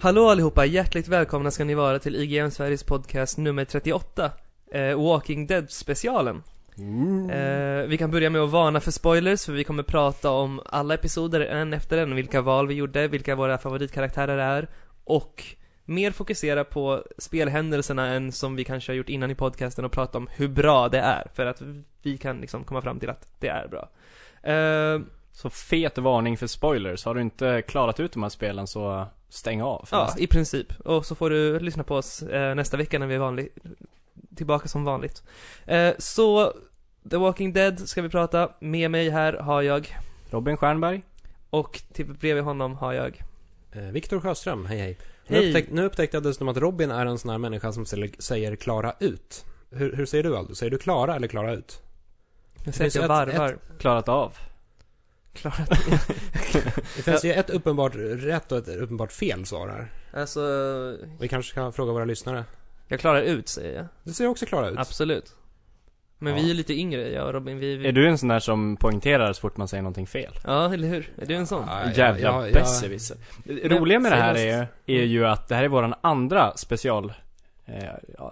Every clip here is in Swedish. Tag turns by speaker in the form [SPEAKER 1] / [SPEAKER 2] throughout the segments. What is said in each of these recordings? [SPEAKER 1] Hallå allihopa, hjärtligt välkomna ska ni vara till IGN Sveriges podcast nummer 38, eh, Walking Dead-specialen.
[SPEAKER 2] Mm.
[SPEAKER 1] Eh, vi kan börja med att varna för spoilers, för vi kommer prata om alla episoder en efter en, vilka val vi gjorde, vilka våra favoritkaraktärer är och mer fokusera på spelhändelserna än som vi kanske har gjort innan i podcasten och prata om hur bra det är, för att vi kan liksom komma fram till att det är bra. Eh,
[SPEAKER 2] Så fet varning för spoilers. Har du inte klarat ut de här spelen så stäng av. för
[SPEAKER 1] Ja,
[SPEAKER 2] nästa-
[SPEAKER 1] i princip. Och så får du lyssna på oss eh, nästa vecka när vi är vanlig, tillbaka som vanligt. Eh, så, The Walking Dead ska vi prata. Med mig här har jag,
[SPEAKER 2] Robin Stjernberg.
[SPEAKER 1] och till, bredvid honom har jag.
[SPEAKER 3] Eh, Viktor Sjöström, hej hej. Nu,
[SPEAKER 1] Hej.
[SPEAKER 3] Upptäck, nu upptäckte jag dessutom att Robin är en sån här människa som säger- säger klara ut. Hur, hur säger du Aldo? Säger du klara eller klara ut?
[SPEAKER 1] Jag
[SPEAKER 3] finns
[SPEAKER 1] säger att jag
[SPEAKER 3] ett-
[SPEAKER 1] varvar.
[SPEAKER 2] Klarat av.
[SPEAKER 1] Klarat.
[SPEAKER 3] Det finns ju ett uppenbart rätt och ett uppenbart fel svar här.
[SPEAKER 1] Alltså,
[SPEAKER 3] Vi kanske ska fråga våra lyssnare.
[SPEAKER 1] jag klarar ut säger jag.
[SPEAKER 3] Du säger också klara ut.
[SPEAKER 1] Absolut. Men
[SPEAKER 2] Ja.
[SPEAKER 1] vi är lite yngre, jag och Robin. Vi, vi...
[SPEAKER 2] Är du en sån där som poängterar så fort man säger någonting fel?
[SPEAKER 1] Ja, eller hur? Är du en sån?
[SPEAKER 3] Ja, ja,
[SPEAKER 2] Jävla
[SPEAKER 3] ja, ja.
[SPEAKER 2] besserwisser. Det roliga med det här är,
[SPEAKER 1] senast-
[SPEAKER 2] är ju att det här är våran andra special, eh,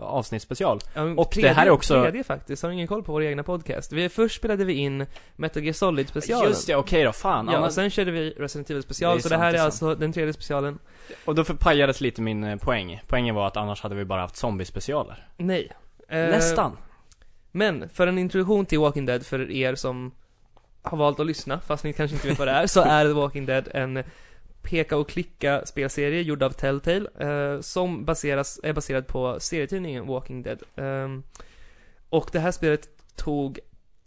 [SPEAKER 2] avsnittsspecial.
[SPEAKER 1] Ja, men
[SPEAKER 2] Och det här är också-
[SPEAKER 1] Tredje faktiskt, har ingen koll på vår egna podcast. Vi, först spelade vi in Metal Gear Solid-specialen.
[SPEAKER 2] Just det, okej då, fan.
[SPEAKER 1] Ja,
[SPEAKER 2] annars-
[SPEAKER 1] och sen körde vi Resident Evil
[SPEAKER 2] Det
[SPEAKER 1] special,
[SPEAKER 2] är
[SPEAKER 1] så det
[SPEAKER 2] sant,
[SPEAKER 1] här
[SPEAKER 2] det
[SPEAKER 1] är
[SPEAKER 2] är
[SPEAKER 1] alltså den tredje specialen.
[SPEAKER 2] Och då förpajades lite min eh, poäng. Poängen var att annars hade vi bara haft zombiespecialer.
[SPEAKER 1] Nej. Eh,
[SPEAKER 2] Nästan.
[SPEAKER 1] Men, för en introduktion till Walking Dead för er som har valt att lyssna, fast ni kanske inte vet vad det är, så är The Walking Dead en peka och klicka spelserie gjord av Telltale, eh, som baseras, är baserad på serietidningen Walking Dead. Ehm, och det här spelet tog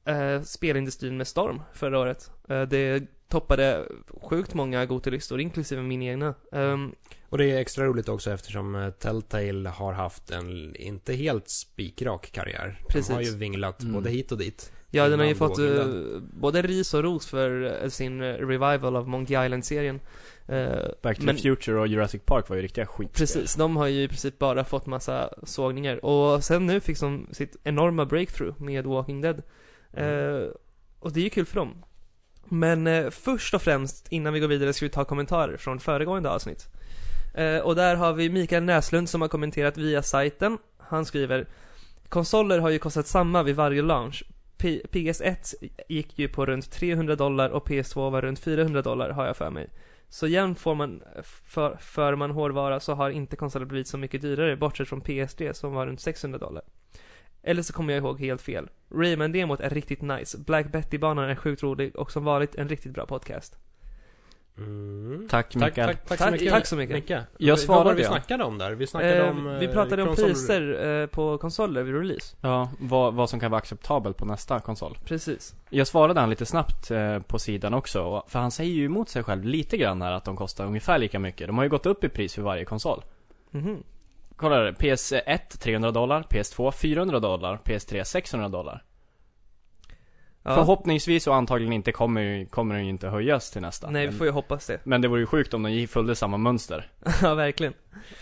[SPEAKER 1] eh, spelindustrin med storm förra året. Eh, det toppade sjukt många Gotilistor, inklusive min egna. Ehm,
[SPEAKER 3] Och det är extra roligt också eftersom eh, Telltale har haft en inte helt spikrak karriär.
[SPEAKER 1] Precis.
[SPEAKER 3] Den har ju vinglat
[SPEAKER 2] Mm.
[SPEAKER 3] både hit och dit.
[SPEAKER 1] Ja, den har ju
[SPEAKER 3] innan
[SPEAKER 1] fått
[SPEAKER 3] Walking
[SPEAKER 1] eh,
[SPEAKER 3] Dead.
[SPEAKER 1] både ris och ros för eh, sin eh, revival av Monkey Island-serien. Eh,
[SPEAKER 2] Back to
[SPEAKER 1] men-
[SPEAKER 2] the Future och Jurassic Park var ju riktiga skit.
[SPEAKER 1] precis, de har ju i princip bara fått massa sågningar. Och sen nu fick de sitt enorma breakthrough med Walking Dead. Eh, och det är ju kul för dem. Men eh, först och främst, innan vi går vidare, ska vi ta kommentarer från föregående avsnitt. Eh, och där har vi Mikael Näslund som har kommenterat via sajten. Han skriver Konsoler har ju kostat samma vid varje launch. P- PS1 gick ju på runt 300 dollar och PS2 var runt 400 dollar har jag för mig. Så jämnt får man, för, för man hårdvara så har inte konsoler blivit så mycket dyrare bortsett från PS3 som var runt 600 dollar. Eller så kommer jag ihåg helt fel. Rayman-demot är riktigt nice. Black Betty-banan är sjukt rolig och som vanligt en riktigt bra podcast.
[SPEAKER 3] Mm.
[SPEAKER 2] Tack
[SPEAKER 3] Tack,
[SPEAKER 2] Mikael.
[SPEAKER 3] tack, tack, så
[SPEAKER 1] Tack-
[SPEAKER 3] mycket.
[SPEAKER 1] tack så mycket.
[SPEAKER 3] Micke.
[SPEAKER 2] Jag
[SPEAKER 3] Vad var
[SPEAKER 2] svarade
[SPEAKER 3] det vi
[SPEAKER 2] ju.
[SPEAKER 3] snackade om där? Vi snackade
[SPEAKER 1] Eh,
[SPEAKER 3] om... eh,
[SPEAKER 1] vi pratade om
[SPEAKER 3] konsol-
[SPEAKER 1] priser eh, på konsoler vid release.
[SPEAKER 2] Ja, vad, vad som kan vara acceptabelt på nästa konsol.
[SPEAKER 1] Precis.
[SPEAKER 2] Jag svarade han lite snabbt eh, på sidan också, och- för han säger ju emot sig själv lite grann här att de kostar ungefär lika mycket. De har ju gått upp i pris för varje konsol.
[SPEAKER 1] Mhm.
[SPEAKER 2] Kolla där, PS1 300 dollar, PS2 400 dollar, PS3 600 dollar.
[SPEAKER 1] Ja.
[SPEAKER 2] Förhoppningsvis och antagligen inte kommer, ju- kommer den ju inte höjas till nästa.
[SPEAKER 1] Nej, vi
[SPEAKER 2] men,
[SPEAKER 1] får ju hoppas det.
[SPEAKER 2] men det vore ju sjukt om de gi- följde samma mönster.
[SPEAKER 1] ja, verkligen.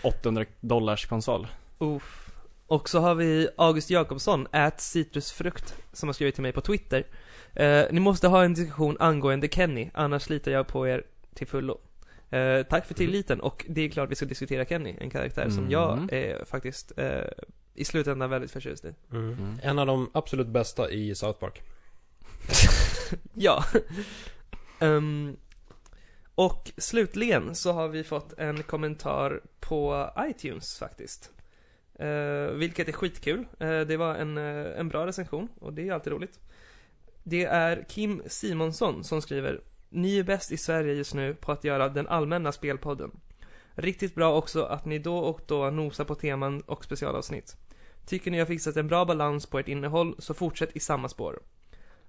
[SPEAKER 2] 800 dollars konsol.
[SPEAKER 1] Uff. Och så har vi August Jakobsson, ät citrusfrukt, som har skrivit till mig på Twitter. Eh, ni måste ha en diskussion angående Kenny, annars litar jag på er till fullo. Eh, tack för tilliten och det är klart vi ska diskutera Kenny, en karaktär som
[SPEAKER 2] Mm.
[SPEAKER 1] jag är faktiskt eh, i slutändan väldigt förtjust i.
[SPEAKER 3] Mm.
[SPEAKER 2] Mm.
[SPEAKER 3] En av de absolut bästa i South Park.
[SPEAKER 1] Ja. Ehm, och slutligen så har vi fått en kommentar på iTunes faktiskt. Eh, vilket är skitkul. Eh, det var en, eh, en bra recension och det är alltid roligt. Det är Kim Simonsson som skriver Ni är bäst i Sverige just nu på att göra den allmänna spelpodden. Riktigt bra också att ni då och då nosar på teman och specialavsnitt. Tycker ni har fixat en bra balans på ert innehåll så fortsätt i samma spår.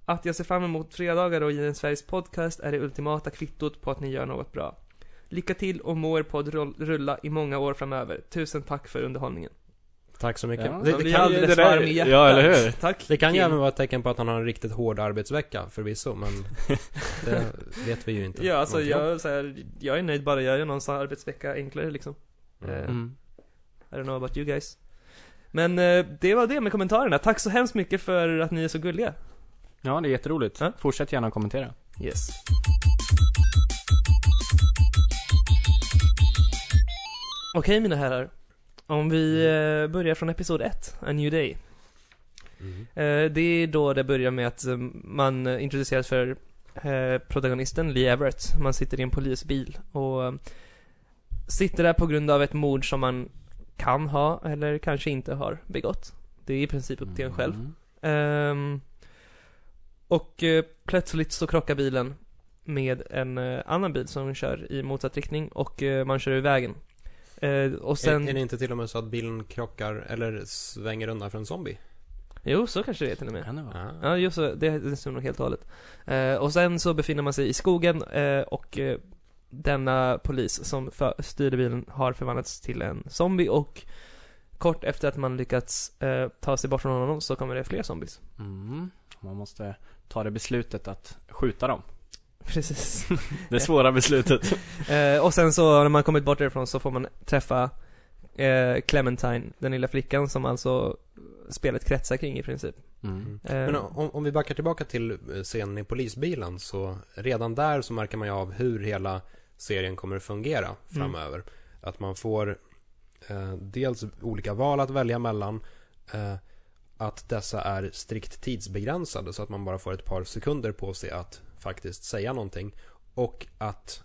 [SPEAKER 1] Att jag ser fram emot fredagar och Jens Sveriges podcast är det ultimata kvittot på att ni gör något bra. Lycka till och må er podd roll- rulla i många år framöver. Tusen tack för underhållningen.
[SPEAKER 3] Tack så mycket.
[SPEAKER 2] Ja,
[SPEAKER 1] Det, det
[SPEAKER 2] men vi-
[SPEAKER 1] kan
[SPEAKER 2] det
[SPEAKER 1] alldeles
[SPEAKER 2] där-
[SPEAKER 1] varm i hjärtat.
[SPEAKER 2] ja, eller hur?
[SPEAKER 1] Tack.
[SPEAKER 3] Det kan ju
[SPEAKER 1] Kim.
[SPEAKER 3] även vara ett tecken på att han har en riktigt hård arbetsvecka förvisso, men det vet vi ju inte.
[SPEAKER 1] Ja, alltså
[SPEAKER 3] någonting om.
[SPEAKER 1] jag, så här, jag är nöjd bara jag gör någons arbetsvecka enklare liksom.
[SPEAKER 3] Mm.
[SPEAKER 1] eh, I don't know about you guys. Men eh, det var det med kommentarerna. Tack så hemskt mycket för att ni är så gulliga.
[SPEAKER 2] Ja, det är jätteroligt.
[SPEAKER 1] Ja.
[SPEAKER 2] Fortsätt gärna att kommentera.
[SPEAKER 1] Yes. Okej mina herrar. Om vi eh, börjar från episod 1, A New Day.
[SPEAKER 3] Mm.
[SPEAKER 1] Eh, det är då det börjar med att eh, man eh, introduceras för eh, protagonisten Lee Everett. Man sitter i en polisbil och eh, sitter där på grund av ett mord som man kan ha eller kanske inte har begått. Det är i princip upp till en själv.
[SPEAKER 2] Mm.
[SPEAKER 1] Ehm, och eh, plötsligt så krockar bilen med en eh, annan bil som kör i motsatt riktning och eh, man kör ur vägen. Eh, och sen...
[SPEAKER 3] Är, är det inte till och med så att bilen krockar eller svänger undan för en zombie? Ah.
[SPEAKER 1] Jo, så kanske det är till och med.
[SPEAKER 2] Kan det vara?
[SPEAKER 1] Ja, just det. Det det stämmer nog helt och hållet. Eh, och sen så befinner man sig i skogen eh, och eh, denna polis som för, styrde bilen har förvandlats till en zombie och kort efter att man lyckats eh, ta sig bort från honom så kommer det fler zombies.
[SPEAKER 2] Mm. Man måste ta det beslutet att skjuta dem.
[SPEAKER 1] Precis.
[SPEAKER 2] Det svåra beslutet.
[SPEAKER 1] eh, och sen så när man kommit bort därifrån så får man träffa eh, Clementine, den lilla flickan som alltså spelet kretsar kring i princip.
[SPEAKER 2] Mm.
[SPEAKER 1] Eh,
[SPEAKER 3] Men om, om vi backar tillbaka till eh, scenen i polisbilen så redan där så märker man ju av hur hela serien kommer att fungera framöver. Att man får eh, dels olika val att välja mellan. Eh, att dessa är strikt tidsbegränsade så att man bara får ett par sekunder på sig att faktiskt säga någonting. Och att,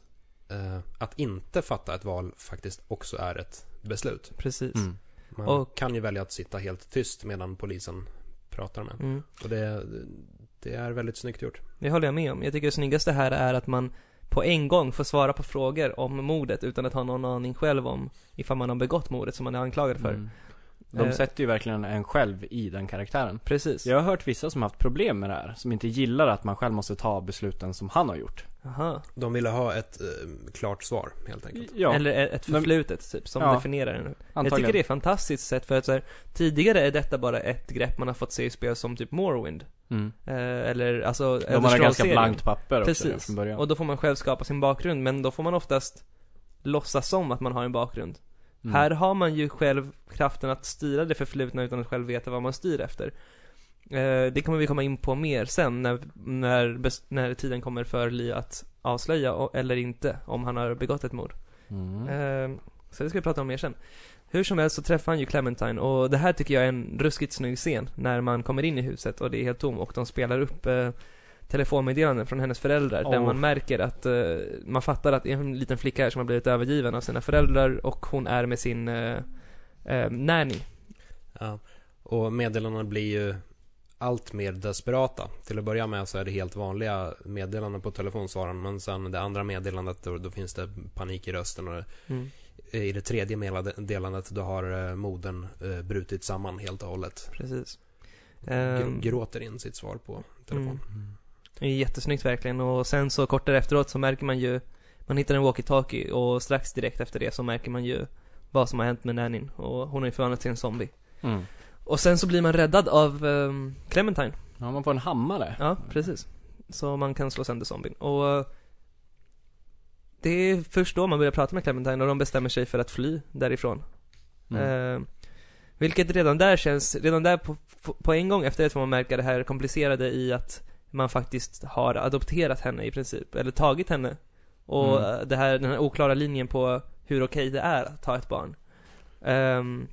[SPEAKER 3] eh, att inte fatta ett val faktiskt också är ett beslut.
[SPEAKER 1] Precis.
[SPEAKER 2] Mm.
[SPEAKER 3] Man
[SPEAKER 1] Och-
[SPEAKER 3] kan ju välja att sitta helt tyst medan polisen pratar med en.
[SPEAKER 1] Mm.
[SPEAKER 3] Och det, det är väldigt snyggt gjort.
[SPEAKER 1] Det håller jag med om. Jag tycker det snyggaste här är att man på en gång får svara på frågor om mordet utan att ha någon aning själv om ifall man har begått mordet som man är anklagad för.
[SPEAKER 2] Mm. De
[SPEAKER 1] Eh.
[SPEAKER 2] sätter ju verkligen en själv i den karaktären.
[SPEAKER 1] Precis.
[SPEAKER 2] Jag har hört vissa som haft problem med det här, som inte gillar att man själv måste ta besluten som han har gjort.
[SPEAKER 1] Aha.
[SPEAKER 3] De ville ha ett eh, klart svar helt enkelt.
[SPEAKER 2] Ja,
[SPEAKER 1] Eller e- ett
[SPEAKER 2] Men-
[SPEAKER 1] förflutet typ, som
[SPEAKER 2] Ja,
[SPEAKER 1] definierar den. Jag
[SPEAKER 2] antagligen.
[SPEAKER 1] tycker det är ett fantastiskt sätt för att så här, tidigare är detta bara ett grepp man har fått se i spel som typ Morrowind.
[SPEAKER 2] Mm.
[SPEAKER 1] Eh, eller alltså Elder
[SPEAKER 2] De har ganska
[SPEAKER 1] Scrolls-serien.
[SPEAKER 2] blankt papper också
[SPEAKER 1] Precis.
[SPEAKER 2] Precis. från början.
[SPEAKER 1] Och då får man själv skapa sin bakgrund, men då får man oftast låtsas som att man har en bakgrund.
[SPEAKER 2] Mm.
[SPEAKER 1] Här har man ju själv kraften att styra det förflutna utan att själv veta vad man styr efter. Eh, det kommer vi komma in på mer sen när, när, bes- när tiden kommer för Li att avslöja o- eller inte om han har begått ett mord.
[SPEAKER 2] Mm.
[SPEAKER 1] Eh, så det ska vi prata om mer sen. Hur som helst så träffar han ju Clementine och det här tycker jag är en ruskigt snygg scen när man kommer in i huset och det är helt tom och de spelar upp eh, telefonmeddelanden från hennes föräldrar där
[SPEAKER 2] Åh.
[SPEAKER 1] man märker att eh, man fattar att det är en liten flicka här som har blivit övergiven av sina föräldrar och hon är med sin eh, eh, nanny.
[SPEAKER 3] Ja. Och meddelandena blir ju allt mer desperata. Till att börja med så är det helt vanliga meddelanden på telefonsvararen men sen det andra meddelandet då, då finns det panik i rösten och
[SPEAKER 2] Mm.
[SPEAKER 3] i det tredje meddelandet då har eh, modern eh, brutit samman helt och hållet.
[SPEAKER 1] Precis.
[SPEAKER 3] Gr-
[SPEAKER 1] Ehm.
[SPEAKER 3] gråter in sitt svar på telefon.
[SPEAKER 1] Mm. Det är Jättesnyggt verkligen och sen så kort efteråt så märker man ju Man hittar en walkie-talkie och strax direkt efter det så märker man ju Vad som har hänt med nannyn och hon har ju förvandlats till en zombie
[SPEAKER 2] Mm.
[SPEAKER 1] Och sen så blir man räddad av ehm, Clementine
[SPEAKER 2] Ja, man får en hammare.
[SPEAKER 1] Ja, precis Så man kan slå sönder zombien och eh, Det är först då man börjar prata med Clementine och de bestämmer sig för att fly därifrån
[SPEAKER 2] Mm.
[SPEAKER 1] Eh, vilket redan där känns, redan där på, på- på en gång efter det får man märka det här komplicerade i att man faktiskt har adopterat henne i princip, eller tagit henne. Och
[SPEAKER 2] Mm.
[SPEAKER 1] eh, det här, den här oklara linjen på hur okej det är att ta ett barn. Ehm,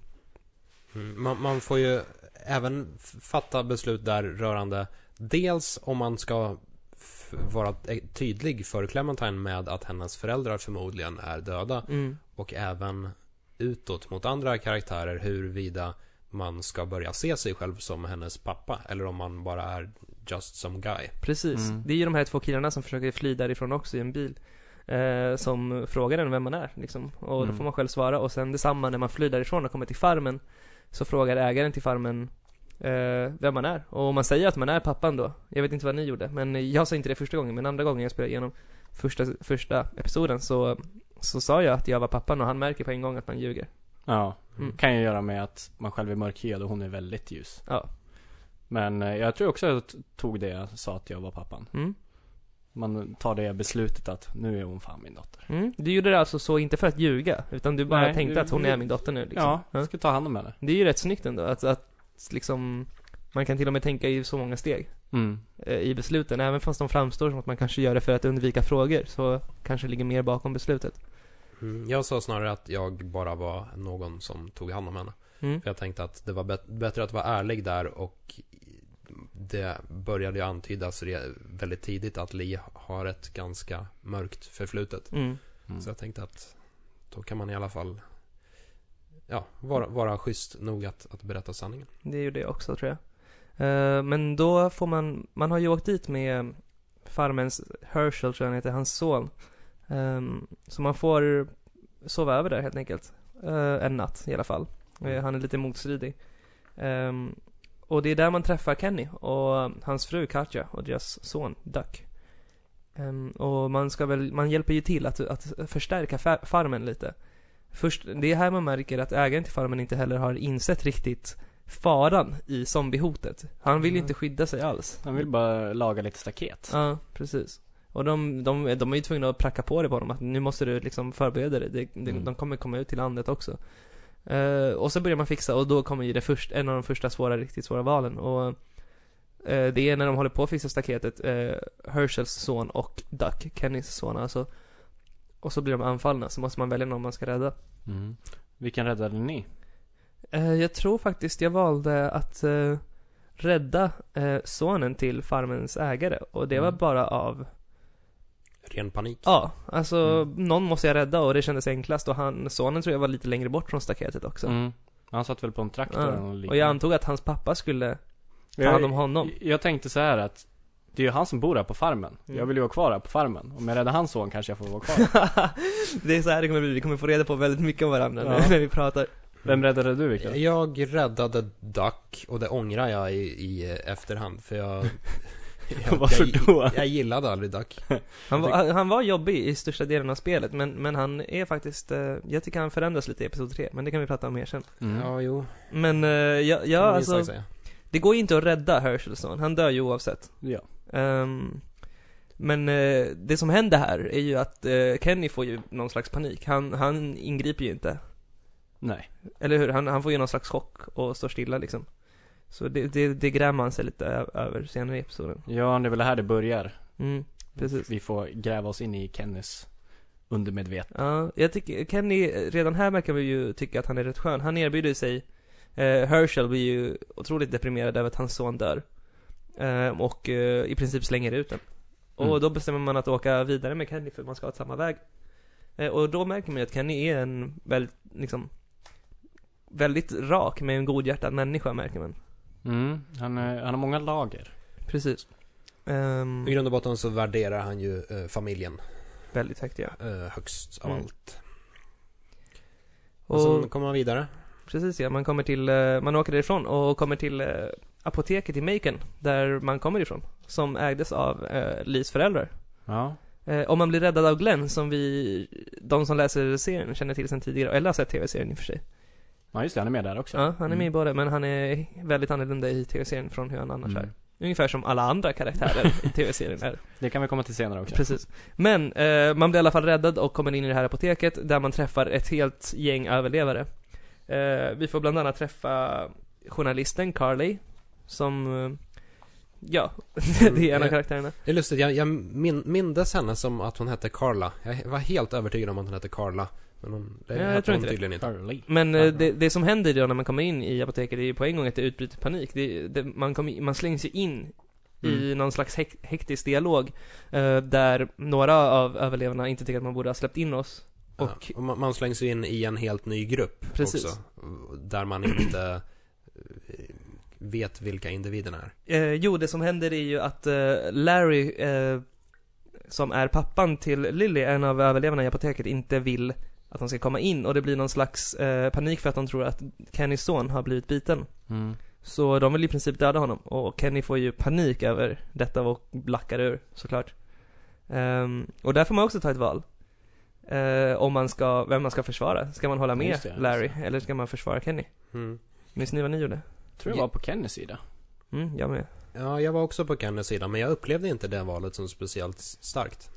[SPEAKER 3] Mm, Man, man får ju även f- fatta beslut där rörande dels om man ska f- vara t- tydlig för Clementine med att hennes föräldrar förmodligen är döda
[SPEAKER 1] mm,
[SPEAKER 3] och även utåt mot andra karaktärer huruvida man ska börja se sig själv som hennes pappa eller om man bara är just some guy.
[SPEAKER 1] precis.
[SPEAKER 2] Mm.
[SPEAKER 1] Det är ju de här två killarna som försöker fly därifrån också i en bil. eh, som frågar en vem man är liksom. Och då
[SPEAKER 2] Mm.
[SPEAKER 1] får man själv svara och sen detsamma när man flyr därifrån och kommer till farmen. Så frågar ägaren till farmen eh, vem man är. Och om man säger att man är pappan då. Jag vet inte vad ni gjorde, men jag sa inte det första gången, men andra gången jag spelade igenom första, första episoden så, så sa jag att jag var pappan och han märker på en gång att man ljuger.
[SPEAKER 2] Ja,
[SPEAKER 1] Mm.
[SPEAKER 2] kan ju göra med att man själv är mörkhyad och hon är väldigt ljus.
[SPEAKER 1] Ja.
[SPEAKER 2] Men eh, jag tror också att jag t- tog det jag sa att jag var pappan.
[SPEAKER 1] Mm.
[SPEAKER 2] Man tar det beslutet att nu är hon fan min dotter.
[SPEAKER 1] Mm. Du gjorde det alltså så, inte för att ljuga, utan du bara
[SPEAKER 2] Nej,
[SPEAKER 1] tänkte
[SPEAKER 2] det-
[SPEAKER 1] att hon är min dotter nu liksom.
[SPEAKER 2] Ja, jag ska ta hand om henne.
[SPEAKER 1] Det är ju rätt snyggt ändå, att, att liksom, man kan till och med tänka i så många steg
[SPEAKER 2] Mm.
[SPEAKER 1] eh, i besluten. Även fast de framstår som att man kanske gör det för att undvika frågor, så kanske det ligger mer bakom beslutet.
[SPEAKER 3] Mm, Jag sa snarare att jag bara var någon som tog hand om henne.
[SPEAKER 1] Mm.
[SPEAKER 3] För jag tänkte att det var bet- bättre att vara ärlig där och det började ju antydas re- väldigt tidigt att Li har ett ganska mörkt förflutet.
[SPEAKER 1] Mm.
[SPEAKER 2] Mm.
[SPEAKER 3] Så jag tänkte att då kan man i alla fall ja, vara, vara schysst nog att, att berätta sanningen.
[SPEAKER 1] Det gjorde jag också tror jag. Eh, men då får man, man har ju åkt dit med farmens Herschel tror jag han heter, hans son. Ehm, så man får sova över där helt enkelt. Eh, en natt i alla fall. Eh, han är lite motstridig. Ehm, och det är där man träffar Kenny och hans fru Katja och deras son Duck. Ehm, och man ska väl, man hjälper ju till att, att förstärka fa- farmen lite. Först, det är här man märker att ägaren till farmen inte heller har insett riktigt faran i zombiehotet. Han vill ju
[SPEAKER 2] Mm.
[SPEAKER 1] inte skydda sig alls.
[SPEAKER 2] Han vill bara laga lite staket.
[SPEAKER 1] Ja, precis. Och de, de, de är ju tvungna att pracka på det på dem att nu måste du liksom förbereda dig. De, de,
[SPEAKER 2] Mm.
[SPEAKER 1] de kommer komma ut till landet också. Eh, och så börjar man fixa och då kommer ju det först, en av de första svåra, riktigt svåra valen. Och eh, det är när de håller på att fixa staketet, eh, Herschels son och Duck, Kennys son alltså. Och så blir de anfallna, så måste man välja någon man ska rädda.
[SPEAKER 2] Mm. Vilken räddade ni?
[SPEAKER 1] Eh, jag tror faktiskt jag valde att eh, rädda eh, sonen till farmens ägare. Och det var
[SPEAKER 2] Mm.
[SPEAKER 1] bara av
[SPEAKER 3] Ren panik.
[SPEAKER 1] Ja, alltså
[SPEAKER 2] Mm.
[SPEAKER 1] någon måste jag rädda och det kändes enklast och han, sonen tror jag var lite längre bort från staketet också.
[SPEAKER 2] Mm. Han satt väl på en traktor
[SPEAKER 1] Ja.
[SPEAKER 2] eller något
[SPEAKER 1] Och
[SPEAKER 2] liknande.
[SPEAKER 1] jag antog att hans pappa skulle ta hand om honom.
[SPEAKER 2] Jag, jag tänkte så här att det är ju han som bor här på farmen.
[SPEAKER 1] Mm.
[SPEAKER 2] Jag vill ju vara kvar här på farmen. Om jag räddar hans son kanske jag får vara kvar.
[SPEAKER 1] det är så här det kommer bli, vi kommer få reda på väldigt mycket om varandra nu
[SPEAKER 2] Ja.
[SPEAKER 1] när vi pratar.
[SPEAKER 2] Vem räddade du Viktor?
[SPEAKER 3] Jag räddade Duck och det ångrar jag i, i efterhand för jag...
[SPEAKER 2] Varför
[SPEAKER 3] jag,
[SPEAKER 2] då?
[SPEAKER 3] Jag gillade aldrig Duck.
[SPEAKER 1] Han var, han- han var jobbig i största delen av spelet men, men han är faktiskt, eh, jag tycker han förändras lite i episod 3 men det kan vi prata om mer sen.
[SPEAKER 2] Mm.
[SPEAKER 3] Ja, jo.
[SPEAKER 1] Men eh, ja, ja
[SPEAKER 3] kan man minst
[SPEAKER 1] alltså,
[SPEAKER 3] sagt säga.
[SPEAKER 1] det går ju inte att rädda Herschelson, han dör ju oavsett.
[SPEAKER 2] Ja.
[SPEAKER 1] Ehm, men eh, det som händer här är ju att eh, Kenny får ju någon slags panik. Han, han ingriper ju inte.
[SPEAKER 2] Nej.
[SPEAKER 1] Eller hur? Han, han får ju någon slags chock och står stilla liksom. Så det, det, det grämer han sig lite ö- över senare i episoden.
[SPEAKER 2] Ja, det är väl här det börjar.
[SPEAKER 1] Mm, precis.
[SPEAKER 2] Vi får gräva oss in i Kennys undermedvetna.
[SPEAKER 1] Ja, jag tycker Kenny, eh, redan här verkar vi ju tycka att han är rätt skön. Han erbjuder sig, eh, Herschel blir ju otroligt deprimerad över att hans son dör. Ehm, och eh, i princip slänger ut den. Och
[SPEAKER 2] Mm.
[SPEAKER 1] då bestämmer man att åka vidare med Kenny för man ska ha samma väg. Eh, och då märker man ju att Kenny är en väldigt, liksom, väldigt rak med en godhjärtad människa märker man.
[SPEAKER 2] Mm. Han, eh, han har många lager.
[SPEAKER 1] Precis. Ehm,
[SPEAKER 3] I grund och botten så värderar han ju eh, familjen
[SPEAKER 1] väldigt högt ja.
[SPEAKER 3] eh, högst av
[SPEAKER 1] Mm.
[SPEAKER 3] allt. Och,
[SPEAKER 1] Och-
[SPEAKER 3] sen kommer man vidare.
[SPEAKER 1] Precis ja, man kommer till, eh, man åker därifrån och kommer till eh, apoteket i Macon, där man kommer ifrån, som ägdes av eh, Lees föräldrar.
[SPEAKER 2] Ja.
[SPEAKER 1] Eh, om man blir räddad av Glenn, som vi, de som läser serien känner till sedan tidigare, eller har sett tv-serien i och för sig.
[SPEAKER 2] Ja, just det. Han är med där också.
[SPEAKER 1] Ja, han är med i
[SPEAKER 2] Mm.
[SPEAKER 1] båda, men han är väldigt annorlunda i tv-serien från hur han annars
[SPEAKER 2] Mm.
[SPEAKER 1] är. Ungefär som alla andra karaktärer i tv-serien är.
[SPEAKER 2] Det kan vi komma till senare också.
[SPEAKER 1] Precis. Men eh, man blir i alla fall räddad och kommer in i det här apoteket där man träffar ett helt gäng överlevare. Eh, vi får bland annat träffa journalisten Carly, som, eh, ja, det är en av
[SPEAKER 3] Mm.
[SPEAKER 1] karaktärerna.
[SPEAKER 3] Det är lustigt, jag, jag min, mindes henne som att hon hette Carla. Jag var helt övertygad om att hon hette Carla. Men hon, det
[SPEAKER 1] Ja, jag
[SPEAKER 3] hette
[SPEAKER 1] tror
[SPEAKER 3] hon
[SPEAKER 1] inte det.
[SPEAKER 3] tydligen inte.
[SPEAKER 2] Charlie.
[SPEAKER 1] Men eh, det, det som händer då när man kommer in i apoteket är ju på en gång att det utbryter panik. Det, det, man, kommer in- man slängs ju in
[SPEAKER 3] Mm.
[SPEAKER 1] i någon slags hek, hektisk dialog eh, där några av överlevarna inte tycker att man borde ha släppt in oss. Och
[SPEAKER 3] ja, och man, man slängs ju in i en helt ny grupp
[SPEAKER 1] Precis.
[SPEAKER 3] också. Där man inte eh, vet vilka individerna är.
[SPEAKER 1] Eh, jo, det som händer är ju att eh, Larry, eh, som är pappan till Lily, en av överlevarna i apoteket, inte vill att de ska komma in och det blir någon slags eh, panik för att de tror att Kennys son har blivit biten.
[SPEAKER 2] Mm.
[SPEAKER 1] Så de vill i princip döda honom och Kenny får ju panik över detta och lackar ur såklart. Ehm, och där får man också ta ett val. Eh, om man ska, vem man ska försvara. Ska man hålla med
[SPEAKER 2] Just det, just
[SPEAKER 1] Larry eller ska man försvara Kenny?
[SPEAKER 3] Mm.
[SPEAKER 1] Minns ni vad ni gjorde?
[SPEAKER 2] Tror jag var på Kennys sida.
[SPEAKER 1] Mm, jag med.
[SPEAKER 3] Ja, jag var också på Kennys sida, men jag upplevde inte det valet som speciellt starkt.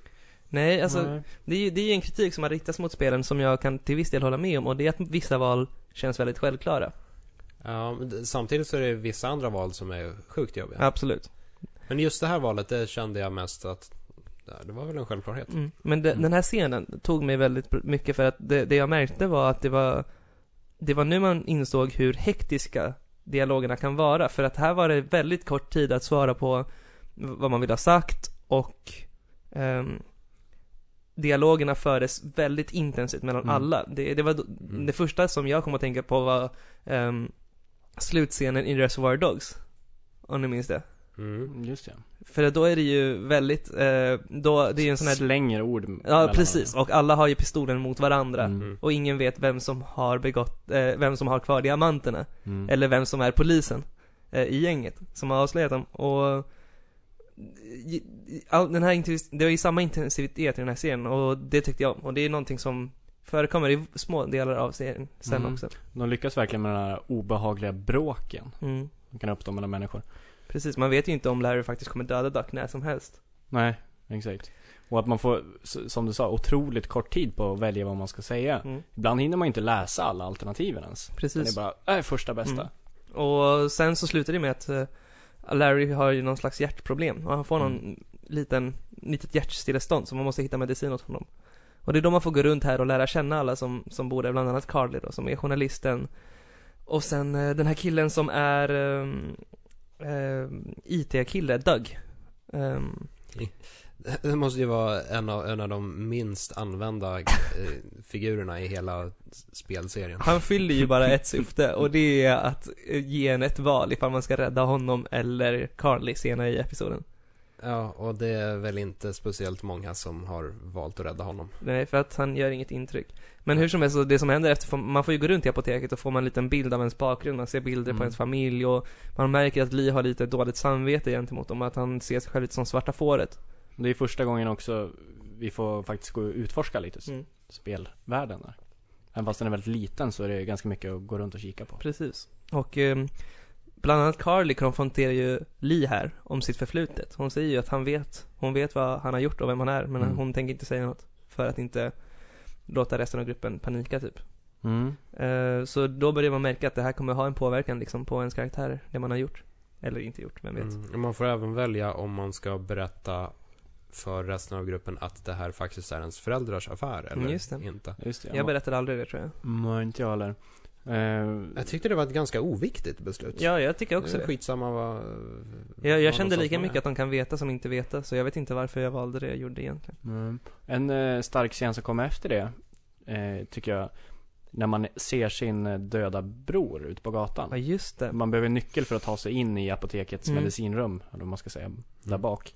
[SPEAKER 1] Nej, alltså
[SPEAKER 2] Nej.
[SPEAKER 1] det är, ju, det är ju en kritik som har riktats mot spelen som jag kan till viss del hålla med om och det är att vissa val känns väldigt självklara.
[SPEAKER 3] Ja, men d- samtidigt så är det vissa andra val som är sjukt jobbiga.
[SPEAKER 1] Absolut.
[SPEAKER 3] Men just det här valet, det kände jag mest att ja, det var väl en självklarhet.
[SPEAKER 1] Mm. Men de,
[SPEAKER 2] Mm.
[SPEAKER 1] den här scenen tog mig väldigt br- mycket för att det, det jag märkte var att det var Det var nu man insåg hur hektiska dialogerna kan vara för att här var det väldigt kort tid att svara på v- vad man vill ha sagt och ehm, Dialogerna fördes väldigt intensivt mellan
[SPEAKER 2] Mm.
[SPEAKER 1] alla. Det, det var då-
[SPEAKER 3] Mm.
[SPEAKER 1] det första som jag kom att tänka på var ehm, slutscenen i Reservoir Dogs. Om ni minns det.
[SPEAKER 3] Mm.
[SPEAKER 2] Mm, Just det.
[SPEAKER 1] För då är det ju väldigt, eh, då, det är ju en sån här
[SPEAKER 2] Slänger ord mellan
[SPEAKER 1] Ja,
[SPEAKER 2] varandra.
[SPEAKER 1] precis. Och alla har ju pistolen mot varandra.
[SPEAKER 2] Mm.
[SPEAKER 3] Mm.
[SPEAKER 1] Och ingen vet vem som har begått, eh, vem som har kvar diamanterna.
[SPEAKER 2] Mm.
[SPEAKER 1] Eller vem som är polisen eh, i gänget som har avslöjat dem. Och i- i- all, den här intensiv- det var ju samma intensivitet i den här serien och det tyckte jag om. Och det är någonting som förekommer i små delar av serien sen
[SPEAKER 2] Mm.
[SPEAKER 1] också.
[SPEAKER 2] De lyckas verkligen med den här obehagliga bråken
[SPEAKER 1] Mm.
[SPEAKER 2] som kan uppstå mellan människor.
[SPEAKER 1] Precis, man vet ju inte om Larry faktiskt kommer döda Duck när som helst.
[SPEAKER 2] Nej, exakt. Och att man får, s- som du sa, otroligt kort tid på att välja vad man ska säga.
[SPEAKER 1] Mm.
[SPEAKER 2] Ibland hinner man inte läsa alla alternativen ens. Det
[SPEAKER 1] Precis.
[SPEAKER 2] är bara, äh, första bästa.
[SPEAKER 1] Mm. Och sen så slutar det med att eh, Larry har ju någon slags hjärtproblem och han får någon liten, litet hjärtstillestånd så man måste hitta medicin åt honom. Och det är då man får gå runt här och lära känna alla som, som bor där, bland annat Carly då, som är journalisten. Och sen eh, den här killen som är ehm, ehm, IT-kille, Doug. Ehm,
[SPEAKER 3] Det måste ju vara en av, en av de minst använda eh, figurerna i hela s- spelserien.
[SPEAKER 1] han fyller ju bara ett syfte och det är att eh, ge en ett val ifall man ska rädda honom eller Carly senare i episoden.
[SPEAKER 3] Ja, och det är väl inte speciellt många som har valt att rädda honom.
[SPEAKER 1] Nej, för att han gör inget intryck. Men hur som helst, så det som händer efter, man får ju gå runt i apoteket och får man en liten bild av ens bakgrund, man ser bilder på
[SPEAKER 2] Mm.
[SPEAKER 1] ens familj och man märker att Lee har lite dåligt samvete gentemot dem, att han ser sig själv lite som svarta fåret.
[SPEAKER 2] Det är första gången också vi får faktiskt gå och utforska lite s-
[SPEAKER 1] Mm.
[SPEAKER 2] spelvärlden där. Även fast den är väldigt liten så är det ganska mycket att gå runt och kika på.
[SPEAKER 1] Precis. Och ehm, bland annat Carly konfronterar ju Lee här om sitt förflutet. Hon säger ju att han vet, hon vet vad han har gjort och vem han är, men
[SPEAKER 2] Mm.
[SPEAKER 1] hon tänker inte säga något för att inte låta resten av gruppen panika typ.
[SPEAKER 2] Mm.
[SPEAKER 1] Eh, Så då börjar man märka att det här kommer ha en påverkan liksom på ens karaktärer, det man har gjort. Eller inte gjort, vem vet.
[SPEAKER 3] Mm. och Man får även välja om man ska berätta för resten av gruppen att det här faktiskt är ens föräldrars affär eller
[SPEAKER 1] Mm, just det.
[SPEAKER 3] inte.
[SPEAKER 2] Just det.
[SPEAKER 1] Jag berättade aldrig det tror jag.
[SPEAKER 2] Mm, inte jag heller. Eh,
[SPEAKER 3] Jag tyckte det var ett ganska oviktigt beslut.
[SPEAKER 1] Ja, jag tycker också
[SPEAKER 3] Det är
[SPEAKER 1] det.
[SPEAKER 3] Skitsamma vad...
[SPEAKER 1] Jag,
[SPEAKER 3] vad
[SPEAKER 1] jag kände
[SPEAKER 3] de sa
[SPEAKER 1] lika
[SPEAKER 3] som
[SPEAKER 1] mycket
[SPEAKER 3] är.
[SPEAKER 1] att de kan veta som inte veta, så jag vet inte varför jag valde det jag gjorde egentligen.
[SPEAKER 2] Mm. En eh, stark scen som kommer efter det, eh, tycker jag, när man ser sin eh, döda bror ute på
[SPEAKER 1] Ja,
[SPEAKER 2] gatan.
[SPEAKER 1] just det.
[SPEAKER 2] Man behöver nyckel för att ta sig in i apotekets
[SPEAKER 1] Mm.
[SPEAKER 2] medicinrum, eller vad man ska säga,
[SPEAKER 3] Mm.
[SPEAKER 2] där bak.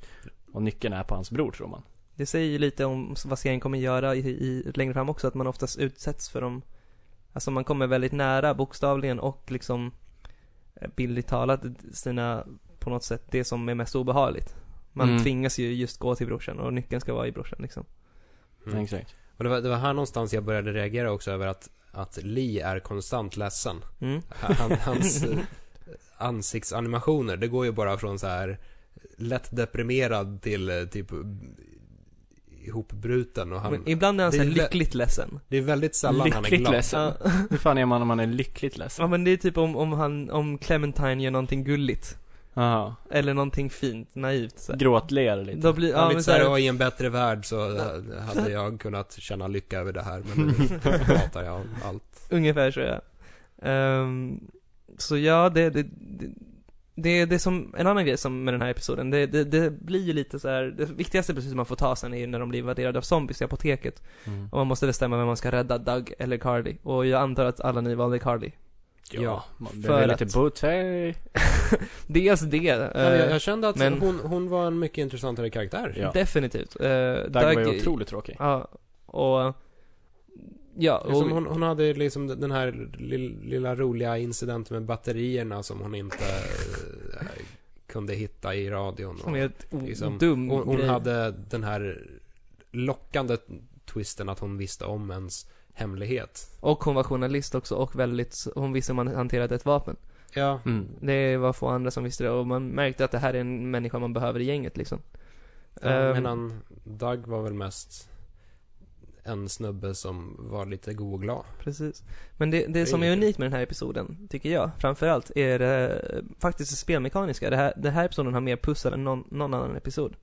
[SPEAKER 2] Och nyckeln är på hans bror tror man.
[SPEAKER 1] Det säger ju lite om vad serien kommer göra i, i, längre fram också, att man oftast utsätts för dem. Alltså man kommer väldigt nära bokstavligen och liksom eh, bildligt talat sina, på något sätt, det som är mest obehagligt. Man
[SPEAKER 2] Mm.
[SPEAKER 1] tvingas ju just gå till brorsan och nyckeln ska vara i brorsan liksom.
[SPEAKER 3] Mm.
[SPEAKER 2] Exakt.
[SPEAKER 3] Och det, var, det var här någonstans jag började reagera också över att, att Lee är konstant ledsen.
[SPEAKER 1] Mm.
[SPEAKER 3] Han, hans eh, ansiktsanimationer, det går ju bara från så här lätt deprimerad till eh, typ ihopbruten och han,
[SPEAKER 1] Men ibland är han
[SPEAKER 3] det
[SPEAKER 1] så här
[SPEAKER 3] är ju vä-
[SPEAKER 1] lyckligt ledsen.
[SPEAKER 3] det är väldigt sällan han är
[SPEAKER 2] Lyckligt
[SPEAKER 3] glad.
[SPEAKER 2] ledsen.
[SPEAKER 1] Ja.
[SPEAKER 2] Hur fan är man när man är lyckligt ledsen?
[SPEAKER 1] Ja men det är typ om, om han, om Clementine gör någonting gulligt.
[SPEAKER 2] Jaha.
[SPEAKER 1] Eller någonting fint, naivt så. här.
[SPEAKER 2] Gråtler lite.
[SPEAKER 1] Då blir,
[SPEAKER 3] Ja,
[SPEAKER 1] ja
[SPEAKER 3] lite
[SPEAKER 1] men så
[SPEAKER 3] såhär,
[SPEAKER 1] här,
[SPEAKER 3] "Ja, i en bättre värld så eh, hade jag kunnat känna lycka över det här, men nu pratar jag om allt.
[SPEAKER 1] ungefär så ja. Ehm, så ja, det, det, det, det, det är som, en annan grej som med den här episoden, det, det, det blir ju lite så här. det viktigaste beslutet man får ta sen är ju när de blir invaderade av zombies i apoteket.
[SPEAKER 2] Mm.
[SPEAKER 1] Och man måste bestämma vem man ska rädda, Doug eller Carly. Och jag antar att alla ni valde Carly.
[SPEAKER 2] Ja, man
[SPEAKER 1] för
[SPEAKER 2] behöver lite
[SPEAKER 1] att-
[SPEAKER 2] booty.
[SPEAKER 1] Dels det,
[SPEAKER 3] Ja,
[SPEAKER 1] eh,
[SPEAKER 3] jag, jag kände att
[SPEAKER 1] men-
[SPEAKER 3] hon, hon var en mycket intressantare karaktär.
[SPEAKER 2] Ja.
[SPEAKER 1] definitivt. Uh,
[SPEAKER 2] Doug var ju otroligt tråkig.
[SPEAKER 1] Ja, och, ja, och,
[SPEAKER 3] Liksom hon, hon hade liksom den här lill- lilla roliga incidenten med batterierna som hon inte eh, kunde hitta i radion.
[SPEAKER 1] Som är
[SPEAKER 3] Och
[SPEAKER 1] ett o-
[SPEAKER 3] liksom-
[SPEAKER 1] dum
[SPEAKER 3] Hon, hon
[SPEAKER 1] grej.
[SPEAKER 3] hade den här lockande twisten att hon visste om ens hemlighet.
[SPEAKER 1] Och hon var journalist också och väldigt, hon visste hur man hanterade ett vapen.
[SPEAKER 3] Ja,
[SPEAKER 2] Mm.
[SPEAKER 1] Det var få andra som visste det och man märkte att det här är en människa man behöver i gänget liksom.
[SPEAKER 3] ja
[SPEAKER 1] Ehm,
[SPEAKER 3] medan Doug var väl mest en snubbe som var lite god och glad.
[SPEAKER 1] Precis. Men det, det som är
[SPEAKER 3] inget
[SPEAKER 1] unikt med den här episoden, tycker jag, framförallt, är eh, faktiskt det spelmekaniska. Det här, den här episoden har mer pussel än någon, någon annan episod.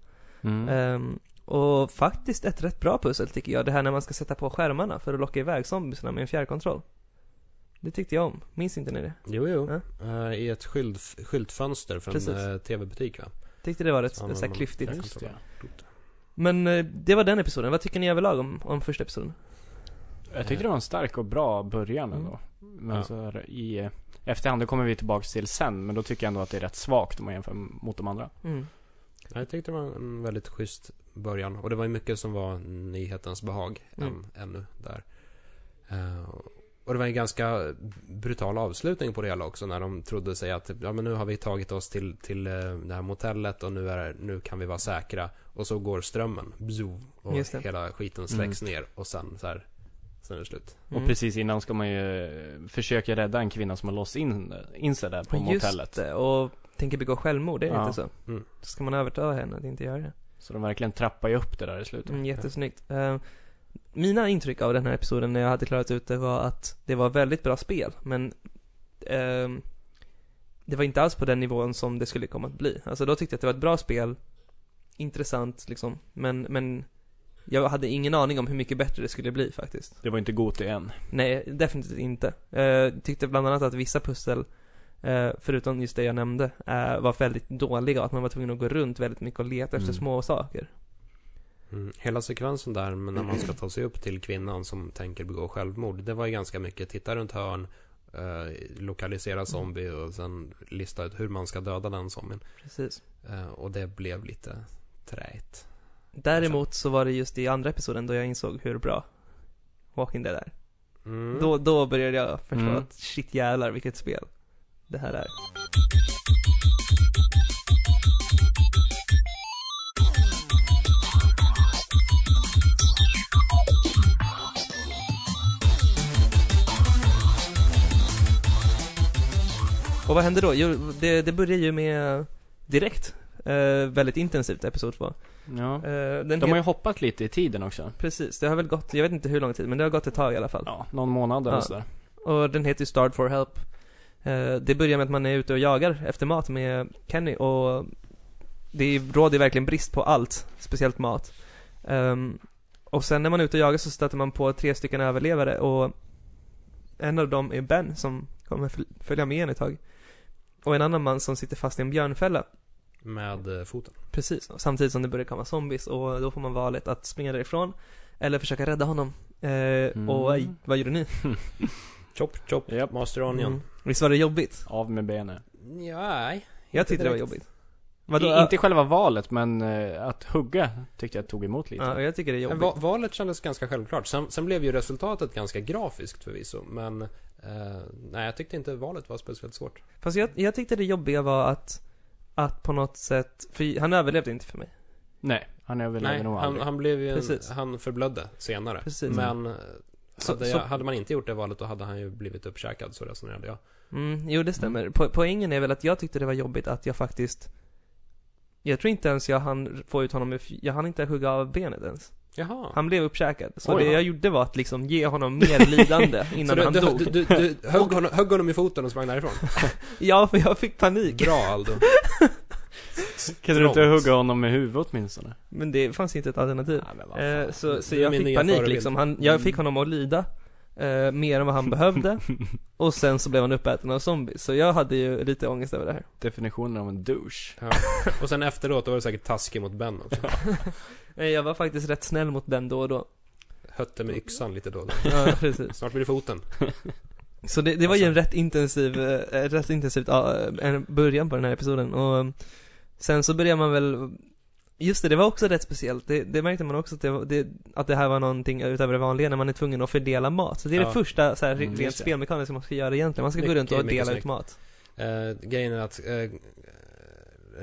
[SPEAKER 2] Mm.
[SPEAKER 1] Ehm, och faktiskt ett rätt bra pussel tycker jag, det här när man ska sätta på skärmarna för att locka iväg zombiesna med en fjärrkontroll. Det tyckte jag om, minns inte ni det?
[SPEAKER 3] Jo, jo.
[SPEAKER 1] Ja.
[SPEAKER 3] Eh, I ett skyltf- skyltfönster från
[SPEAKER 1] Precis.
[SPEAKER 3] en eh, tv-butik va?
[SPEAKER 1] Tyckte det var rätt
[SPEAKER 3] Ja,
[SPEAKER 1] ja,
[SPEAKER 3] men
[SPEAKER 1] såhär
[SPEAKER 3] man-
[SPEAKER 1] klyftigt.
[SPEAKER 3] jag kan
[SPEAKER 2] Just
[SPEAKER 3] inte
[SPEAKER 2] det.
[SPEAKER 1] Men eh, det var den episoden, vad tycker ni överlag om, om första episoden?
[SPEAKER 2] Jag tyckte det var en stark och bra början ändå. Men
[SPEAKER 3] Ja.
[SPEAKER 2] så här, i eh, efterhand, det kommer vi tillbaka till sen, men då tycker jag ändå att det är rätt svagt om man jämför mot de andra.
[SPEAKER 1] Mm.
[SPEAKER 3] Ja, Jag tyckte det var en väldigt schysst början. Och det var ju mycket som var nyhetens behag
[SPEAKER 1] Mm.
[SPEAKER 3] än, ännu där. Eh, och det var en ganska brutal avslutning på det hela också när de trodde sig att ja, men nu har vi tagit oss till, till eh, det här motellet och nu, är, nu kan vi vara säkra. Och så går strömmen. Bzoo, och
[SPEAKER 1] Just det.
[SPEAKER 3] hela skiten släcks ner och sen så här, sen är det slut.
[SPEAKER 1] Mm.
[SPEAKER 2] Och precis innan ska man ju eh, försöka rädda en kvinna som har låst in, in sig där på
[SPEAKER 1] Och Just
[SPEAKER 2] motellet.
[SPEAKER 1] det, och tänker begå självmord, det är
[SPEAKER 2] Ja.
[SPEAKER 1] inte så.
[SPEAKER 3] Mm.
[SPEAKER 1] Då ska man övertala henne att inte göra det.
[SPEAKER 2] Så de verkligen trappar ju upp det där i slutet.
[SPEAKER 1] Mm, jättesnyggt. Eh, mina intryck av den här episoden när jag hade klarat ut det var att det var väldigt bra spel, men ehm, det var inte alls på den nivån som det skulle komma att bli. Alltså då tyckte jag att det var ett bra spel, intressant liksom, men, men jag hade ingen aning om hur mycket bättre det skulle bli faktiskt.
[SPEAKER 2] Det var inte gott i än.
[SPEAKER 1] Nej, definitivt inte. Eh, tyckte bland annat att vissa pussel, eh, förutom just det jag nämnde, eh, var väldigt dåliga och att man var tvungen att gå runt väldigt mycket och leta efter
[SPEAKER 2] Mm.
[SPEAKER 1] små saker.
[SPEAKER 3] Mm. Hela sekvensen där men när man ska ta sig upp till kvinnan som tänker begå självmord. Det var ju ganska mycket titta runt hörn, eh,
[SPEAKER 1] Mm.
[SPEAKER 3] lokalisera zombie och sen lista ut hur man ska döda den zombien.
[SPEAKER 1] Precis.
[SPEAKER 3] Eh, och det blev lite träigt.
[SPEAKER 1] Däremot så var det just i andra episoden då jag insåg hur bra Walking Dead är.
[SPEAKER 3] Mm.
[SPEAKER 1] Då, då började jag förstå
[SPEAKER 2] Mm.
[SPEAKER 1] att shit jävlar vilket spel det här är. Och vad hände då? Jo, det, det börjar ju med direkt. Eh, väldigt intensivt, episod 2.
[SPEAKER 2] Ja.
[SPEAKER 1] Eh, den
[SPEAKER 2] De har
[SPEAKER 1] het-
[SPEAKER 2] ju hoppat lite i tiden också.
[SPEAKER 1] Precis, det har väl gått, jag vet inte hur lång tid, men det har gått ett tag i alla fall.
[SPEAKER 2] Ja, någon månad eller
[SPEAKER 1] Ja.
[SPEAKER 2] sådär.
[SPEAKER 1] Och den heter ju Starred for Help. Eh, Det börjar med att man är ute och jagar efter mat med Kenny och det råder verkligen brist på allt, speciellt mat. Ehm, Och sen när man är ute och jagar så stöter man på tre stycken överlevare och en av dem är Ben som kommer föl- följa med en ett tag. Och en annan man som sitter fast i en björnfälla.
[SPEAKER 3] Med eh, foten.
[SPEAKER 1] Precis, och samtidigt som det börjar komma zombies och då får man valet att springa därifrån eller försöka rädda honom. Eh, Och
[SPEAKER 2] Mm.
[SPEAKER 1] vad gjorde ni?
[SPEAKER 3] Chop, chop,
[SPEAKER 2] Japp.
[SPEAKER 3] master onion.
[SPEAKER 1] Mm. Visst var det jobbigt?
[SPEAKER 2] Av med benen.
[SPEAKER 3] Ja, nej.
[SPEAKER 1] Mm. Jag
[SPEAKER 3] Inte
[SPEAKER 1] tyckte det var
[SPEAKER 3] direkt.
[SPEAKER 1] jobbigt. Vadå?
[SPEAKER 2] I, inte själva valet, men eh, att hugga tyckte jag tog emot lite.
[SPEAKER 1] Ja, jag tycker det är
[SPEAKER 3] Men
[SPEAKER 1] jobbigt.
[SPEAKER 3] va- valet kändes ganska självklart. Sen, sen blev ju resultatet ganska grafiskt förvisso. Men eh, nej, jag tyckte inte valet var speciellt svårt.
[SPEAKER 1] Fast jag, jag tyckte det jobbiga var att, att på något sätt, för han överlevde inte för mig.
[SPEAKER 2] Nej, han överlevde
[SPEAKER 3] Nej,
[SPEAKER 2] nog
[SPEAKER 3] han,
[SPEAKER 2] aldrig.
[SPEAKER 3] han blev ju en,
[SPEAKER 1] Precis.
[SPEAKER 3] han förblödde senare.
[SPEAKER 1] Precis.
[SPEAKER 3] Men eh,
[SPEAKER 1] Så-
[SPEAKER 3] hade,
[SPEAKER 1] så-
[SPEAKER 3] jag, hade man inte gjort det valet då hade han ju blivit uppkäkad, så resonerade jag.
[SPEAKER 1] Mm, jo det stämmer. Po poängen är väl att jag tyckte det var jobbigt att jag faktiskt jag tror inte ens jag hann få ut honom ur fj- jag hann inte hugga av benet ens.
[SPEAKER 3] Jaha.
[SPEAKER 1] Han blev uppkäkad. Så
[SPEAKER 2] Oj.
[SPEAKER 1] det jag gjorde var att liksom ge honom mer lidande
[SPEAKER 3] så
[SPEAKER 1] innan
[SPEAKER 3] du,
[SPEAKER 1] han
[SPEAKER 3] du,
[SPEAKER 1] dog.
[SPEAKER 3] Du, du, du högg, honom, högg honom i foten och sprang därifrån?
[SPEAKER 1] Ja, för jag fick panik.
[SPEAKER 3] Bra Aldo.
[SPEAKER 2] Kan du inte
[SPEAKER 3] Strångt.
[SPEAKER 2] hugga honom med huvudet åtminstone?
[SPEAKER 1] Men det fanns inte ett alternativ.
[SPEAKER 2] Nej, men vad fan.
[SPEAKER 1] Eh, så,
[SPEAKER 3] Du-
[SPEAKER 1] så
[SPEAKER 3] Ah, du är
[SPEAKER 1] jag
[SPEAKER 3] min
[SPEAKER 1] fick
[SPEAKER 3] nya
[SPEAKER 1] panik
[SPEAKER 3] förebild.
[SPEAKER 1] liksom. Han, jag fick honom att lida eh, mer än vad han behövde. och sen så blev han uppäten av zombies. Så jag hade ju lite ångest över det här.
[SPEAKER 2] Definitionen av en douche.
[SPEAKER 3] Ja. Och sen efteråt, då var det säkert taskig mot Ben också.
[SPEAKER 1] Nej, Eh, jag var faktiskt rätt snäll mot Ben då och då.
[SPEAKER 3] Hötte med yxan lite då och då.
[SPEAKER 1] Ja, precis.
[SPEAKER 3] Snart blir det foten.
[SPEAKER 1] Så det, det var ju
[SPEAKER 2] Alltså.
[SPEAKER 1] en rätt intensiv, eh, ett rätt intensivt ja, eh, en början på den här episoden. Och eh, sen så börjar man väl Just det, det var också rätt speciellt. Det, det märkte man också att det, var- det, att det här var någonting utöver det vanliga när man är tvungen att fördela mat. Så det är
[SPEAKER 3] Ja.
[SPEAKER 1] det första så här,
[SPEAKER 2] Mm,
[SPEAKER 1] rent
[SPEAKER 3] just det.
[SPEAKER 1] spelmekaniskt man ska göra egentligen. Man ska gå
[SPEAKER 3] Mycket,
[SPEAKER 1] runt och
[SPEAKER 3] mycket
[SPEAKER 1] dela ut
[SPEAKER 3] snyggt.
[SPEAKER 1] mat.
[SPEAKER 3] Eh, grejen är att eh,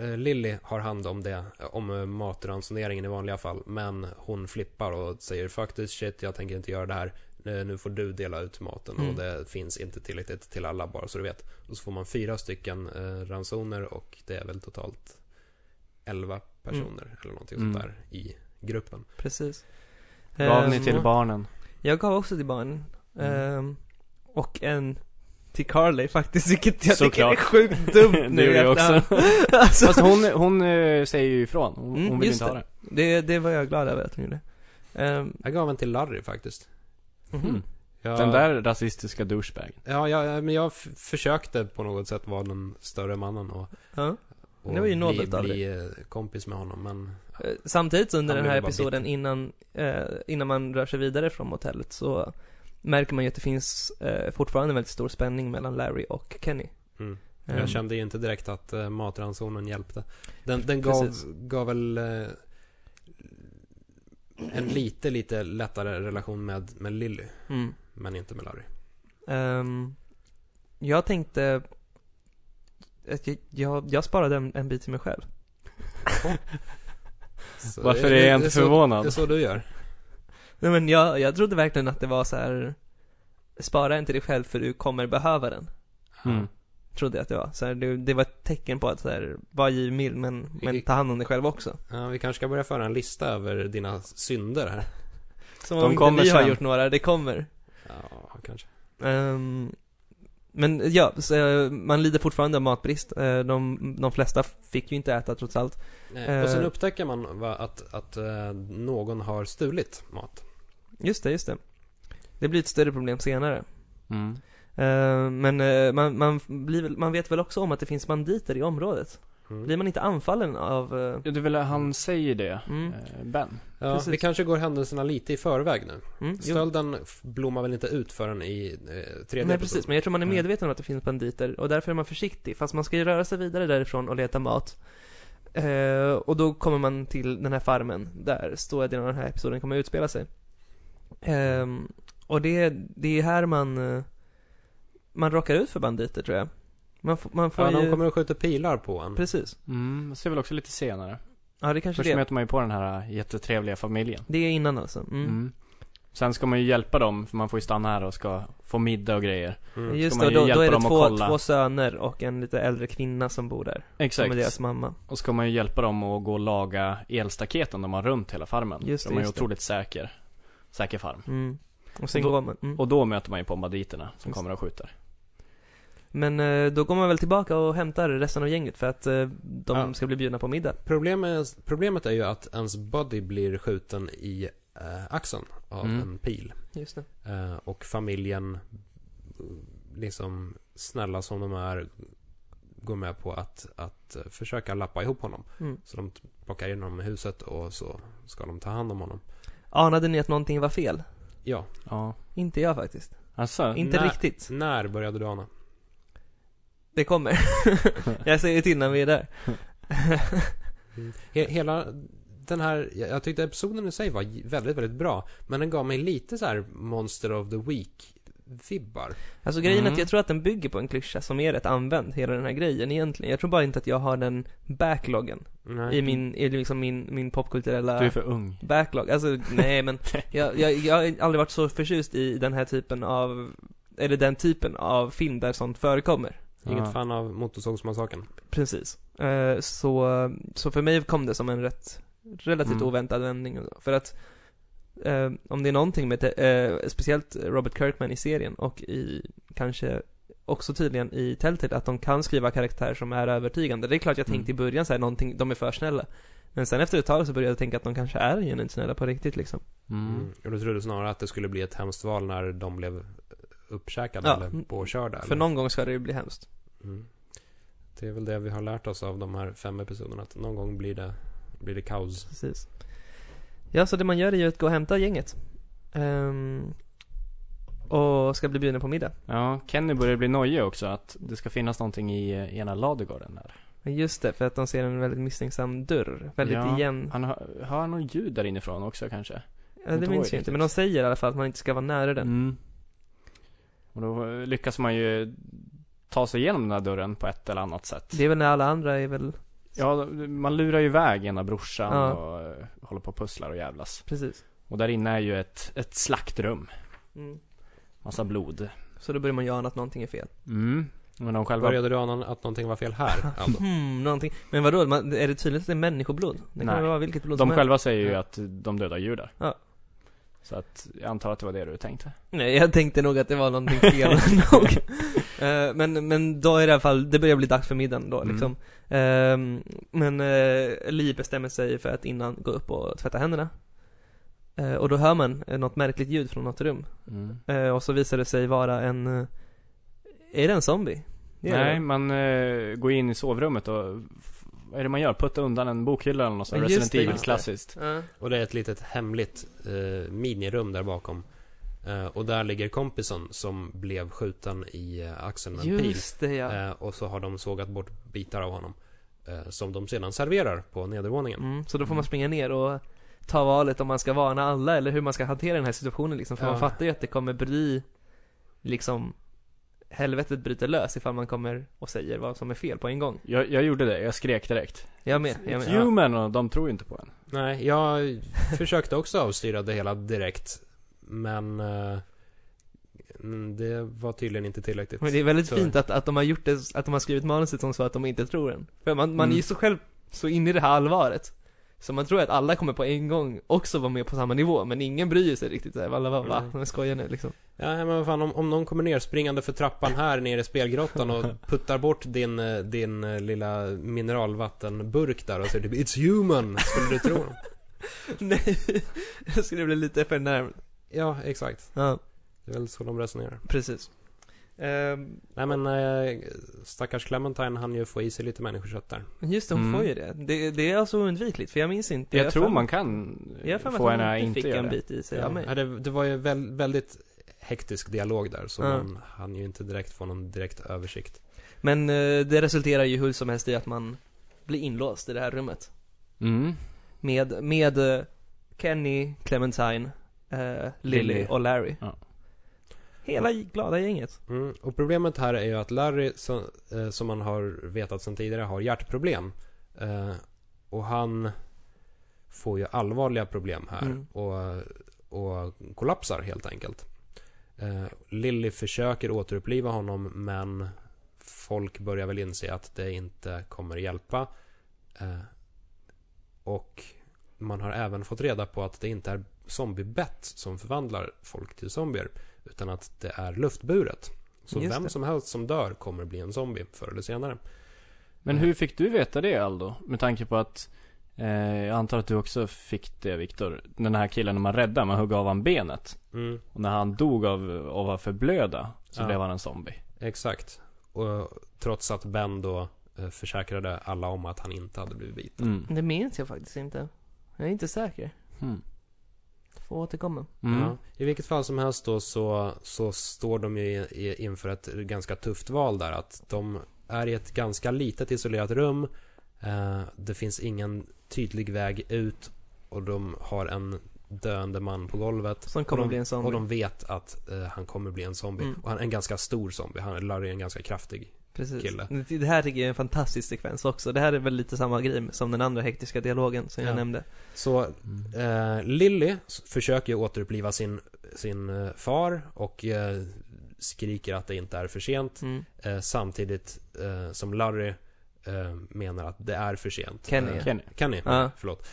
[SPEAKER 3] eh, Lilly har hand om det, om eh, matransoneringen i vanliga fall. Men hon flippar och säger faktiskt shit, jag tänker inte göra det här. Eh, Nu får du dela ut maten
[SPEAKER 1] Mm.
[SPEAKER 3] och det finns inte tillräckligt till alla bara så du vet. Och så får man fyra stycken eh, ransoner och det är väl totalt elva personer eller någonting
[SPEAKER 2] Mm.
[SPEAKER 3] sånt där i gruppen.
[SPEAKER 1] Precis.
[SPEAKER 2] Gav ni
[SPEAKER 1] Ehm,
[SPEAKER 2] till barnen?
[SPEAKER 1] Jag gav också till barnen.
[SPEAKER 2] Mm.
[SPEAKER 1] Ehm, och en till Carly faktiskt, vilket jag tycker är
[SPEAKER 2] Såklart.
[SPEAKER 1] sjukt dumt nu
[SPEAKER 2] Det gjorde
[SPEAKER 1] i
[SPEAKER 2] jag också.
[SPEAKER 1] efterhand. alltså,
[SPEAKER 2] Fast hon, hon eh, säger ju ifrån. Hon,
[SPEAKER 1] Mm,
[SPEAKER 2] hon vill
[SPEAKER 1] just
[SPEAKER 2] inte ha det.
[SPEAKER 1] det, det var jag glad över att hon gjorde. Ehm,
[SPEAKER 3] Jag gav en till Larry faktiskt.
[SPEAKER 2] Mm.
[SPEAKER 3] Jag,
[SPEAKER 2] Den där rasistiska douchebagen.
[SPEAKER 3] Ja, jag, men jag f- försökte på något sätt vara den större mannen och,
[SPEAKER 1] ja.
[SPEAKER 3] och
[SPEAKER 1] Det var ju
[SPEAKER 3] bli,
[SPEAKER 1] nobelt av
[SPEAKER 3] bli eh, kompis med honom. Men
[SPEAKER 1] Eh, Samtidigt under
[SPEAKER 3] Han
[SPEAKER 1] den här
[SPEAKER 3] blev bara
[SPEAKER 1] episoden innan, eh, innan man rör sig vidare från hotellet så märker man ju att det finns eh, fortfarande en väldigt stor spänning mellan Larry och Kenny.
[SPEAKER 3] mm,
[SPEAKER 1] Ehm,
[SPEAKER 3] jag kände ju inte direkt att eh, matransonen hjälpte. Den, den gav,
[SPEAKER 1] Precis.
[SPEAKER 3] gav väl eh, en lite, lite lättare relation med, med Lilly,
[SPEAKER 1] Mm.
[SPEAKER 3] men inte med Larry.
[SPEAKER 1] Ehm, jag tänkte att jag, jag, jag sparade en, en bit till mig själv.
[SPEAKER 3] Så
[SPEAKER 2] Varför
[SPEAKER 3] det-
[SPEAKER 2] är jag
[SPEAKER 3] det
[SPEAKER 2] inte
[SPEAKER 3] så- Det är
[SPEAKER 2] förvånad?
[SPEAKER 3] så du gör.
[SPEAKER 1] Nej men jag, jag trodde verkligen att det var så här Spara inte dig själv för du kommer behöva den.
[SPEAKER 2] Mm.
[SPEAKER 1] Trodde jag att det var. Så här, det, det var ett tecken på att så här, var givmild men, men ta hand om dig själv också.
[SPEAKER 3] Ja, vi kanske ska börja föra en lista över dina synder här.
[SPEAKER 1] Som
[SPEAKER 2] De
[SPEAKER 1] om inte
[SPEAKER 2] kommer
[SPEAKER 1] vi har
[SPEAKER 2] sen.
[SPEAKER 1] gjort några, det kommer.
[SPEAKER 3] Ja, kanske.
[SPEAKER 1] Ehm, men ja, så, eh, man lider fortfarande av matbrist. Eh, de, de flesta fick ju inte äta trots allt.
[SPEAKER 3] Nej. Och sen
[SPEAKER 1] Eh.
[SPEAKER 3] upptäcker man va, att, att eh, någon har stulit mat.
[SPEAKER 1] Just det, just det. Det blir ett större problem senare.
[SPEAKER 2] Mm.
[SPEAKER 1] Eh, men eh, man, man, blir, väl- man vet väl också om att det finns banditer i området.
[SPEAKER 3] Mm.
[SPEAKER 1] Blir man inte anfallen av... eh,
[SPEAKER 2] Ja, du vill, han säger det,
[SPEAKER 1] Mm.
[SPEAKER 2] eh, Ben.
[SPEAKER 3] Ja,
[SPEAKER 1] Precis.
[SPEAKER 3] vi kanske går händelserna lite i förväg nu.
[SPEAKER 1] mm, jo.
[SPEAKER 3] Stölden f- blommar väl inte ut förrän i eh, tredje
[SPEAKER 1] Nej
[SPEAKER 3] episoden.
[SPEAKER 1] precis, men jag tror man är
[SPEAKER 2] Mm.
[SPEAKER 1] medveten om att det finns banditer och därför är man försiktig. Fast man ska ju röra sig vidare därifrån och leta mat. Eh, och då kommer man till den här farmen där stora delen av den här episoden kommer att utspela sig. Ehm, och det, det är här man, eh, man råkar ut för banditer tror jag. Man, får- man får
[SPEAKER 3] Ja,
[SPEAKER 1] ju...
[SPEAKER 3] de kommer och skjuter pilar på en.
[SPEAKER 1] Precis.
[SPEAKER 2] Mm, det ser väl också lite senare.
[SPEAKER 1] Ja, det kanske
[SPEAKER 2] Först
[SPEAKER 1] det.
[SPEAKER 2] möter man ju på den här eh, jättetrevliga familjen.
[SPEAKER 1] Det är innan alltså. Mm.
[SPEAKER 2] Mm. Sen ska man ju hjälpa dem, för man får ju stanna här och ska få middag och grejer.
[SPEAKER 3] Mm.
[SPEAKER 1] Just
[SPEAKER 2] Ska
[SPEAKER 1] det,
[SPEAKER 2] man
[SPEAKER 1] och
[SPEAKER 2] ju
[SPEAKER 1] då, då
[SPEAKER 2] hjälpa
[SPEAKER 1] är det
[SPEAKER 2] dem att
[SPEAKER 1] två,
[SPEAKER 2] kolla.
[SPEAKER 1] två söner och en lite äldre kvinna som bor där. Som är
[SPEAKER 2] Exakt.
[SPEAKER 1] deras mamma.
[SPEAKER 2] Och ska man ju hjälpa dem att gå och laga elstaketen de har runt hela farmen.
[SPEAKER 1] Just
[SPEAKER 2] För
[SPEAKER 1] det,
[SPEAKER 2] de har ju
[SPEAKER 1] just det.
[SPEAKER 2] otroligt säker, säker farm.
[SPEAKER 1] Mm. Och sen
[SPEAKER 2] Och
[SPEAKER 1] går
[SPEAKER 2] då-
[SPEAKER 1] man. Mm.
[SPEAKER 2] Och då möter man ju på banditerna som
[SPEAKER 1] Just.
[SPEAKER 2] kommer och skjuter.
[SPEAKER 1] Men eh, då går man väl tillbaka och hämtar resten av gänget för att eh, de
[SPEAKER 3] Ja.
[SPEAKER 1] ska bli bjudna på middag.
[SPEAKER 3] Problemet, problemet är ju att ens body blir skjuten i eh, axeln av
[SPEAKER 2] Mm.
[SPEAKER 3] en pil.
[SPEAKER 1] Just det.
[SPEAKER 3] Eh, och familjen, eh, liksom snälla som de är, går med på att, att eh, försöka lappa ihop honom.
[SPEAKER 1] Mm.
[SPEAKER 3] Så de t- plockar in honom i huset och så ska de ta hand om honom.
[SPEAKER 1] Anade ni att någonting var fel?
[SPEAKER 3] Ja,
[SPEAKER 2] Ja.
[SPEAKER 1] Inte jag faktiskt.
[SPEAKER 2] Alltså,
[SPEAKER 1] Inte
[SPEAKER 3] nej.
[SPEAKER 1] riktigt.
[SPEAKER 3] när började du ana?
[SPEAKER 1] Det kommer. jag säger till när vi är där.
[SPEAKER 3] He- Hela den här, jag jag tyckte episoden i sig var j- väldigt, väldigt bra. Men den gav mig lite så här Monster of the Week-vibbar.
[SPEAKER 1] Alltså grejen är
[SPEAKER 2] Mm.
[SPEAKER 1] att jag tror att den bygger på en klyscha som är rätt använd, hela den här grejen egentligen. Jag tror bara inte att jag har den backloggen
[SPEAKER 3] Nej.
[SPEAKER 1] i min, i liksom min, min popkulturella...
[SPEAKER 2] du är för ung.
[SPEAKER 1] Backlog, alltså nej men jag, jag, jag har aldrig varit så förtjust i den här typen av, eller den typen av film där sånt förekommer.
[SPEAKER 3] Mm. Inget
[SPEAKER 2] Ja.
[SPEAKER 3] fan av Motorsågsmassakern.
[SPEAKER 1] Mm. Precis. Eh, Så, så för mig kom det som en rätt, relativt
[SPEAKER 2] Mm.
[SPEAKER 1] oväntad vändning. För att eh, om det är någonting med, te- eh, speciellt Robert Kirkman i serien och i, kanske också tydligen i Telltale, att de kan skriva karaktärer som är övertygande. Det är klart jag tänkte i
[SPEAKER 2] Mm.
[SPEAKER 1] början så här, någonting, de är för snälla. Men sen efter ett tag så började jag tänka att de kanske är genuint snälla på riktigt liksom.
[SPEAKER 2] Mm.
[SPEAKER 3] Mm. Och då trodde du snarare att det skulle bli ett hemskt val när de blev uppkäkade
[SPEAKER 1] Ja. Mm.
[SPEAKER 3] eller påkörda.
[SPEAKER 1] För
[SPEAKER 3] eller?
[SPEAKER 1] någon gång ska det ju bli hemskt.
[SPEAKER 3] Mm. Det är väl det vi har lärt oss av de här fem episoderna. Att någon gång blir det, blir det kaos.
[SPEAKER 1] Precis. Ja, så det man gör är ju att gå och hämta gänget. Ehm, och ska bli bjuden på middag.
[SPEAKER 2] Ja, Kenny börjar bli nojig också att det ska finnas någonting i eh, ena ladugården där.
[SPEAKER 1] Men Just det, för att de ser en väldigt misstänksam dörr. Väldigt
[SPEAKER 2] Ja.
[SPEAKER 1] igen.
[SPEAKER 2] Han hör, hör något ljud där inifrån också kanske.
[SPEAKER 1] Ja, det
[SPEAKER 2] då
[SPEAKER 1] minns
[SPEAKER 2] är det
[SPEAKER 1] jag inte, men de säger i alla fall att man inte ska vara nära den.
[SPEAKER 2] Mm. Och då eh, lyckas man ju ta sig igenom den där dörren på ett eller annat sätt.
[SPEAKER 1] Det är väl när alla andra är väl
[SPEAKER 2] Ja, man lurar ju iväg ena brorsan
[SPEAKER 1] Ja.
[SPEAKER 2] och eh, håller på och pusslar och jävlas.
[SPEAKER 1] Precis.
[SPEAKER 2] Och där inne är ju ett, ett slaktrum.
[SPEAKER 1] Mm.
[SPEAKER 2] Massa blod.
[SPEAKER 1] Så då börjar man ju ana att någonting är fel.
[SPEAKER 2] Mm. Men de själva...
[SPEAKER 3] Började du ana att någonting var fel här? Alltså. Aldo?
[SPEAKER 1] Hmm, någonting. Men vadå, man, är det tydligt att det är människoblod? Det kan
[SPEAKER 2] Nej.
[SPEAKER 1] ju vara vilket blod
[SPEAKER 2] De
[SPEAKER 1] som helst.
[SPEAKER 2] själva säger ju
[SPEAKER 1] Ja.
[SPEAKER 2] att de dödar djur där.
[SPEAKER 1] Ja.
[SPEAKER 2] Så att, jag antar att det var det du tänkte.
[SPEAKER 1] Nej, jag tänkte nog att det var någonting fel nog. Eh, men, men då är det i alla fall, det börjar bli dags för middagen då
[SPEAKER 2] Mm.
[SPEAKER 1] liksom. Ehm, men eh, Li bestämmer sig för att innan gå upp och tvätta händerna. Eh, och då hör man eh, något märkligt ljud från något rum.
[SPEAKER 2] Mm.
[SPEAKER 1] Eh, och så visar det sig vara en, eh, är det en zombie? Det är
[SPEAKER 2] Nej,
[SPEAKER 1] det.
[SPEAKER 2] man eh, går in i sovrummet och... f- Vad är det man gör? Putta undan en bokhylla eller något sånt.
[SPEAKER 1] Ja, just
[SPEAKER 2] Resident
[SPEAKER 1] det,
[SPEAKER 2] Evil
[SPEAKER 1] just det.
[SPEAKER 2] klassiskt.
[SPEAKER 1] Ja.
[SPEAKER 3] Och det är ett litet hemligt eh, minirum där bakom. Eh, och där ligger kompisen som blev skjuten i eh, axeln med en pil.
[SPEAKER 1] Just det ja.
[SPEAKER 3] Eh, och så har de sågat bort bitar av honom. Eh, som de sedan serverar på nedervåningen.
[SPEAKER 1] Mm, så då får man springa ner och ta valet om man ska varna alla eller hur man ska hantera den här situationen liksom. För
[SPEAKER 3] Ja.
[SPEAKER 1] man fattar ju att det kommer bli liksom helvetet bryter lös ifall man kommer och säger vad som är fel på en gång.
[SPEAKER 2] Jag, jag gjorde det, jag skrek direkt.
[SPEAKER 1] Jag med, jag med. Ja.
[SPEAKER 2] Human och de tror ju inte på en.
[SPEAKER 3] Nej, jag försökte också avstyra det hela direkt. Men eh, mm, det var tydligen inte tillräckligt.
[SPEAKER 1] Men det är väldigt
[SPEAKER 3] Så-
[SPEAKER 1] fint att, att de har gjort det, att de har skrivit manuset som så att de inte tror en. För man, man är ju
[SPEAKER 2] Mm.
[SPEAKER 1] så själv så inne i det här allvaret. Så man tror att alla kommer på en gång också vara med på samma nivå, men ingen bryr sig riktigt såhär, alla bara va?
[SPEAKER 3] Nej.
[SPEAKER 1] Men skojar nu liksom.
[SPEAKER 3] Ja, men vad fan, om, om någon kommer ner springande för trappan här nere i spelgrottan och puttar bort din, eh, din eh, lilla mineralvattenburk där och säger typ It's human, skulle du tro dem?
[SPEAKER 1] Nej, jag skulle bli lite för närmd.
[SPEAKER 3] Ja, exakt.
[SPEAKER 1] Ja,
[SPEAKER 3] Det är väl så de resonerar.
[SPEAKER 1] precis. Ehm,
[SPEAKER 3] Nej men, eh, stackars Clementine han ju få i sig lite människokött där.
[SPEAKER 1] Men Just det, hon
[SPEAKER 2] Mm.
[SPEAKER 1] får ju det. det. Det är alltså oundvikligt, för jag minns inte.
[SPEAKER 2] Jag,
[SPEAKER 1] har
[SPEAKER 2] tror
[SPEAKER 1] för-
[SPEAKER 2] man kan
[SPEAKER 1] Jag har för mig
[SPEAKER 2] få
[SPEAKER 1] att
[SPEAKER 2] henne
[SPEAKER 1] hon
[SPEAKER 2] att
[SPEAKER 1] inte
[SPEAKER 2] inte
[SPEAKER 1] fick
[SPEAKER 2] göra
[SPEAKER 1] en
[SPEAKER 2] det.
[SPEAKER 1] bit i sig av mig.
[SPEAKER 3] Ja, det, det var ju väl, väldigt hektisk dialog där så
[SPEAKER 1] Ja.
[SPEAKER 3] man hann ju inte direkt få någon direkt översikt.
[SPEAKER 1] Men eh, det resulterar ju hur som helst i att man blir inlåst i det här rummet.
[SPEAKER 2] Mm.
[SPEAKER 1] Med, med eh, Kenny, Clementine, eh, Lily,
[SPEAKER 2] Lily.
[SPEAKER 1] och Larry.
[SPEAKER 2] Ja.
[SPEAKER 1] Hela glada gänget.
[SPEAKER 3] Mm. Och problemet här är ju att Larry, som, eh, som man har vetat sedan tidigare, har hjärtproblem. Eh, och han får ju allvarliga problem här
[SPEAKER 1] Mm.
[SPEAKER 3] och, och kollapsar helt enkelt. Eh, Lilly försöker återuppliva honom men folk börjar väl inse att det inte kommer hjälpa. Eh, och man har även fått reda på att det inte är zombiebett som förvandlar folk till zombier utan att det är luftburet. Så
[SPEAKER 1] Just
[SPEAKER 3] vem
[SPEAKER 1] det.
[SPEAKER 3] som helst som dör kommer bli en zombie förr eller senare.
[SPEAKER 2] Men hur fick du veta det Aldo? Med tanke på att eh, Jag antar att du också fick det Viktor Den här killen man räddade, man högg av han benet
[SPEAKER 3] Mm,
[SPEAKER 2] Och när han dog av, av att förblöda Så
[SPEAKER 3] Ja.
[SPEAKER 2] blev han en zombie
[SPEAKER 3] exakt. Och, trots att Ben då eh, försäkrade alla om att han inte hade blivit biten.
[SPEAKER 2] mm.
[SPEAKER 1] Det minns jag faktiskt inte. Jag är inte säker.
[SPEAKER 2] Mm.
[SPEAKER 1] Får återkomma.
[SPEAKER 2] Mm.
[SPEAKER 3] Ja. I vilket fall som helst då så, så står de ju i- i- inför ett ganska tufft val där. Att de är i ett ganska litet isolerat rum. Eh, det finns ingen tydlig väg ut och de har en döende man på golvet.
[SPEAKER 1] Som kommer
[SPEAKER 3] och de,
[SPEAKER 1] bli en zombie.
[SPEAKER 3] Och de vet att eh, han kommer bli en zombie.
[SPEAKER 1] Mm.
[SPEAKER 3] Och han är en ganska stor zombie. Han, Larry är en ganska kraftig.
[SPEAKER 1] Precis.
[SPEAKER 3] kille.
[SPEAKER 1] Det det här tycker jag är en fantastisk sekvens också. Det här är väl lite samma grej som den andra hektiska dialogen som jag
[SPEAKER 3] Ja.
[SPEAKER 1] nämnde.
[SPEAKER 3] Så
[SPEAKER 2] Mm.
[SPEAKER 3] Eh, Lilly s- försöker ju återuppliva sin, sin eh, far och eh, skriker att det inte är för sent.
[SPEAKER 1] Mm.
[SPEAKER 3] Eh, samtidigt eh, som Larry eh, menar att det är för sent.
[SPEAKER 1] Kenny.
[SPEAKER 3] Eh,
[SPEAKER 2] Kenny.
[SPEAKER 3] Kenny,
[SPEAKER 1] Ja.
[SPEAKER 3] förlåt.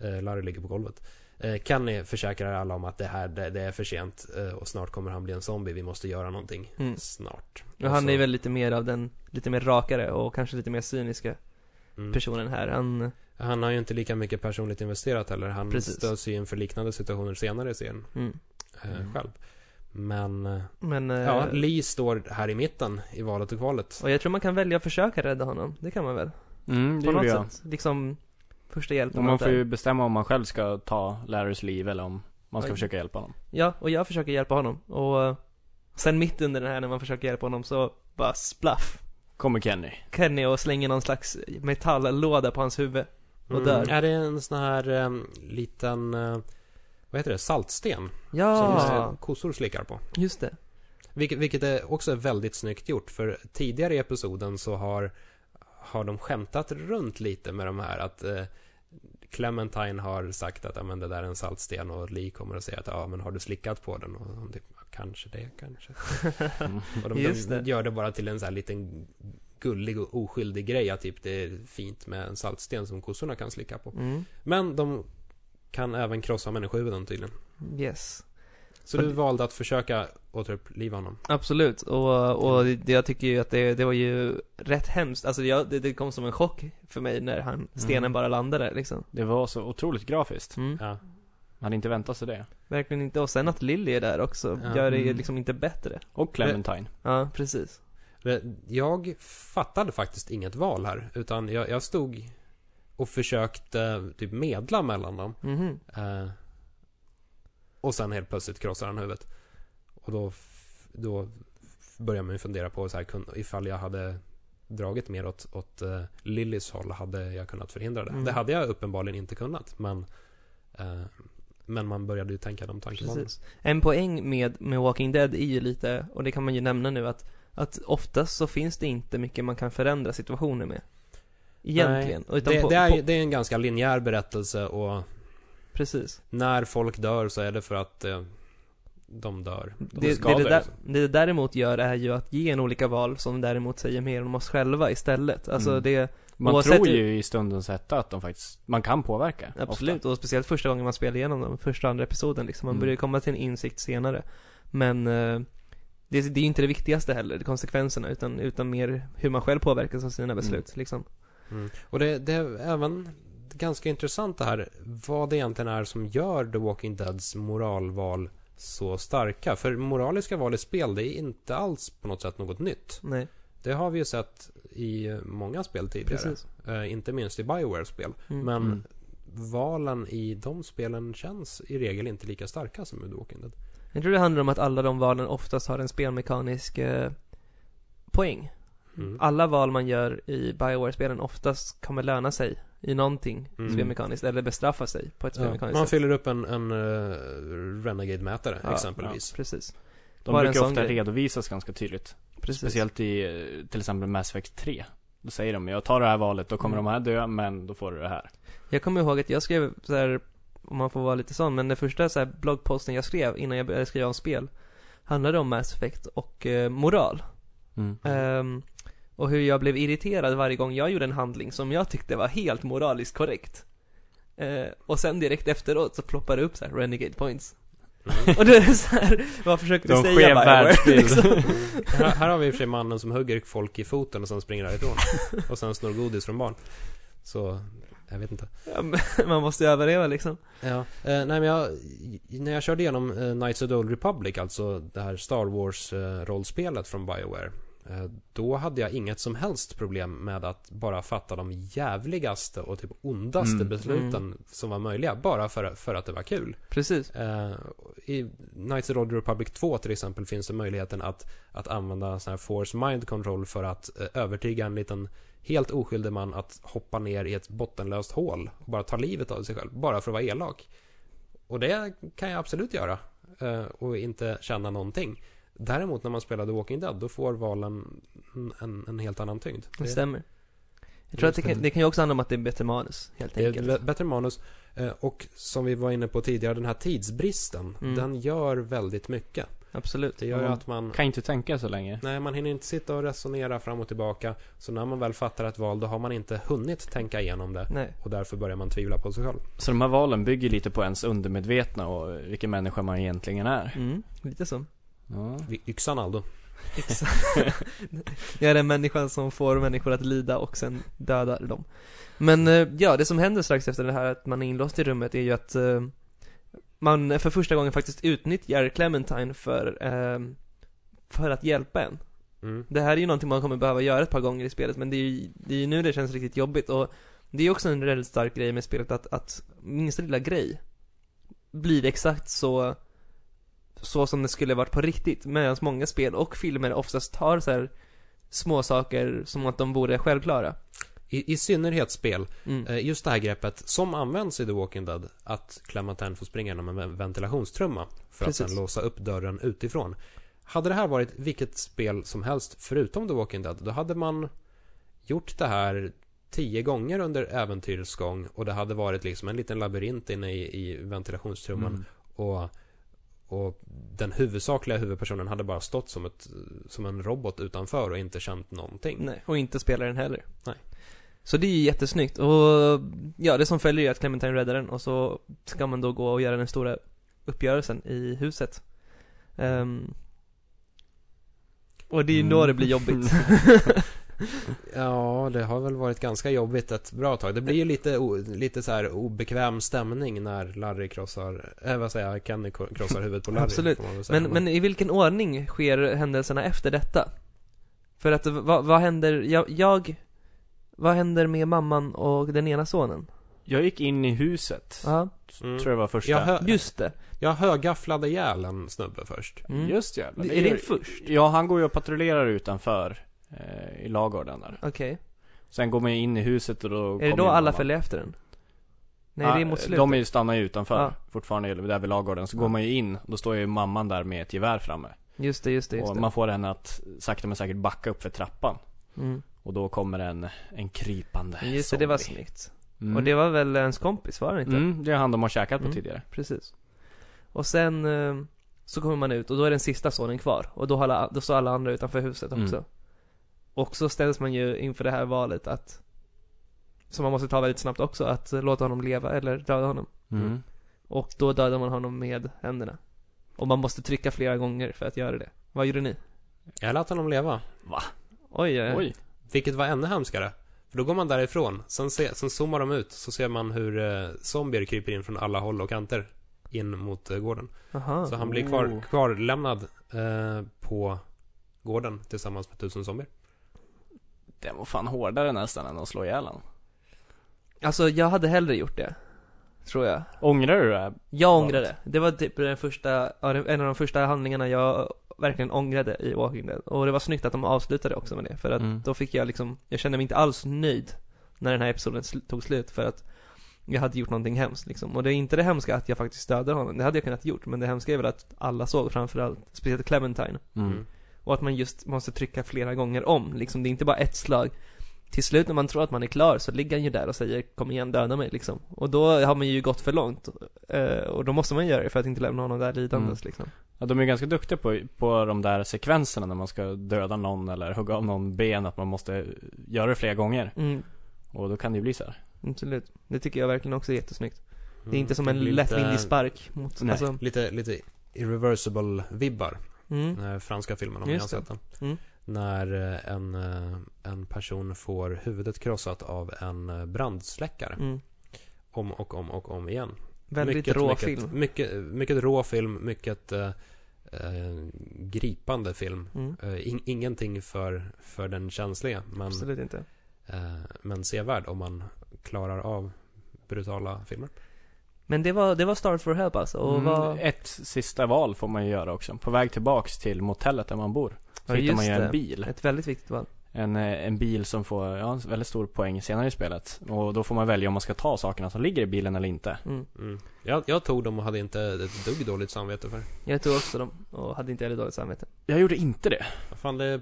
[SPEAKER 3] Eh, Larry ligger på golvet. Eh, Kenny försäkrar alla om att det här, det, det är för sent eh, och snart kommer han bli en zombie. Vi måste göra någonting.
[SPEAKER 1] Mm.
[SPEAKER 3] Snart. Alltså,
[SPEAKER 1] Och han
[SPEAKER 3] så-
[SPEAKER 1] är väl lite mer av den, lite mer rakare och kanske lite mer cyniska
[SPEAKER 3] Mm.
[SPEAKER 1] personen här. Han,
[SPEAKER 3] Han har ju inte lika mycket personligt investerat heller. Han
[SPEAKER 1] Precis.
[SPEAKER 3] stöts ju inför liknande situationer senare i serien
[SPEAKER 1] mm.
[SPEAKER 3] eh,
[SPEAKER 2] Mm.
[SPEAKER 3] själv. Men eh,
[SPEAKER 1] Men, eh,
[SPEAKER 3] Ja, Lee står här i mitten i valet och kvalet.
[SPEAKER 1] och jag tror man kan välja att försöka rädda honom. Det kan man väl?
[SPEAKER 2] Mm, det
[SPEAKER 1] På
[SPEAKER 2] gjorde
[SPEAKER 1] något
[SPEAKER 2] jag
[SPEAKER 1] sätt. Liksom, första hjälpen.
[SPEAKER 2] och
[SPEAKER 1] och
[SPEAKER 2] Man
[SPEAKER 1] allt
[SPEAKER 2] får
[SPEAKER 1] det
[SPEAKER 2] ju
[SPEAKER 1] här.
[SPEAKER 2] bestämma om man själv ska ta Larrys liv eller om man ska
[SPEAKER 1] Oj.
[SPEAKER 2] försöka hjälpa honom
[SPEAKER 1] Ja, och jag försöker hjälpa honom. Och eh, sen mitt under den här när man försöker hjälpa honom så bara splaff.
[SPEAKER 2] Kommer Kenny
[SPEAKER 1] Kenny och slänger någon slags metalllåda på hans huvud. Och där.
[SPEAKER 3] Mm. Är det en sån här em, liten, eh, vad heter det, saltsten? Som
[SPEAKER 1] Ja,
[SPEAKER 3] eh, kossor slickar på.
[SPEAKER 1] just det.
[SPEAKER 3] Vilket, vilket är också väldigt snyggt gjort, för tidigare i episoden så har har de skämtat runt lite med de här att eh, Clementine har sagt att ja, men det där är en saltsten och Lee kommer att säga att ja, men har du slickat på den? Och de typ, "Ja, kanske det, kanske. Och de,
[SPEAKER 1] Just
[SPEAKER 3] de
[SPEAKER 1] det.
[SPEAKER 3] gör det bara till en sån här liten gullig och oskyldig grej att typ det är fint med en saltsten som kossorna kan slicka på.
[SPEAKER 1] Mm.
[SPEAKER 3] Men de kan även krossa människohuvuden tydligen.
[SPEAKER 1] Yes.
[SPEAKER 3] Så
[SPEAKER 1] Men
[SPEAKER 3] du
[SPEAKER 1] det-
[SPEAKER 3] valde att försöka återuppliva honom.
[SPEAKER 1] Absolut, och, och det, jag tycker ju att det, det var ju rätt hemskt, alltså jag, det, det kom som en chock för mig när han, stenen
[SPEAKER 2] Mm.
[SPEAKER 1] bara landade liksom
[SPEAKER 2] Det var så otroligt grafiskt.
[SPEAKER 1] mm.
[SPEAKER 3] Ja.
[SPEAKER 2] Man hade inte väntat sig det.
[SPEAKER 1] Verkligen inte, och sen att Lily är där också,
[SPEAKER 3] Ja.
[SPEAKER 1] gör det ju
[SPEAKER 2] Mm.
[SPEAKER 1] liksom inte bättre
[SPEAKER 2] Och Clementine.
[SPEAKER 1] Ja, precis
[SPEAKER 3] Det- Jag fattade faktiskt inget val här, utan jag, jag stod och försökte typ medla mellan dem.
[SPEAKER 1] Mhm.
[SPEAKER 3] Eh, och sen helt plötsligt krossar han huvudet. Och då, f- då f- började man ju fundera på så här, kun- ifall jag hade dragit mer åt, åt eh, Lillys håll, hade jag kunnat förhindra det?
[SPEAKER 1] Mm.
[SPEAKER 3] Det hade jag uppenbarligen inte kunnat, men, eh, men man började ju tänka de tankebanorna.
[SPEAKER 1] Precis. En poäng med, med Walking Dead är ju lite, och det kan man ju nämna nu att, att oftast så finns det inte mycket man kan förändra situationer med Egentligen,
[SPEAKER 3] Nej,
[SPEAKER 1] utan
[SPEAKER 3] det,
[SPEAKER 1] på,
[SPEAKER 3] det, är,
[SPEAKER 1] på,
[SPEAKER 3] ju- det är en ganska linjär berättelse och
[SPEAKER 1] precis
[SPEAKER 3] när folk dör så är det för att eh, de dör. De liksom.
[SPEAKER 1] det, det,
[SPEAKER 3] skadar
[SPEAKER 1] det, där,
[SPEAKER 3] sig.
[SPEAKER 1] det det däremot gör är ju att ge en olika val som däremot säger mer om oss själva istället. Alltså
[SPEAKER 2] Mm.
[SPEAKER 1] det,
[SPEAKER 2] Man
[SPEAKER 1] Oavsett
[SPEAKER 2] tror
[SPEAKER 1] hur-
[SPEAKER 2] ju i stundens hetta att de faktiskt, man kan påverka.
[SPEAKER 1] Absolut,
[SPEAKER 2] Ofta.
[SPEAKER 1] och speciellt första gången man spelar igenom dem, första och andra episoden liksom. Man
[SPEAKER 2] Mm.
[SPEAKER 1] börjar ju komma till en insikt senare. Men eh, det, det är ju inte det viktigaste heller, konsekvenserna, utan, utan mer hur man själv påverkas av sina beslut liksom.
[SPEAKER 3] Mm. Och det, det är även ganska intressant det här vad det egentligen är som gör The Walking Deads moralval så starka. För moraliska val i spel, det är inte alls på något sätt något nytt.
[SPEAKER 1] Nej,
[SPEAKER 3] Det har vi ju sett i många spel tidigare.
[SPEAKER 1] precis.
[SPEAKER 3] Eh, inte minst i Bioware-spel.
[SPEAKER 1] Mm.
[SPEAKER 3] Men
[SPEAKER 2] Mm.
[SPEAKER 3] valen i de spelen känns i regel inte lika starka som i The Walking Dead.
[SPEAKER 1] Jag tror det handlar om att alla de valen oftast har en spelmekanisk eh, poäng.
[SPEAKER 3] Mm.
[SPEAKER 1] Alla val man gör i Bioware-spelen oftast kommer löna sig i någonting
[SPEAKER 3] Mm.
[SPEAKER 1] spelmekaniskt, eller bestraffa sig på ett
[SPEAKER 3] Ja,
[SPEAKER 1] spelmekaniskt
[SPEAKER 3] man
[SPEAKER 1] sätt.
[SPEAKER 3] fyller upp en, en eh, Renegade-mätare
[SPEAKER 1] Ja,
[SPEAKER 3] exempelvis.
[SPEAKER 1] Ja, precis.
[SPEAKER 2] De
[SPEAKER 1] Bara en
[SPEAKER 2] brukar
[SPEAKER 1] sån
[SPEAKER 2] ofta
[SPEAKER 1] grej.
[SPEAKER 2] redovisas ganska tydligt.
[SPEAKER 1] precis.
[SPEAKER 2] Speciellt i eh, till exempel Mass Effect 3. Då säger de jag tar det här valet, då kommer
[SPEAKER 1] Mm.
[SPEAKER 2] de här dö, men då får du det här.
[SPEAKER 1] Jag kommer ihåg att jag skrev så här, om man får vara lite sån, men den första så här bloggposten jag skrev innan jag började skriva om spel handlade om Mass Effect och eh, moral.
[SPEAKER 3] Mm.
[SPEAKER 2] Mm.
[SPEAKER 1] Ehm, och hur jag blev irriterad varje gång jag gjorde en handling som jag tyckte var helt moraliskt korrekt. Eh, och sen direkt efteråt så ploppar det upp så här renegade points.
[SPEAKER 3] Mm.
[SPEAKER 1] Och det är så här, vad försöker du
[SPEAKER 2] De
[SPEAKER 1] säga
[SPEAKER 2] skev världsbild.
[SPEAKER 3] här, här har vi i och för sig mannen som hugger folk i foten och sen springer därifrån. Och sen snor godis från barn. Så, jag vet inte.
[SPEAKER 1] Ja, men Man måste ju överleva liksom.
[SPEAKER 3] Ja, eh, nej men jag, när jag körde igenom eh, Knights of the Old Republic, alltså det här Star Wars-rollspelet från Bioware. eh, Då hade jag inget som helst problem med att bara fatta de jävligaste och typ ondaste
[SPEAKER 2] Mm.
[SPEAKER 3] besluten
[SPEAKER 1] Mm.
[SPEAKER 3] som var möjliga, bara för, för att det var kul.
[SPEAKER 1] Precis.
[SPEAKER 3] Eh, I Knights of the Old Republic 2 till exempel finns det möjligheten att, att använda sån här force mind control för att eh, övertyga en liten helt oskyldig man att hoppa ner i ett bottenlöst hål och bara ta livet av sig själv, bara för att vara elak. Och det kan jag absolut göra eh, och inte känna någonting. Däremot när man spelar The Walking Dead då får valen en, en, en helt annan tyngd.
[SPEAKER 1] Det
[SPEAKER 3] Det,
[SPEAKER 1] stämmer. Jag tror att det kan, det kan ju också handla om att det är bättre manus, helt
[SPEAKER 3] det är
[SPEAKER 1] enkelt.
[SPEAKER 3] ett bättre manus eh, och som vi var inne på tidigare den här tidsbristen
[SPEAKER 1] Mm.
[SPEAKER 3] den gör väldigt mycket.
[SPEAKER 1] Absolut.
[SPEAKER 3] Det gör ju
[SPEAKER 2] Ja.
[SPEAKER 3] att man
[SPEAKER 2] Kan inte tänka så länge.
[SPEAKER 3] Nej, man hinner inte sitta och resonera fram och tillbaka. Så när man väl fattar ett val, då har man inte hunnit tänka igenom det.
[SPEAKER 1] Nej.
[SPEAKER 3] Och därför börjar man tvivla på sig själv.
[SPEAKER 2] Så de här valen bygger lite på ens undermedvetna och eh, vilken människa man egentligen är.
[SPEAKER 1] Mm, lite så.
[SPEAKER 2] Ja.
[SPEAKER 3] Vi- Yxan Aldo.
[SPEAKER 1] Exakt. Jag är den människan som får människor att lida och sen dödar dem. Men eh, ja, det som händer strax efter det här att man är inlåst i rummet är ju att eh, man för första gången faktiskt utnyttjar Clementine för, eh, för att hjälpa en.
[SPEAKER 3] Mm.
[SPEAKER 1] Det här är ju någonting man kommer behöva göra ett par gånger i spelet men det är ju, det är ju nu det känns riktigt jobbigt och det är också en väldigt stark grej med spelet att, att minsta lilla grej blir exakt så så som det skulle varit på riktigt medan många spel och filmer oftast tar så här små saker som att de vore självklara.
[SPEAKER 3] I, I synnerhet spel.
[SPEAKER 1] Mm.
[SPEAKER 3] Eh, Just det här greppet som används i The Walking Dead, att Clementine får springa genom en ven- ventilationstrumma för
[SPEAKER 1] Precis.
[SPEAKER 3] att sen låsa upp dörren utifrån. Hade det här varit vilket spel som helst förutom The Walking Dead, då hade man gjort det här tio gånger under äventyrets gång och det hade varit liksom en liten labyrint inne i, i ventilationstrumman
[SPEAKER 2] Mm.
[SPEAKER 3] och, och den huvudsakliga huvudpersonen hade bara stått som, ett, som en robot utanför och inte känt någonting.
[SPEAKER 1] Nej, och inte spelar den heller.
[SPEAKER 3] Nej.
[SPEAKER 1] Så det är ju jättesnyggt och ja, det som följer är att Clementine räddar den och så ska man då gå och göra den stora uppgörelsen i huset. Ehm, och det är ju då
[SPEAKER 2] Mm.
[SPEAKER 1] det blir jobbigt.
[SPEAKER 3] Ja, det har väl varit ganska jobbigt ett bra tag. Det blir ju lite, o, lite så här obekväm stämning när Larry krossar, äh, vad säger jag, Kenny ko- krossar huvudet på Larry.
[SPEAKER 1] Absolut.
[SPEAKER 3] får man väl säga.
[SPEAKER 1] men, men i vilken ordning sker händelserna efter detta? För att vad, vad händer, jag, jag, vad händer med mamman och den ena sonen?
[SPEAKER 2] Jag gick in i huset.
[SPEAKER 1] Ja,
[SPEAKER 3] Mm.
[SPEAKER 2] Tror jag var första.
[SPEAKER 3] jag, hö,
[SPEAKER 1] just det.
[SPEAKER 3] jag högafflade ihjäl en snubbe först.
[SPEAKER 1] Mm.
[SPEAKER 2] Just jävlar.
[SPEAKER 1] Är
[SPEAKER 2] gör-
[SPEAKER 1] det först?
[SPEAKER 2] Ja, han går ju och patrullerar utanför. Eh, I lagården där.
[SPEAKER 1] Okej.
[SPEAKER 2] Sen går man ju in i huset och då
[SPEAKER 1] Är det
[SPEAKER 2] kommer
[SPEAKER 1] då
[SPEAKER 2] ju
[SPEAKER 1] alla
[SPEAKER 2] mamma. Ah,
[SPEAKER 1] följer efter den? Nej, det är mot slutet.
[SPEAKER 2] De är ju stannar ju utanför
[SPEAKER 1] Ja.
[SPEAKER 2] fortfarande där vid lagården. Så går man ju in, då står ju mamman där med ett gevär framme.
[SPEAKER 1] Just det, just det, just
[SPEAKER 2] och
[SPEAKER 1] det.
[SPEAKER 2] man får henne att sakta men säkert backa upp för trappan.
[SPEAKER 1] Mm.
[SPEAKER 2] Och då kommer en, en krypande
[SPEAKER 1] Just det,
[SPEAKER 2] äh, zombie.
[SPEAKER 1] det var snyggt.
[SPEAKER 2] mm.
[SPEAKER 1] Och det var väl ens kompis, var det inte?
[SPEAKER 2] Mm, det är han de har käkat på
[SPEAKER 1] Mm.
[SPEAKER 2] tidigare.
[SPEAKER 1] Precis. Och sen eh, så kommer man ut och då är den sista sonen kvar. Och då, har alla, då står alla andra utanför huset
[SPEAKER 2] Mm.
[SPEAKER 1] också. Och så ställs man ju inför det här valet att som man måste ta väldigt snabbt också, att eh, låta honom leva eller döda honom.
[SPEAKER 2] Mm.
[SPEAKER 1] Mm. Och då dödar man honom med händerna. Och man måste trycka flera gånger för att göra det. Vad gjorde ni?
[SPEAKER 3] Jag lät honom leva.
[SPEAKER 1] Oj, oj, oj.
[SPEAKER 2] Oj.
[SPEAKER 3] Vilket var ännu hemskare. För då går man därifrån, sen, se, sen zoomar de ut, så ser man hur eh, zombier kryper in från alla håll och kanter. In mot eh, gården.
[SPEAKER 1] Aha.
[SPEAKER 3] Så han blir kvar,
[SPEAKER 2] Oh.
[SPEAKER 3] kvarlämnad eh, på gården tillsammans med tusen zombier.
[SPEAKER 2] Den var fan hårdare nästan än att slå ihjäl honom.
[SPEAKER 1] Alltså jag hade hellre gjort det. Tror jag.
[SPEAKER 2] Ångrar du det här?
[SPEAKER 1] Jag ångrade. Det var typ den första, ja, det- en av de första handlingarna jag verkligen ångrade i Walking Dead. Och det var snyggt att de avslutade också med det. För att
[SPEAKER 2] Mm.
[SPEAKER 1] då fick jag liksom, jag kände mig inte alls nöjd när den här episoden sl- tog slut. För att jag hade gjort någonting hemskt liksom. Och det är inte det hemska att jag faktiskt dödar honom. Det hade jag kunnat gjort. Men det hemska är väl att alla såg framförallt, speciellt Clementine.
[SPEAKER 3] Mm.
[SPEAKER 1] Och att man just måste trycka flera gånger om. Liksom, det är inte bara ett slag. Till slut när man tror att man är klar så ligger han ju där och säger 'Kom igen, döda mig' liksom. Och då har man ju gått för långt. Eh, och då måste man göra det för att inte lämna honom där lidandes
[SPEAKER 3] Mm.
[SPEAKER 1] liksom.
[SPEAKER 2] Ja, de är ju ganska duktiga på, på de där sekvenserna när man ska döda någon eller hugga av någon ben, att man måste göra det flera gånger.
[SPEAKER 1] Mm,
[SPEAKER 2] Och då kan det ju bli så här.
[SPEAKER 1] absolut. Det tycker jag verkligen också är jättesnyggt. Det är inte som
[SPEAKER 3] Mm,
[SPEAKER 1] en
[SPEAKER 3] blir lite-
[SPEAKER 1] lättvindig spark mot,
[SPEAKER 2] Nej.
[SPEAKER 1] alltså,
[SPEAKER 3] Lite, lite irreversible-vibbar.
[SPEAKER 1] mm,
[SPEAKER 3] Den här franska filmen om ni har
[SPEAKER 1] Just
[SPEAKER 3] sett den.
[SPEAKER 1] Mm.
[SPEAKER 3] När eh, en, eh, en person får huvudet krossat av en eh, brandsläckare.
[SPEAKER 1] mm.
[SPEAKER 3] Om och om och om igen.
[SPEAKER 1] Väldigt rå
[SPEAKER 3] mycket,
[SPEAKER 1] film. Mm.
[SPEAKER 3] Mycket, mycket rå film, mycket eh, eh, gripande film.
[SPEAKER 1] Mm,
[SPEAKER 3] Eh, in, ingenting för, för den känsliga, men,
[SPEAKER 1] absolut inte.
[SPEAKER 3] eh, men sevärd om man klarar av brutala filmer.
[SPEAKER 1] Men det var, det var Start for Help alltså. Och
[SPEAKER 2] Mm,
[SPEAKER 1] vad,
[SPEAKER 2] Ett sista val får man ju göra också. På väg tillbaks till motellet där man bor. Så
[SPEAKER 1] Ja,
[SPEAKER 2] hittar man
[SPEAKER 1] just
[SPEAKER 2] ju en
[SPEAKER 1] det.
[SPEAKER 2] bil.
[SPEAKER 1] ett väldigt viktigt val.
[SPEAKER 2] En, eh, en bil som får, ja, en väldigt stor poäng senare i spelet. Och då får man välja om man ska ta sakerna som ligger i bilen eller inte.
[SPEAKER 1] Mm.
[SPEAKER 3] Mm. Jag, jag tog dem och hade inte ett dugg dåligt samvete för.
[SPEAKER 1] Jag tog också dem och hade inte heller dåligt samvete.
[SPEAKER 2] Jag gjorde inte det.
[SPEAKER 3] Vad fan, det är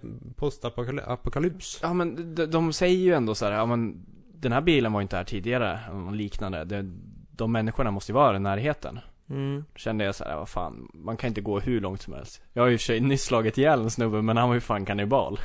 [SPEAKER 3] postapokalyps.
[SPEAKER 2] Ja men de, de säger ju ändå så här, ja men den här bilen var ju inte här tidigare, och liknande. De, de människorna måste ju vara i närheten.
[SPEAKER 1] Mm.
[SPEAKER 2] Då kände jag så här, vad fan, man kan inte gå hur långt som helst. Jag har ju i och för sig nyss slagit ihjäl en snubbe, men han var ju fan kannibal.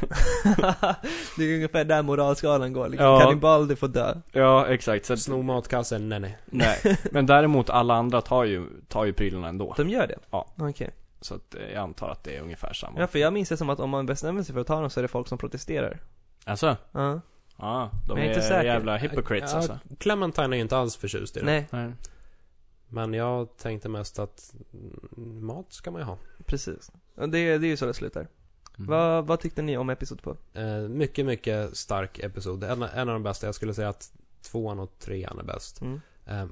[SPEAKER 1] det är ungefär där moralskalan går liksom.
[SPEAKER 2] Ja.
[SPEAKER 1] Kannibal, du får dö.
[SPEAKER 2] Ja, exakt. Så
[SPEAKER 3] Sno matkassen, nej nej.
[SPEAKER 2] nej. Men däremot alla andra tar ju, tar ju prylarna ändå.
[SPEAKER 1] De gör det?
[SPEAKER 2] Ja.
[SPEAKER 1] Okej.
[SPEAKER 2] Så att eh, jag antar att det är ungefär samma.
[SPEAKER 1] Ja, för jag minns det som att om man bestämmer sig för att ta dem så är det folk som protesterar.
[SPEAKER 2] Alltså?
[SPEAKER 1] Ja.
[SPEAKER 2] Ja, de
[SPEAKER 1] Men jag är
[SPEAKER 2] är,
[SPEAKER 1] inte säker.
[SPEAKER 2] jävla hypocrites
[SPEAKER 3] Ja,
[SPEAKER 2] alltså.
[SPEAKER 3] Clementine är inte alls förtjust i det.
[SPEAKER 1] Nej,
[SPEAKER 2] Nej.
[SPEAKER 3] Men jag tänkte mest att mm, mat ska man ju ha.
[SPEAKER 1] precis. Ja, Det, det är ju så det slutar.
[SPEAKER 2] Mm.
[SPEAKER 1] Vad, vad tyckte ni om episod 2?
[SPEAKER 3] Eh, mycket, mycket stark episod. En, en av de bästa. Jag skulle säga att tvåan och trean är bäst.
[SPEAKER 1] Mm.
[SPEAKER 3] Eh,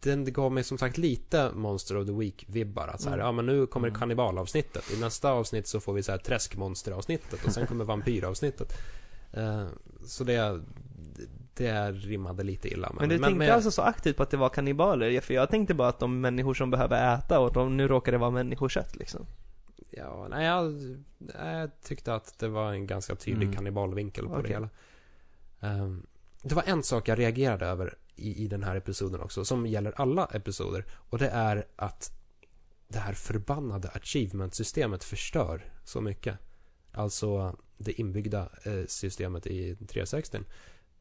[SPEAKER 3] den gav mig som sagt lite Monster of the Week-vibbar. Att så här,
[SPEAKER 1] Mm.
[SPEAKER 3] ja men nu kommer
[SPEAKER 2] Mm.
[SPEAKER 3] kannibalavsnittet. I nästa avsnitt så får vi så här träskmonsteravsnittet och sen kommer vampyravsnittet. Eh, så det, det rimmade lite illa.
[SPEAKER 1] Men du tänkte alltså så aktivt på att det var kannibaler? Ja, För jag tänkte bara att de människor som behöver äta och att de nu råkar det vara människokött liksom.
[SPEAKER 3] Ja, nej, jag, nej, jag tyckte att det var en ganska tydlig
[SPEAKER 2] Mm.
[SPEAKER 3] kannibalvinkel på det
[SPEAKER 1] Okej.
[SPEAKER 3] hela. Ehm, det var en sak jag reagerade över i, i den här episoden också, som gäller alla episoder. Och det är att det här förbannade achievement-systemet förstör så mycket. Alltså det inbyggda eh, systemet i 360.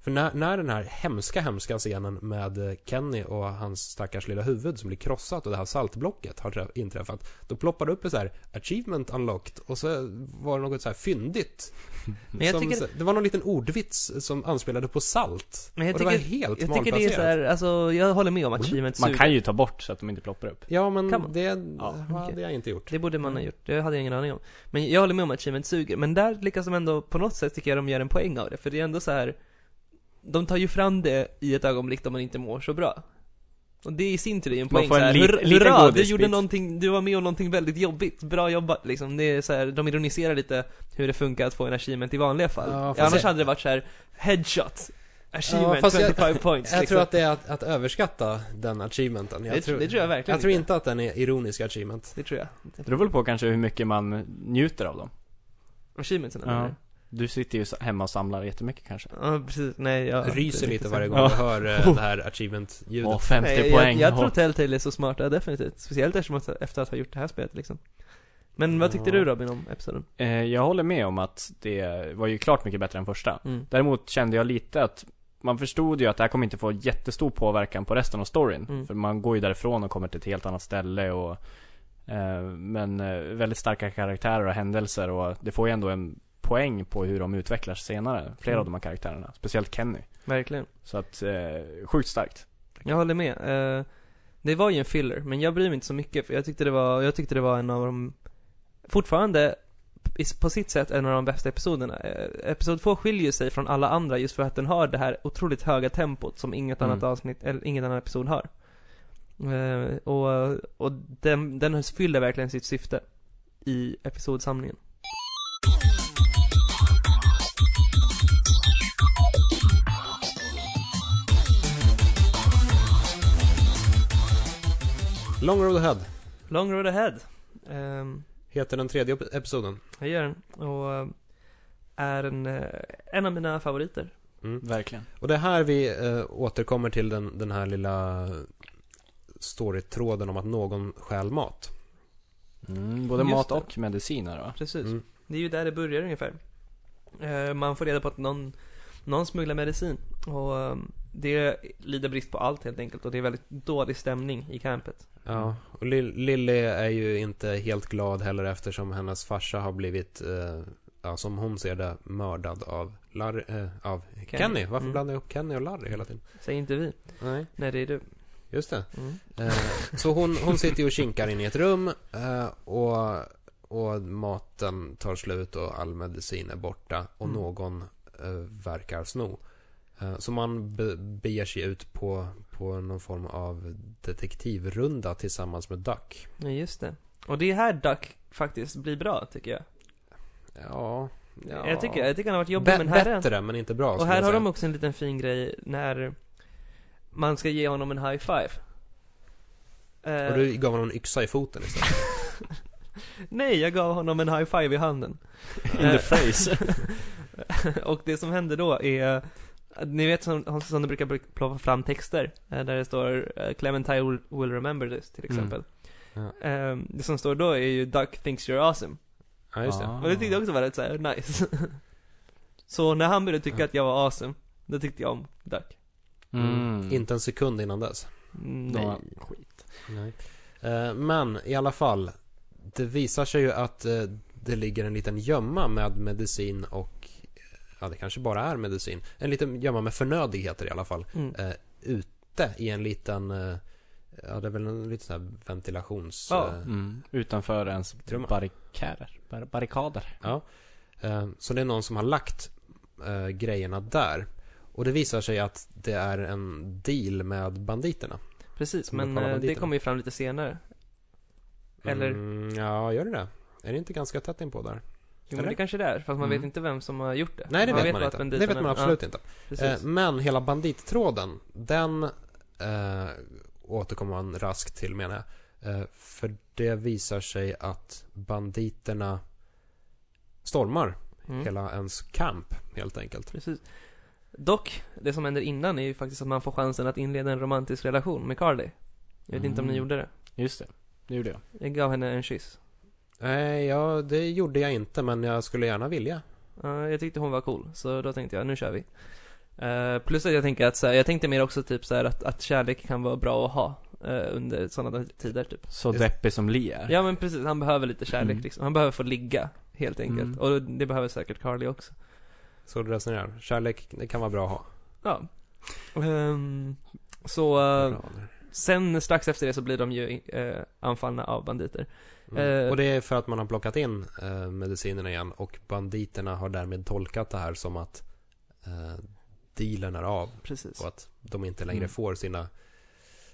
[SPEAKER 3] För när, när den här hemska, hemska scenen med eh, Kenny och hans stackars lilla huvud som blir krossat och det här saltblocket har trä- inträffat. Då ploppar det upp ett så här achievement unlocked och så var det något så här fyndigt.
[SPEAKER 1] Men jag
[SPEAKER 3] som,
[SPEAKER 1] tycker-
[SPEAKER 3] så- Det var någon liten ordvits som anspelade på salt.
[SPEAKER 1] Men jag
[SPEAKER 3] och det var
[SPEAKER 1] tycker-
[SPEAKER 3] helt
[SPEAKER 1] Jag tycker det är
[SPEAKER 3] malplacerat. Mm.
[SPEAKER 1] så här, alltså jag håller med om att achievement
[SPEAKER 2] Man
[SPEAKER 1] suger.
[SPEAKER 2] kan ju ta bort så att de inte ploppar upp.
[SPEAKER 3] Ja, men
[SPEAKER 1] Kan man?
[SPEAKER 3] det
[SPEAKER 2] Ja,
[SPEAKER 3] hade
[SPEAKER 1] okej.
[SPEAKER 3] jag inte gjort. Mm.
[SPEAKER 1] Det borde man ha gjort, det hade jag ingen aning om. Men jag håller med om att achievement suger, men där lyckas de ändå på något sätt tycker jag de gör en poäng av det, för det är ändå så här. De tar ju fram det i ett ögonblick då man inte mår så bra. Och det i sin tur är ju en
[SPEAKER 2] Man
[SPEAKER 1] poäng
[SPEAKER 2] får en
[SPEAKER 1] så här,
[SPEAKER 2] lit-
[SPEAKER 1] hur-
[SPEAKER 2] liten
[SPEAKER 1] Hurra! Du
[SPEAKER 2] godisbit."
[SPEAKER 1] gjorde någonting, du var med om någonting väldigt jobbigt, bra jobbat liksom. Det är så här, de ironiserar lite hur det funkar att få en achievement i vanliga fall.
[SPEAKER 3] Ja, fast
[SPEAKER 1] Annars
[SPEAKER 3] det-
[SPEAKER 1] hade det varit så här headshot, achievement,
[SPEAKER 3] Ja, fast jag-
[SPEAKER 1] 25 points
[SPEAKER 3] Jag
[SPEAKER 1] liksom.
[SPEAKER 3] tror att det är att, att överskatta den achievementen. Jag
[SPEAKER 1] Det-
[SPEAKER 3] tror,
[SPEAKER 1] det tror jag verkligen
[SPEAKER 3] Jag tror
[SPEAKER 1] inte.
[SPEAKER 3] inte att den är ironisk achievement.
[SPEAKER 1] Det tror jag.
[SPEAKER 2] Det beror väl på kanske hur mycket man njuter av dem.
[SPEAKER 1] Achievementsen
[SPEAKER 2] Ja.
[SPEAKER 1] eller?
[SPEAKER 2] Du sitter ju hemma och samlar jättemycket kanske.
[SPEAKER 1] Ja, precis. Nej, jag...
[SPEAKER 3] Ryser lite varje gång
[SPEAKER 2] Ja.
[SPEAKER 3] du hör eh, det här achievement-ljudet.
[SPEAKER 2] Åh, 50
[SPEAKER 1] Nej, jag,
[SPEAKER 2] poäng.
[SPEAKER 1] Jag, jag tror
[SPEAKER 2] Åh.
[SPEAKER 1] Telltale är så smarta, definitivt. Speciellt eftersom att, efter att ha gjort det här spelet liksom. Men vad tyckte
[SPEAKER 3] Ja.
[SPEAKER 1] du Robin om episoden?
[SPEAKER 2] Eh, jag håller med om att det var ju klart mycket bättre än första.
[SPEAKER 1] Mm.
[SPEAKER 2] Däremot kände jag lite att man förstod ju att det här kommer inte få jättestor påverkan på resten av storyn.
[SPEAKER 1] Mm.
[SPEAKER 2] För man går ju därifrån och kommer till ett helt annat ställe och eh, Men eh, väldigt starka karaktärer och händelser och det får ju ändå en poäng på hur de utvecklas senare. Flera av de här karaktärerna. Speciellt Kenny.
[SPEAKER 1] Verkligen.
[SPEAKER 2] Så att, eh, sjukt starkt.
[SPEAKER 1] Jag håller med. Eh, det var ju en filler, men jag bryr mig inte så mycket för jag tyckte det var, jag tyckte det var en av de, fortfarande i- på sitt sätt en av de bästa episoderna. Eh, Episod 2 skiljer sig från alla andra just för att den har det här otroligt höga tempot som inget
[SPEAKER 2] Mm.
[SPEAKER 1] annat avsnitt, eller ingen annan episod har. Eh, och och den, den fyller verkligen sitt syfte i episodsamlingen.
[SPEAKER 3] Long Road Ahead
[SPEAKER 1] Long Road Ahead. Ehm,
[SPEAKER 3] heter den tredje ep- episoden.
[SPEAKER 1] jag gör den. Och eh, är en, eh, en av mina favoriter.
[SPEAKER 3] Mm.
[SPEAKER 2] Verkligen.
[SPEAKER 3] Och det är här vi eh, återkommer till den, den här lilla storytråden om att någon stjäl mat.
[SPEAKER 2] Mm, både
[SPEAKER 1] Just
[SPEAKER 2] mat
[SPEAKER 1] det.
[SPEAKER 2] och mediciner va?
[SPEAKER 1] Precis.
[SPEAKER 3] Mm.
[SPEAKER 1] Det är ju där det börjar ungefär. Eh, man får reda på att någon, någon smugglar medicin. Och eh, det lider brist på allt helt enkelt. Och det är väldigt dålig stämning i campet.
[SPEAKER 3] Ja, och Lill- Lilly är ju inte helt glad heller eftersom hennes farsa har blivit, eh, ja, som hon ser det, mördad av Larry, eh, av Kenny. Varför
[SPEAKER 1] Mm.
[SPEAKER 3] blandar jag ihop Kenny och Larry hela tiden?
[SPEAKER 1] Säger inte vi.
[SPEAKER 3] Nej,
[SPEAKER 1] Nej, det är du.
[SPEAKER 3] just det.
[SPEAKER 1] Mm.
[SPEAKER 3] Eh, Så hon, hon sitter ju och kinkar in i ett rum eh, och, och maten tar slut och all medicin är borta och
[SPEAKER 1] Mm.
[SPEAKER 3] någon eh, verkar sno. Eh, Så man be- beger sig ut på, på någon form av detektivrunda tillsammans med Duck.
[SPEAKER 1] Ja, just det. Och det är här Duck faktiskt blir bra tycker jag.
[SPEAKER 3] Ja, ja.
[SPEAKER 1] Jag, tycker, jag tycker han har varit jobbig
[SPEAKER 3] Be-
[SPEAKER 1] men här är han-
[SPEAKER 3] Bättre men inte bra.
[SPEAKER 1] Och
[SPEAKER 3] skulle
[SPEAKER 1] här
[SPEAKER 3] jag
[SPEAKER 1] har
[SPEAKER 3] säga.
[SPEAKER 1] de också en liten fin grej när man ska ge honom en high five. Eh,
[SPEAKER 3] Och du gav honom en yxa i foten istället.
[SPEAKER 1] Nej, jag gav honom en high five i handen.
[SPEAKER 2] In the face.
[SPEAKER 1] och det som händer då är att ni vet som, som det brukar bruk- ploppa fram texter eh, där det står eh, Clementine will, will remember this till exempel.
[SPEAKER 3] Mm.
[SPEAKER 1] Eh, det som står då är ju Duck thinks you're awesome.
[SPEAKER 3] Ja, just det.
[SPEAKER 2] Ah.
[SPEAKER 1] Och det tyckte jag också var rätt såhär nice. så när han började tycka att jag var awesome, då tyckte jag om Duck.
[SPEAKER 2] Mm.
[SPEAKER 3] Inte en sekund innan dess.
[SPEAKER 1] Mm,
[SPEAKER 2] Det
[SPEAKER 1] Nej.
[SPEAKER 2] var skit.
[SPEAKER 3] Nej. Eh, Men i alla fall, det visar sig ju att eh, det ligger en liten gömma med medicin och, eh, ja det kanske bara är medicin, en liten gömma med förnödigheter i alla fall,
[SPEAKER 1] Mm.
[SPEAKER 3] eh, ute i en liten, eh, ja det är väl en liten sån här ventilations...
[SPEAKER 1] Ja.
[SPEAKER 3] eh,
[SPEAKER 2] Mm. Utanför ens
[SPEAKER 3] Trumma.
[SPEAKER 2] barrikader. Bar- barrikader.
[SPEAKER 3] Eh, Så det är någon som har lagt eh, grejerna där. Och det visar sig att det är en deal med banditerna.
[SPEAKER 1] Precis,
[SPEAKER 3] De
[SPEAKER 1] men
[SPEAKER 3] lokala
[SPEAKER 1] eh, det
[SPEAKER 3] banditerna.
[SPEAKER 1] kommer ju fram lite senare. Eller?
[SPEAKER 3] Mm, ja, gör det det? Är det inte ganska tätt inpå där?
[SPEAKER 1] Jo, men
[SPEAKER 3] Eller?
[SPEAKER 1] det kanske det är, fast man
[SPEAKER 2] Mm.
[SPEAKER 1] vet inte vem som har gjort det.
[SPEAKER 3] Nej, det vet man
[SPEAKER 1] bara
[SPEAKER 3] inte.
[SPEAKER 1] att
[SPEAKER 3] Det vet
[SPEAKER 1] banditerna-
[SPEAKER 3] man absolut inte.
[SPEAKER 1] Ja, precis.
[SPEAKER 3] Eh, men hela bandittråden, den eh, återkommer man raskt till menar jag. Eh, För det visar sig att banditerna stormar
[SPEAKER 1] Mm.
[SPEAKER 3] hela ens camp helt enkelt.
[SPEAKER 1] Precis. Dock, det som händer innan är ju faktiskt att man får chansen att inleda en romantisk relation med Carly. Jag vet inte om ni
[SPEAKER 2] Mm.
[SPEAKER 1] gjorde det.
[SPEAKER 2] Just det, det gjorde jag.
[SPEAKER 1] Jag gav henne en kyss.
[SPEAKER 3] Nej, ja, det gjorde jag inte men jag skulle gärna vilja.
[SPEAKER 1] Ja, jag tyckte hon var cool, så då tänkte jag, nu kör vi. Eh, plus att jag tänker att så här, jag tänkte mer också typ så här att, att kärlek kan vara bra att ha eh, under sådana tider typ.
[SPEAKER 2] Så
[SPEAKER 3] Just-
[SPEAKER 2] deppig som Li är.
[SPEAKER 1] Ja men precis, han behöver lite kärlek
[SPEAKER 2] Mm.
[SPEAKER 1] liksom. Han behöver få ligga, helt enkelt.
[SPEAKER 2] Mm.
[SPEAKER 1] Och det behöver säkert Carly också.
[SPEAKER 3] Så du resonerar. Kärlek, det kan vara bra att ha.
[SPEAKER 1] Ja. Ehm, så, eh,
[SPEAKER 3] Bra där.
[SPEAKER 1] sen strax efter det så blir de ju eh, anfallna av banditer.
[SPEAKER 3] Mm.
[SPEAKER 1] Eh,
[SPEAKER 3] och det är för att man har plockat in eh, medicinerna igen och banditerna har därmed tolkat det här som att eh, dealen är av
[SPEAKER 1] Precis.
[SPEAKER 3] och att de inte längre
[SPEAKER 2] Mm.
[SPEAKER 3] får sina,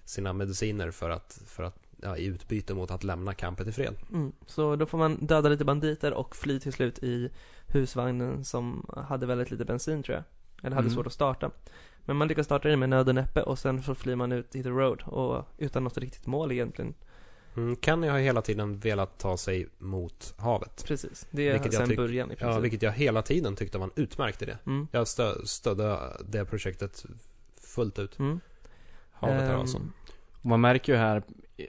[SPEAKER 3] sina mediciner för att, för att ja, i utbyte mot att lämna campet i fred.
[SPEAKER 1] Mm. Så då får man döda lite banditer och fly till slut i husvagnen som hade väldigt lite bensin tror jag. Eller hade
[SPEAKER 2] Mm.
[SPEAKER 1] svårt att starta. Men man lyckas starta den med nöd och näppe och sen så flyr man ut i the road och utan något riktigt mål egentligen.
[SPEAKER 3] Mm, Kenny har hela tiden velat ta sig mot havet.
[SPEAKER 1] Precis. Det är
[SPEAKER 3] Vilket jag
[SPEAKER 1] sen
[SPEAKER 3] tyck-
[SPEAKER 1] början i princip.
[SPEAKER 3] Ja, vilket jag hela tiden tyckte var en utmärkt idé.
[SPEAKER 1] mm.
[SPEAKER 3] Jag stö- stödde det projektet fullt ut.
[SPEAKER 1] Mm.
[SPEAKER 3] Havet här
[SPEAKER 1] Ehm,
[SPEAKER 3] alltså.
[SPEAKER 2] Och man märker ju här, eh,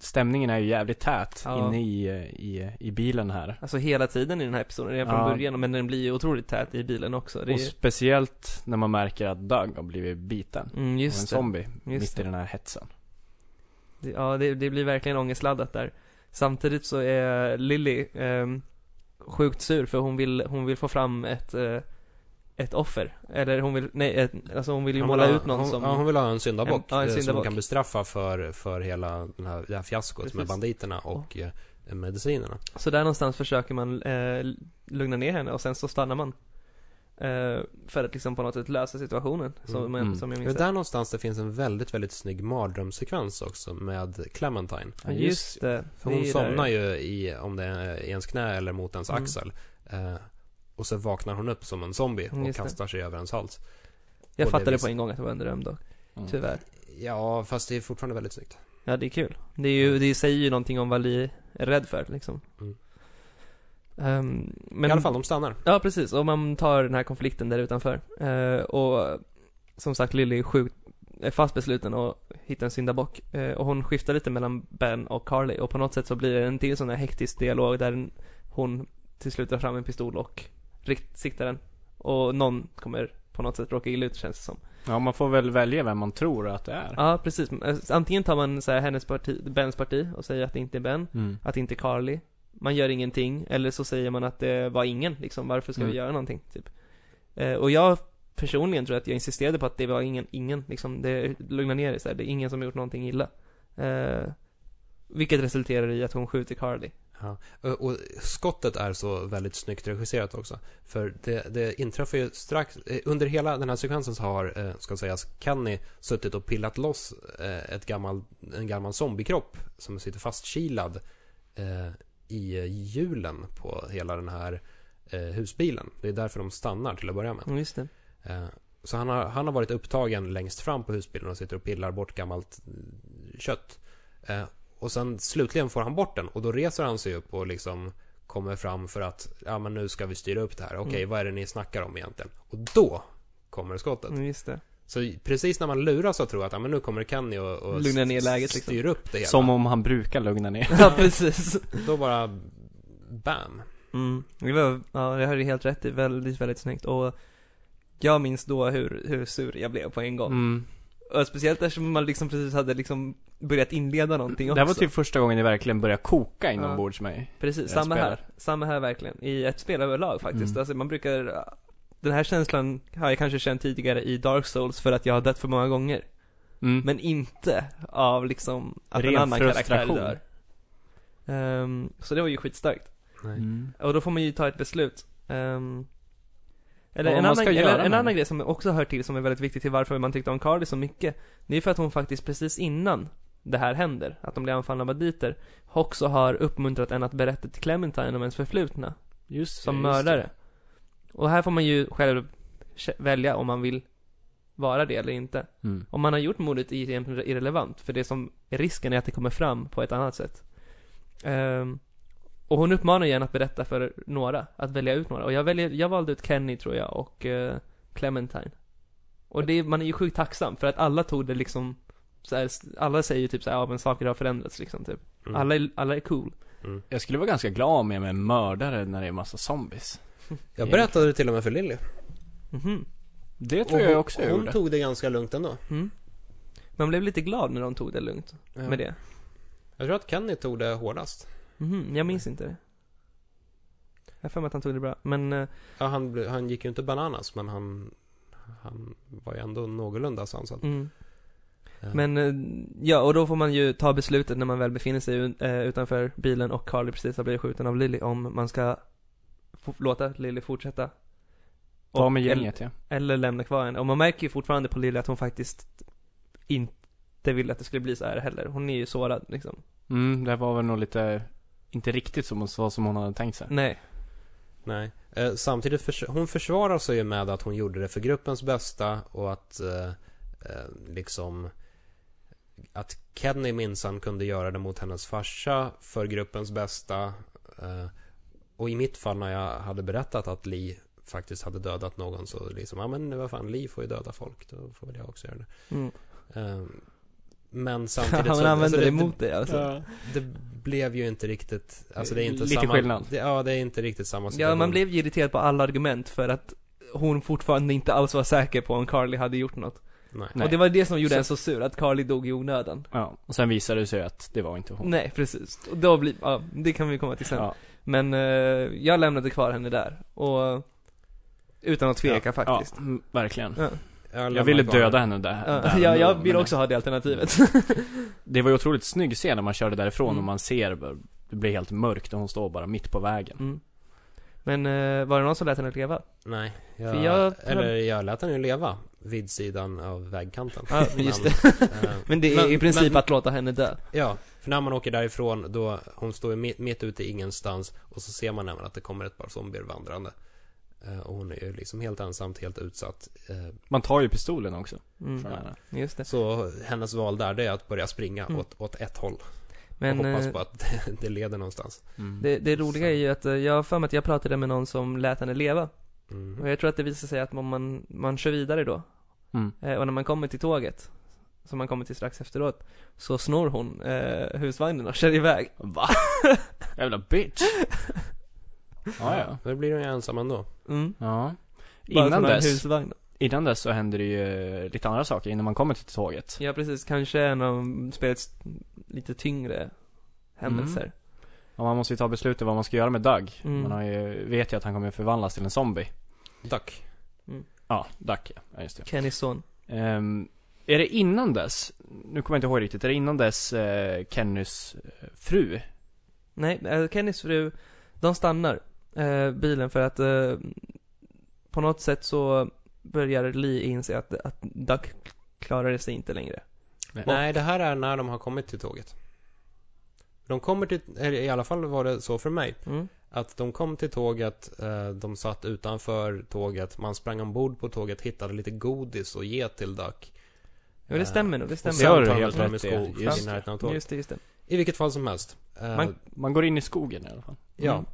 [SPEAKER 2] stämningen är ju jävligt tät
[SPEAKER 1] Ja.
[SPEAKER 2] inne i, eh, i, i bilen här.
[SPEAKER 1] Alltså hela tiden i den här episoden, redan från
[SPEAKER 2] Ja.
[SPEAKER 1] början, men den blir ju otroligt tät i bilen också. Det
[SPEAKER 2] Och
[SPEAKER 1] är,
[SPEAKER 2] speciellt när man märker att Doug har blivit biten.
[SPEAKER 1] mm,
[SPEAKER 2] av en
[SPEAKER 1] just det.
[SPEAKER 2] zombie,
[SPEAKER 1] Just
[SPEAKER 2] mitt
[SPEAKER 1] det.
[SPEAKER 2] i den här hetsen.
[SPEAKER 1] Det- Ja, det, det blir verkligen ångestladdat där. Samtidigt så är Lily ehm, sjukt sur för hon vill, hon vill få fram ett, eh, ett offer. Eller hon vill, nej, ett, alltså hon vill ju
[SPEAKER 3] Hon
[SPEAKER 1] måla
[SPEAKER 3] vill ha-
[SPEAKER 1] ut någon
[SPEAKER 3] hon,
[SPEAKER 1] som,
[SPEAKER 3] ja, hon vill ha en syndabock.
[SPEAKER 1] En- ja, en
[SPEAKER 3] eh, Som
[SPEAKER 1] syndabock.
[SPEAKER 3] hon kan bestraffa för, för hela den här, det här fiaskot med
[SPEAKER 1] Precis.
[SPEAKER 3] banditerna och eh, medicinerna.
[SPEAKER 1] så där någonstans försöker man eh, lugna ner henne och sen så stannar man. Eh, för att liksom på något sätt lösa situationen, som,
[SPEAKER 3] Mm.
[SPEAKER 1] jag,
[SPEAKER 2] Mm.
[SPEAKER 1] som jag
[SPEAKER 3] Det är
[SPEAKER 1] minns det.
[SPEAKER 3] där någonstans det finns en väldigt, väldigt snygg mardrömssekvens också med Clementine.
[SPEAKER 1] Ja, Just det.
[SPEAKER 3] För
[SPEAKER 1] det
[SPEAKER 3] hon
[SPEAKER 1] är
[SPEAKER 3] somnar
[SPEAKER 1] där.
[SPEAKER 3] ju i, om det är i ens knä eller mot ens
[SPEAKER 1] Mm.
[SPEAKER 3] axel. Eh, och så vaknar hon upp som en zombie
[SPEAKER 1] Mm,
[SPEAKER 3] och
[SPEAKER 1] just det.
[SPEAKER 3] kastar sig över ens hals.
[SPEAKER 1] Jag
[SPEAKER 3] på det
[SPEAKER 1] fattade på
[SPEAKER 3] viset.
[SPEAKER 1] en gång att det var en dröm dock,
[SPEAKER 2] Mm.
[SPEAKER 1] tyvärr.
[SPEAKER 3] Ja, fast det är fortfarande väldigt snyggt.
[SPEAKER 1] Ja, det är kul. Det, är ju, det säger ju någonting om vad Li är rädd för liksom.
[SPEAKER 3] Mm.
[SPEAKER 1] Ehm, men
[SPEAKER 3] I alla fall, de stannar.
[SPEAKER 1] Ja, precis. Och man tar den här konflikten där utanför. Eh, och som sagt, Lily är sjukt är fast besluten att hitta en syndabock. Eh, och hon skiftar lite mellan Ben och Carly. Och på något sätt så blir det en till sån här hektisk dialog där en- hon till slut tar fram en pistol och rikt- siktar den. Och någon kommer på något sätt råka illa ut känns det som.
[SPEAKER 2] Ja, man får väl välja vem man tror att det är.
[SPEAKER 1] Ja, precis. Eh, Antingen tar man så här hennes parti, Bens parti och säger att det inte är Ben,
[SPEAKER 2] Mm.
[SPEAKER 1] att det inte är Carly. Man gör ingenting, eller så säger man att det var ingen, liksom varför ska vi
[SPEAKER 2] Mm.
[SPEAKER 1] göra någonting, typ. Eh, och jag personligen tror att jag insisterade på att det var ingen, ingen, liksom det lugnar ner det så här. det är ingen som har gjort någonting illa. Eh, vilket resulterar i att hon skjuter Carly.
[SPEAKER 3] Ja. Och- Och skottet är så väldigt snyggt regisserat också. För det, det inträffar ju strax, eh, under hela den här sekvensen så har, eh, ska sägas, Kenny suttit och pillat loss eh, ett gammal, en gammal zombiekropp som sitter fastkilad eh, i hjulen på hela den här eh, husbilen. Det är därför de stannar till att börja med.
[SPEAKER 1] Mm, just det.
[SPEAKER 3] Eh, Så han har, han har varit upptagen längst fram på husbilen och sitter och pillar bort gammalt eh, kött. Eh, Och sen slutligen får han bort den och då reser han sig upp och liksom kommer fram för att ja men nu ska vi styra upp det här. Okej,
[SPEAKER 1] Mm.
[SPEAKER 3] vad är det ni snackar om egentligen? Och då kommer skottet.
[SPEAKER 1] Mm, just det.
[SPEAKER 3] Så precis när man luras att tro att ja, men nu kommer Kenny och, och
[SPEAKER 1] Lugna ner
[SPEAKER 3] s-
[SPEAKER 1] läget, liksom.
[SPEAKER 3] styra upp det hela.
[SPEAKER 2] Som om han brukar lugna ner.
[SPEAKER 1] ja, precis.
[SPEAKER 3] Då bara bam.
[SPEAKER 1] Mm. Det var, ja, det har du helt rätt i, väldigt, väldigt snyggt. Och jag minns då hur, hur sur jag blev på en gång.
[SPEAKER 2] Mm.
[SPEAKER 1] Och speciellt eftersom man liksom precis hade liksom börjat inleda någonting
[SPEAKER 2] Det
[SPEAKER 1] också.
[SPEAKER 2] här var typ första gången det verkligen började koka
[SPEAKER 1] Ja.
[SPEAKER 2] inombords mig.
[SPEAKER 1] Precis,
[SPEAKER 2] Jag
[SPEAKER 1] samma
[SPEAKER 2] spelar.
[SPEAKER 1] här. Samma här verkligen. I ett spel överlag faktiskt.
[SPEAKER 2] Mm.
[SPEAKER 1] Alltså man brukar, den här känslan har jag kanske känt tidigare i Dark Souls för att jag har dött för många gånger.
[SPEAKER 2] Mm.
[SPEAKER 1] Men inte av liksom att en
[SPEAKER 2] Ren
[SPEAKER 1] annan karaktär
[SPEAKER 2] frustration.
[SPEAKER 1] dör. Ehm, så det var ju skitstarkt.
[SPEAKER 2] Mm.
[SPEAKER 1] Och då får man ju ta ett beslut. Ehm, eller
[SPEAKER 2] Vad
[SPEAKER 1] en,
[SPEAKER 2] man
[SPEAKER 1] annan,
[SPEAKER 2] ska göra
[SPEAKER 1] eller, en
[SPEAKER 2] med
[SPEAKER 1] annan
[SPEAKER 2] det.
[SPEAKER 1] grej som också hör till som är väldigt viktig till varför man tyckte om Carly så mycket. Det är för att hon faktiskt precis innan det här händer, att de blir anfallna av banditer, också har uppmuntrat en att berätta till Clementine om ens förflutna
[SPEAKER 2] Just
[SPEAKER 1] som
[SPEAKER 2] just
[SPEAKER 1] mördare.
[SPEAKER 2] det.
[SPEAKER 1] Och här får man ju själv kä- välja om man vill vara det eller inte.
[SPEAKER 2] Mm.
[SPEAKER 1] Om man har gjort mordet är egentligen irrelevant, för det som är risken är att det kommer fram på ett annat sätt. Ehm, och hon uppmanar igen att berätta för några, att välja ut några. Och jag, väljer, jag valde ut Kenny tror jag och eh, Clementine. Och det, man är ju sjukt tacksam för att alla tog det liksom, så här, alla säger ju typ såhär, ja men saker har förändrats liksom typ.
[SPEAKER 3] Mm.
[SPEAKER 1] Alla, är, alla är cool.
[SPEAKER 3] Mm.
[SPEAKER 2] Jag skulle vara ganska glad om jag med mördare när det är massa zombies.
[SPEAKER 3] Jag berättade det till och med för Lilly.
[SPEAKER 1] Mhm.
[SPEAKER 2] Det
[SPEAKER 3] Och
[SPEAKER 2] tror
[SPEAKER 3] hon-
[SPEAKER 2] jag också jag
[SPEAKER 3] Hon
[SPEAKER 2] gjorde.
[SPEAKER 3] tog det ganska lugnt ändå.
[SPEAKER 1] Mm. Man blev lite glad när de tog det lugnt
[SPEAKER 3] Ja.
[SPEAKER 1] med det.
[SPEAKER 3] Jag tror att Kenny tog det hårdast.
[SPEAKER 1] Mhm, jag minns inte det. Jag har för mig att han tog det bra, men eh,
[SPEAKER 3] Ja, han, blev- han gick ju inte bananas, men han, han var ju ändå någorlunda sansad.
[SPEAKER 1] mm.
[SPEAKER 3] Ja.
[SPEAKER 1] Men, eh, ja, och då får man ju ta beslutet när man väl befinner sig eh, utanför bilen och Carly precis har blivit skjuten av Lily om man ska f- låta Lily fortsätta.
[SPEAKER 2] Ja,
[SPEAKER 1] Och-
[SPEAKER 2] med gänget ja.
[SPEAKER 1] Eller lämna kvar henne. Och man märker ju fortfarande på Lily att hon faktiskt inte ville att det skulle bli så här heller. Hon är ju sårad liksom.
[SPEAKER 2] Mm, det här var väl nog lite, inte riktigt som, så som hon hade tänkt sig.
[SPEAKER 1] Nej.
[SPEAKER 3] Nej. Eh, samtidigt, förs- hon försvarar sig ju med att hon gjorde det för gruppens bästa och att eh, eh, liksom att Kenny minsann kunde göra det mot hennes farsa för gruppens bästa. Eh, och i mitt fall när jag hade berättat att Li faktiskt hade dödat någon så liksom, ja men vad fan, Li får ju döda folk, då får väl jag också göra det.
[SPEAKER 1] Mm.
[SPEAKER 3] Eh, men samtidigt
[SPEAKER 1] Han använder det
[SPEAKER 3] alltså,
[SPEAKER 1] emot dig alltså.
[SPEAKER 2] Ja.
[SPEAKER 3] det blev ju inte riktigt, alltså det är inte
[SPEAKER 2] Lite
[SPEAKER 3] samma...
[SPEAKER 2] skillnad.
[SPEAKER 3] Det, ja, det är inte riktigt samma
[SPEAKER 1] Ja, man blev ju irriterad på alla argument för att hon fortfarande inte alls var säker på om Carly hade gjort något.
[SPEAKER 3] Nej.
[SPEAKER 2] Nej.
[SPEAKER 1] Och det var det som gjorde
[SPEAKER 2] Så-
[SPEAKER 1] en så sur, att Carly dog i onödan.
[SPEAKER 2] Ja, och sen visade det sig att det var inte hon.
[SPEAKER 1] Nej, precis. Och då blir, ja, det kan vi komma till sen.
[SPEAKER 2] Ja,
[SPEAKER 1] Men eh, jag lämnade kvar henne där. Och utan att tveka
[SPEAKER 2] ja,
[SPEAKER 1] faktiskt.
[SPEAKER 2] mm, verkligen.
[SPEAKER 1] Ja.
[SPEAKER 3] lämnar
[SPEAKER 2] Jag ville
[SPEAKER 3] kvar
[SPEAKER 2] döda
[SPEAKER 3] det.
[SPEAKER 2] henne där.
[SPEAKER 1] Ja.
[SPEAKER 2] där
[SPEAKER 1] jag,
[SPEAKER 2] och då,
[SPEAKER 1] jag vill
[SPEAKER 2] men
[SPEAKER 1] också ha det alternativet.
[SPEAKER 2] Det var ju otroligt snygg scen när man körde därifrån
[SPEAKER 1] Mm.
[SPEAKER 2] och man ser, det blir helt mörkt och hon står bara mitt på vägen.
[SPEAKER 1] Mm. Men eh, var det någon som lät henne leva?
[SPEAKER 3] Nej.
[SPEAKER 1] För
[SPEAKER 3] Jag,
[SPEAKER 1] jag-
[SPEAKER 3] Eller jag lät henne ju leva vid sidan av vägkanten.
[SPEAKER 1] Ja, men just det.
[SPEAKER 3] Men, eh,
[SPEAKER 1] Men det är
[SPEAKER 3] Men-
[SPEAKER 1] i princip
[SPEAKER 3] men-
[SPEAKER 1] att låta henne dö.
[SPEAKER 3] ja, för när man åker därifrån då, hon står ju mitt, mitt ute i ingenstans och så ser man nämligen att det kommer ett par zombier vandrande. Eh, Och hon är ju liksom helt ensamt, helt utsatt. Eh,
[SPEAKER 2] Man tar ju pistolen också
[SPEAKER 1] Mm.
[SPEAKER 2] från henne.
[SPEAKER 1] Just det.
[SPEAKER 3] Så hennes val där, det är att börja springa
[SPEAKER 1] Mm.
[SPEAKER 3] åt, åt ett håll.
[SPEAKER 1] Men,
[SPEAKER 3] och hoppas
[SPEAKER 1] eh,
[SPEAKER 3] på att det, leder någonstans.
[SPEAKER 2] Mm.
[SPEAKER 1] Det, det roliga är ju att eh, jag har för mig att jag pratade med någon som lät henne leva.
[SPEAKER 3] Mm.
[SPEAKER 1] Och jag tror att det visar sig att om man, man kör vidare då.
[SPEAKER 2] Mm.
[SPEAKER 1] Eh, och när man kommer till tåget, som man kommer till strax efteråt, så snor hon eh, husvagnen och kör iväg.
[SPEAKER 2] Va? Jävla bitch. ja, ja.
[SPEAKER 3] Men då blir hon ju ensam ändå.
[SPEAKER 1] Mm.
[SPEAKER 2] ja.
[SPEAKER 1] Bara
[SPEAKER 2] Innan
[SPEAKER 1] från en
[SPEAKER 2] dess,
[SPEAKER 1] Husvagn.
[SPEAKER 2] innan dess så händer det ju lite andra saker innan man kommer till tåget.
[SPEAKER 1] Ja precis, kanske en av spelets lite tyngre händelser.
[SPEAKER 3] Mm.
[SPEAKER 2] Och man måste ju ta beslut om vad man ska göra med Doug.
[SPEAKER 1] Mm.
[SPEAKER 2] Man har ju, vet ju att han kommer förvandlas till en zombie.
[SPEAKER 3] Duck.
[SPEAKER 2] Ja, Doug ja. ja just det.
[SPEAKER 1] Kennys son.
[SPEAKER 2] Ehm, är det innan dess, nu kommer jag inte ihåg riktigt, är det innan dess eh, Kennys eh, fru?
[SPEAKER 1] Nej, eh, Kennys fru, de stannar eh, bilen för att eh, på något sätt så börjar Lee inse att, att Duck klarade sig inte längre.
[SPEAKER 3] Nej, det här är när de har kommit till tåget. De kommer till, eller i alla fall var det så för mig,
[SPEAKER 1] Mm.
[SPEAKER 3] att de kom till tåget, eh, de satt utanför tåget, man sprang ombord på tåget, hittade lite godis och ge till Duck.
[SPEAKER 1] Jo, det
[SPEAKER 3] Eh,
[SPEAKER 1] stämmer nog, det
[SPEAKER 3] Och
[SPEAKER 2] Ja,
[SPEAKER 1] stämmer.
[SPEAKER 2] det
[SPEAKER 3] sen
[SPEAKER 2] är
[SPEAKER 3] tar de
[SPEAKER 2] helt
[SPEAKER 3] fram i
[SPEAKER 2] rätt,
[SPEAKER 3] skog
[SPEAKER 2] ja. Just
[SPEAKER 3] i
[SPEAKER 2] det.
[SPEAKER 3] närheten av tåget.
[SPEAKER 1] Just det, just det.
[SPEAKER 3] I vilket fall som helst. Eh,
[SPEAKER 1] Man-
[SPEAKER 2] Man går in i skogen i alla fall.
[SPEAKER 3] Ja,
[SPEAKER 1] Mm.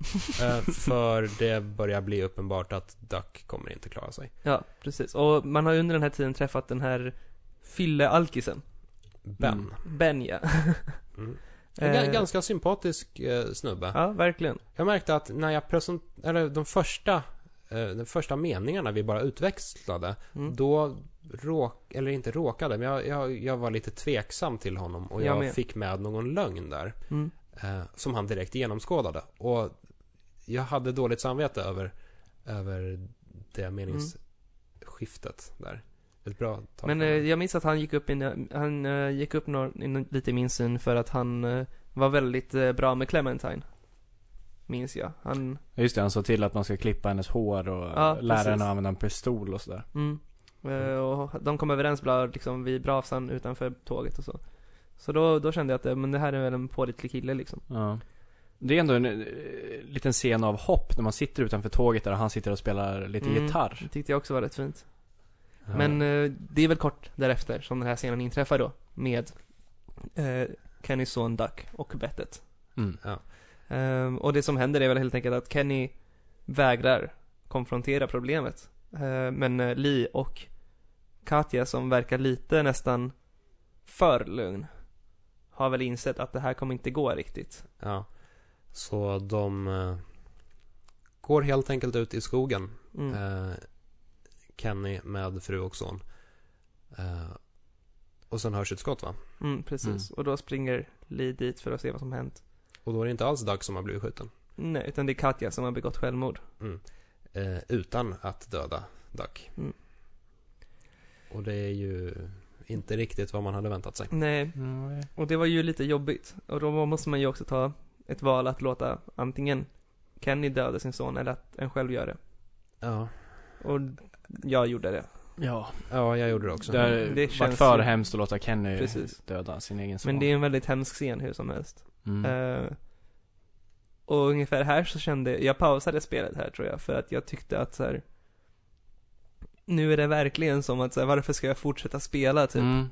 [SPEAKER 3] eh, för det börjar bli uppenbart att Duck kommer inte klara sig.
[SPEAKER 1] Ja, precis. Och man har under den här tiden träffat den här Fylle-alkisen.
[SPEAKER 3] Ben.
[SPEAKER 2] Mm.
[SPEAKER 1] Ben, ja.
[SPEAKER 3] Mm. En
[SPEAKER 1] Eh,
[SPEAKER 3] ga- ganska sympatisk eh, snubbe.
[SPEAKER 1] Ja, verkligen.
[SPEAKER 3] Jag märkte att när jag present... Eller de första... eh, De första meningarna vi bara utväxlade.
[SPEAKER 1] Mm.
[SPEAKER 3] Då råk... Eller inte råkade, men jag, jag, jag var lite tveksam till honom. Och
[SPEAKER 1] Jag
[SPEAKER 3] jag,
[SPEAKER 1] med.
[SPEAKER 3] fick med någon lögn där.
[SPEAKER 1] Mm.
[SPEAKER 3] eh, Som han direkt genomskådade. Och jag hade dåligt samvete över... Över det meningsskiftet där. Ett bra tag.
[SPEAKER 1] Men eh, jag minns att han gick upp, in, han, eh, gick upp nor- in, lite i min syn för att han eh, var väldigt eh, bra med Clementine. Minns jag. Han,
[SPEAKER 2] Ja, Just det, han såg till att man ska klippa hennes hår och
[SPEAKER 1] Ja,
[SPEAKER 2] lära
[SPEAKER 1] precis.
[SPEAKER 2] henne att använda en pistol och sådär.
[SPEAKER 1] mm. Eh, och de kom överens bra liksom vid brasan utanför tåget och så. Så då, då kände jag att eh, men det här är väl en pålitlig kille liksom.
[SPEAKER 2] Ja. Det är ändå en eh, liten scen av hopp när man sitter utanför tåget där och han sitter och spelar lite
[SPEAKER 1] Mm.
[SPEAKER 2] gitarr.
[SPEAKER 1] Det tyckte jag också var rätt fint. Men eh, det är väl kort därefter som den här scenen inträffar då med eh, Kennys son Duck och bettet.
[SPEAKER 2] Mm.
[SPEAKER 1] Ehm, och det som händer är väl helt enkelt att Kenny vägrar konfrontera problemet. Ehm, men eh, Lee och Katja som verkar lite nästan för lugn har väl insett att det här kommer inte gå riktigt.
[SPEAKER 3] Ja. Så de eh, går helt enkelt ut i skogen.
[SPEAKER 1] Mm.
[SPEAKER 3] Eh, Kenny med fru och son. Eh, och sen hörs ett skott va?
[SPEAKER 1] Mm, precis. Och då springer Lee dit för att se vad som hänt.
[SPEAKER 3] Och då är det inte alls Duck som har blivit skjuten.
[SPEAKER 1] Nej, utan det är Katja som har begått självmord.
[SPEAKER 3] Eh, utan att döda Duck.
[SPEAKER 1] Mm.
[SPEAKER 3] Och det är ju inte riktigt vad man hade väntat sig.
[SPEAKER 1] Nej,
[SPEAKER 2] Mm.
[SPEAKER 1] Och det var ju lite jobbigt. Och då måste man ju också ta ett val att låta antingen Kenny döda sin son eller att en själv gör det.
[SPEAKER 3] Ja,
[SPEAKER 1] Och jag gjorde det.
[SPEAKER 2] Ja,
[SPEAKER 3] ja jag gjorde det också.
[SPEAKER 2] det
[SPEAKER 1] Det
[SPEAKER 2] har varit
[SPEAKER 1] känns
[SPEAKER 2] för
[SPEAKER 1] ju-
[SPEAKER 2] hemskt att låta Kenny
[SPEAKER 1] Precis.
[SPEAKER 2] döda sin egen son.
[SPEAKER 1] Men det är en väldigt hemsk scen hur som helst.
[SPEAKER 2] mm.
[SPEAKER 1] Eh, och ungefär här så kände, jag pausade spelet här tror jag för att jag tyckte att så här. Nu är det verkligen som att så här, varför ska jag fortsätta spela typ?
[SPEAKER 2] Mm.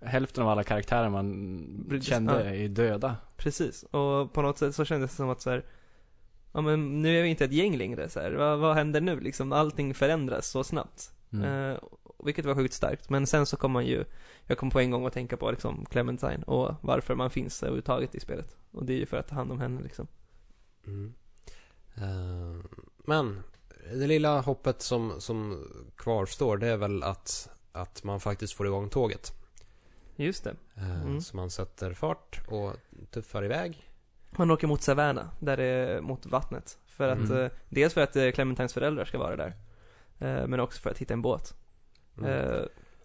[SPEAKER 2] Hälften av alla karaktärer man
[SPEAKER 1] Precis,
[SPEAKER 2] kände
[SPEAKER 1] ja.
[SPEAKER 2] är ju döda.
[SPEAKER 1] Precis. Och på något sätt så kändes det som att så här. Ja men nu är vi inte ett gäng längre så här. Vad, vad händer nu liksom? Allting förändras så snabbt.
[SPEAKER 2] Mm.
[SPEAKER 1] Eh, vilket var sjukt starkt. Men sen så kom man ju, jag kom på en gång att tänka på liksom Clementine och varför man finns överhuvudtaget i spelet. Och det är ju för att ta hand om henne liksom.
[SPEAKER 3] Mm. Eh, men det lilla hoppet som, som kvarstår det är väl att, att man faktiskt får igång tåget.
[SPEAKER 1] Just det.
[SPEAKER 3] Eh,
[SPEAKER 1] Mm.
[SPEAKER 3] Så man sätter fart och tuffar iväg.
[SPEAKER 1] Man åker mot Savanna, där det är mot vattnet. För att,
[SPEAKER 3] Mm.
[SPEAKER 1] eh, dels för att eh, Clementines föräldrar ska vara där. Eh, men också för att hitta en båt.
[SPEAKER 3] Mm.
[SPEAKER 1] Eh,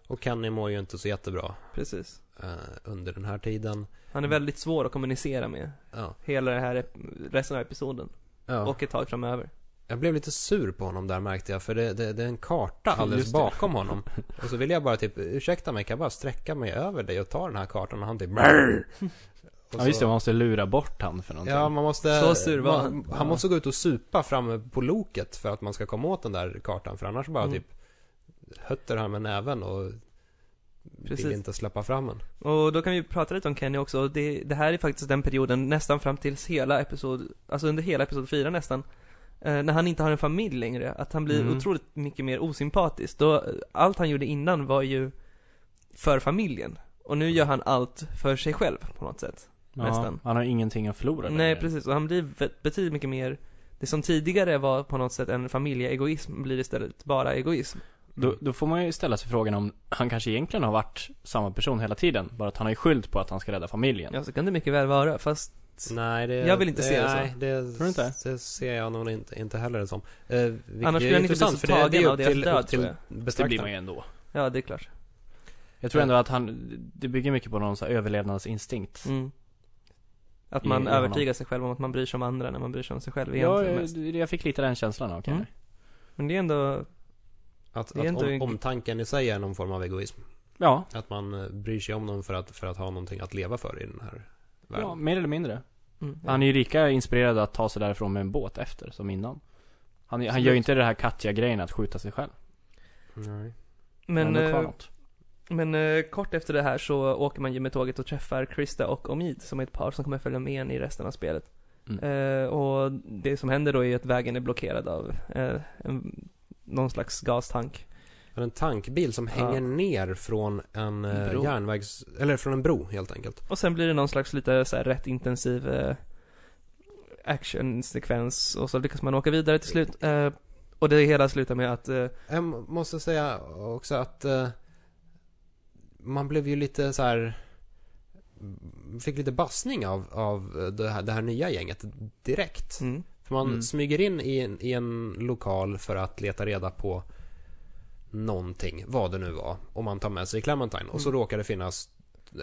[SPEAKER 3] Och Kenny mår ju inte så jättebra
[SPEAKER 1] precis.
[SPEAKER 3] eh, under den här tiden.
[SPEAKER 1] Han är väldigt svår att kommunicera med.
[SPEAKER 3] Ja.
[SPEAKER 1] Hela den här, ep- resten av episoden.
[SPEAKER 3] Ja.
[SPEAKER 1] Och ett tag framöver.
[SPEAKER 3] Jag blev lite sur på honom där märkte jag, för det, det, det är en karta alldeles
[SPEAKER 2] Just det.
[SPEAKER 3] bakom honom. Och så ville jag bara typ, ursäkta mig, kan jag bara sträcka mig över dig och ta den här kartan? Och han typ, "Brr!" Och
[SPEAKER 2] Ja just
[SPEAKER 3] så-
[SPEAKER 2] det, man måste lura bort han för någonting.
[SPEAKER 3] Ja, man måste...
[SPEAKER 1] Så sur var han.
[SPEAKER 3] man, han måste gå ut och supa framme på loket för att man ska komma åt den där kartan. För annars bara
[SPEAKER 1] Mm.
[SPEAKER 3] typ hötter han med näven och
[SPEAKER 1] Precis.
[SPEAKER 3] vill inte släppa fram den.
[SPEAKER 1] Och då kan vi prata lite om Kenny också. Det, det här är faktiskt den perioden nästan fram tills hela episod, alltså under hela episod 4 nästan. eh, När han inte har en familj längre, att han blir
[SPEAKER 2] Mm.
[SPEAKER 1] otroligt mycket mer osympatisk. Då, eh, allt han gjorde innan var ju för familjen. Och nu gör han allt för sig själv på något sätt.
[SPEAKER 2] Ja,
[SPEAKER 1] nästan.
[SPEAKER 2] Han har ingenting att förlora
[SPEAKER 1] Nej
[SPEAKER 2] längre.
[SPEAKER 1] precis, och han blir ve- betydligt mycket mer det som tidigare var på något sätt en familjeegoism blir istället bara egoism.
[SPEAKER 2] Då, då får man ju ställa sig frågan om han kanske egentligen har varit samma person hela tiden. Bara att han har ju skylt på att han ska rädda familjen.
[SPEAKER 1] Ja, så kan det mycket väl vara, fast
[SPEAKER 3] Nej, det...
[SPEAKER 1] Jag vill inte
[SPEAKER 3] det,
[SPEAKER 1] se det så.
[SPEAKER 3] nej, det.
[SPEAKER 2] Tror du inte?
[SPEAKER 3] Det ser jag nog inte, inte heller det som. Eh, vilket
[SPEAKER 1] Annars
[SPEAKER 3] är
[SPEAKER 1] skulle han inte bli
[SPEAKER 3] intressant,
[SPEAKER 1] så
[SPEAKER 3] för det- det är
[SPEAKER 1] tagen
[SPEAKER 3] ju
[SPEAKER 1] av
[SPEAKER 3] upp
[SPEAKER 1] deras
[SPEAKER 3] till-
[SPEAKER 1] död,
[SPEAKER 3] upp till
[SPEAKER 1] tror jag.
[SPEAKER 2] Det
[SPEAKER 3] betraktaren.
[SPEAKER 2] blir man ju ändå.
[SPEAKER 1] ja det är klart.
[SPEAKER 2] Jag tror ändå att han, det bygger mycket på någon så här överlevnadsinstinkt.
[SPEAKER 1] Mm. Att
[SPEAKER 2] I- i
[SPEAKER 1] man
[SPEAKER 2] honom.
[SPEAKER 1] övertygar sig själv om att man bryr sig om andra när man bryr sig om sig själv
[SPEAKER 2] Ja,
[SPEAKER 1] egentligen
[SPEAKER 2] jag,
[SPEAKER 1] mest.
[SPEAKER 2] jag fick lite den känslan av Kenny.
[SPEAKER 1] Mm. Men det är ändå,
[SPEAKER 3] Att,
[SPEAKER 1] Det är
[SPEAKER 3] att
[SPEAKER 1] inte
[SPEAKER 3] om,
[SPEAKER 1] en-
[SPEAKER 3] omtanken i sig är någon form av egoism.
[SPEAKER 2] Ja,
[SPEAKER 3] Att man eh, bryr sig om någon för att, för att ha någonting att leva för i den här världen.
[SPEAKER 2] ja, mer eller mindre.
[SPEAKER 1] mm,
[SPEAKER 2] Han är ju lika inspirerad att ta sig därifrån med en båt efter, som innan. Han, han
[SPEAKER 1] Absolut.
[SPEAKER 2] gör ju inte det här Katja-grejen att skjuta sig själv.
[SPEAKER 3] Nej.
[SPEAKER 1] men,
[SPEAKER 2] ändå kvar
[SPEAKER 1] eh,
[SPEAKER 2] något.
[SPEAKER 1] men eh, kort efter det här så åker man ju med tåget och träffar Krista och Omid som är ett par som kommer följa med en i resten av spelet.
[SPEAKER 2] Mm.
[SPEAKER 1] Eh, och det som händer då är att vägen är blockerad av eh, en, någon slags gastank.
[SPEAKER 3] Men en tankbil som hänger
[SPEAKER 1] Ja.
[SPEAKER 3] ner från en eh,
[SPEAKER 1] Bro.
[SPEAKER 3] järnvägs... Eller från en bro helt enkelt.
[SPEAKER 1] Och sen blir det någon slags lite så här rätt intensiv eh, actionsekvens och så lyckas man åka vidare till slut. Eh, och det hela slutar med att eh,
[SPEAKER 3] Jag m- måste säga också att eh, man blev ju lite så här fick lite bassning av, av det, här, det här nya gänget direkt.
[SPEAKER 1] mm,
[SPEAKER 3] För man
[SPEAKER 2] Mm.
[SPEAKER 3] smyger in i en, i en lokal för att leta reda på någonting, vad det nu var. Och man tar med sig Clementine. Och så
[SPEAKER 1] Mm.
[SPEAKER 3] råkar det finnas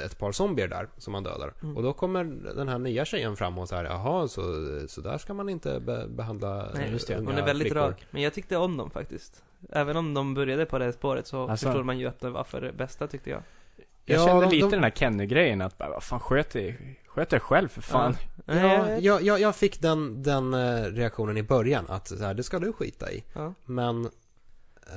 [SPEAKER 3] ett par zombier där som man dödar.
[SPEAKER 1] Mm.
[SPEAKER 3] Och då kommer den här nya tjejen fram och så här, jaha, så, så där ska man inte be- behandla eh,
[SPEAKER 1] Nej,
[SPEAKER 2] just det.
[SPEAKER 3] unga
[SPEAKER 1] Hon är väldigt
[SPEAKER 3] flickor.
[SPEAKER 1] rak, men jag tyckte om dem faktiskt. Även om de började på det här spåret så
[SPEAKER 2] Alltså.
[SPEAKER 1] förstod man ju att det var för det bästa tyckte jag.
[SPEAKER 2] Jag
[SPEAKER 3] Ja,
[SPEAKER 2] kände
[SPEAKER 3] de-
[SPEAKER 2] lite
[SPEAKER 3] de-
[SPEAKER 2] den här Kenny-grejen att bara, vad fan sköt dig, sköt dig själv för fan.
[SPEAKER 1] Eh.
[SPEAKER 3] Ja, jag, jag, jag fick den, den eh, reaktionen i början att så här, det ska du skita i.
[SPEAKER 1] Ja.
[SPEAKER 3] Men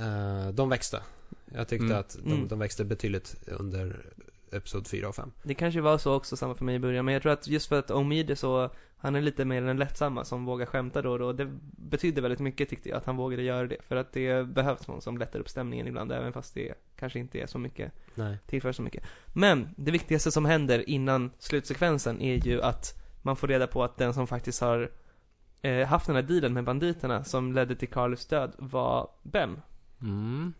[SPEAKER 3] eh, de växte. Jag tyckte
[SPEAKER 2] Mm.
[SPEAKER 3] att de,
[SPEAKER 1] Mm.
[SPEAKER 3] de växte betydligt under Episod 4 och 5.
[SPEAKER 1] Det kanske var så också, samma för mig i början, men jag tror att just för att Omid är så, han är lite mer den lättsamma som vågar skämta då och då. Det betyder väldigt mycket tyckte jag, att han vågade göra det. För att det behövs någon som lättar upp stämningen ibland, även fast det kanske inte är så mycket,
[SPEAKER 3] Nej.
[SPEAKER 1] tillför så mycket. Men, det viktigaste som händer innan slutsekvensen är ju att man får reda på att den som faktiskt har eh, haft den här dealen med banditerna som ledde till Carlos död var Bem.
[SPEAKER 2] Mm.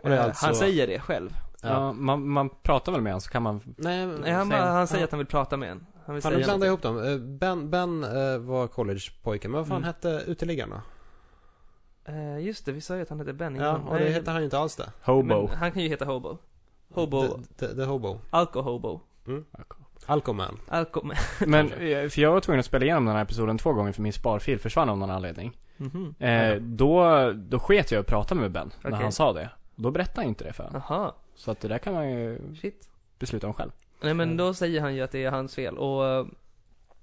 [SPEAKER 3] Och det är
[SPEAKER 1] Eh,
[SPEAKER 3] alltså-
[SPEAKER 1] Han säger det själv.
[SPEAKER 3] Ja.
[SPEAKER 2] Ja. man, man pratar väl med honom så kan man...
[SPEAKER 3] Nej,
[SPEAKER 1] Nej, han,
[SPEAKER 2] Säger-
[SPEAKER 1] han säger
[SPEAKER 3] Ja.
[SPEAKER 1] att han vill prata med en. Han vill
[SPEAKER 3] Fan, nu
[SPEAKER 1] säga
[SPEAKER 3] blandar
[SPEAKER 1] någonting.
[SPEAKER 3] jag ihop dem. Eh, Ben, ben eh, var collegepojken, men vad fan
[SPEAKER 1] Mm.
[SPEAKER 3] hette uteliggarna?
[SPEAKER 1] Eh, just det, vi sa ju att han hette Ben
[SPEAKER 3] Ja,
[SPEAKER 1] innan.
[SPEAKER 3] och det
[SPEAKER 1] Nej,
[SPEAKER 3] hette han ju inte alls det.
[SPEAKER 2] Hobo.
[SPEAKER 1] Men han kan ju heta Hobo. Hobo,
[SPEAKER 3] The, the, the Hobo.
[SPEAKER 1] Alcohobo.
[SPEAKER 3] Alcoman.
[SPEAKER 1] Alco...
[SPEAKER 2] Men, eh, för jag var tvungen att spela igenom den här episoden två gånger för min sparfil försvann av någon anledning.
[SPEAKER 1] Mhm.
[SPEAKER 2] Eh, då, då sket jag att prata med Ben när
[SPEAKER 1] Okej.
[SPEAKER 2] han sa det. Då berättade jag inte det för honom.
[SPEAKER 1] Jaha,
[SPEAKER 2] Så att det där kan man ju
[SPEAKER 1] shit.
[SPEAKER 2] besluta om själv.
[SPEAKER 1] Nej men då säger han ju att det är hans fel och eh,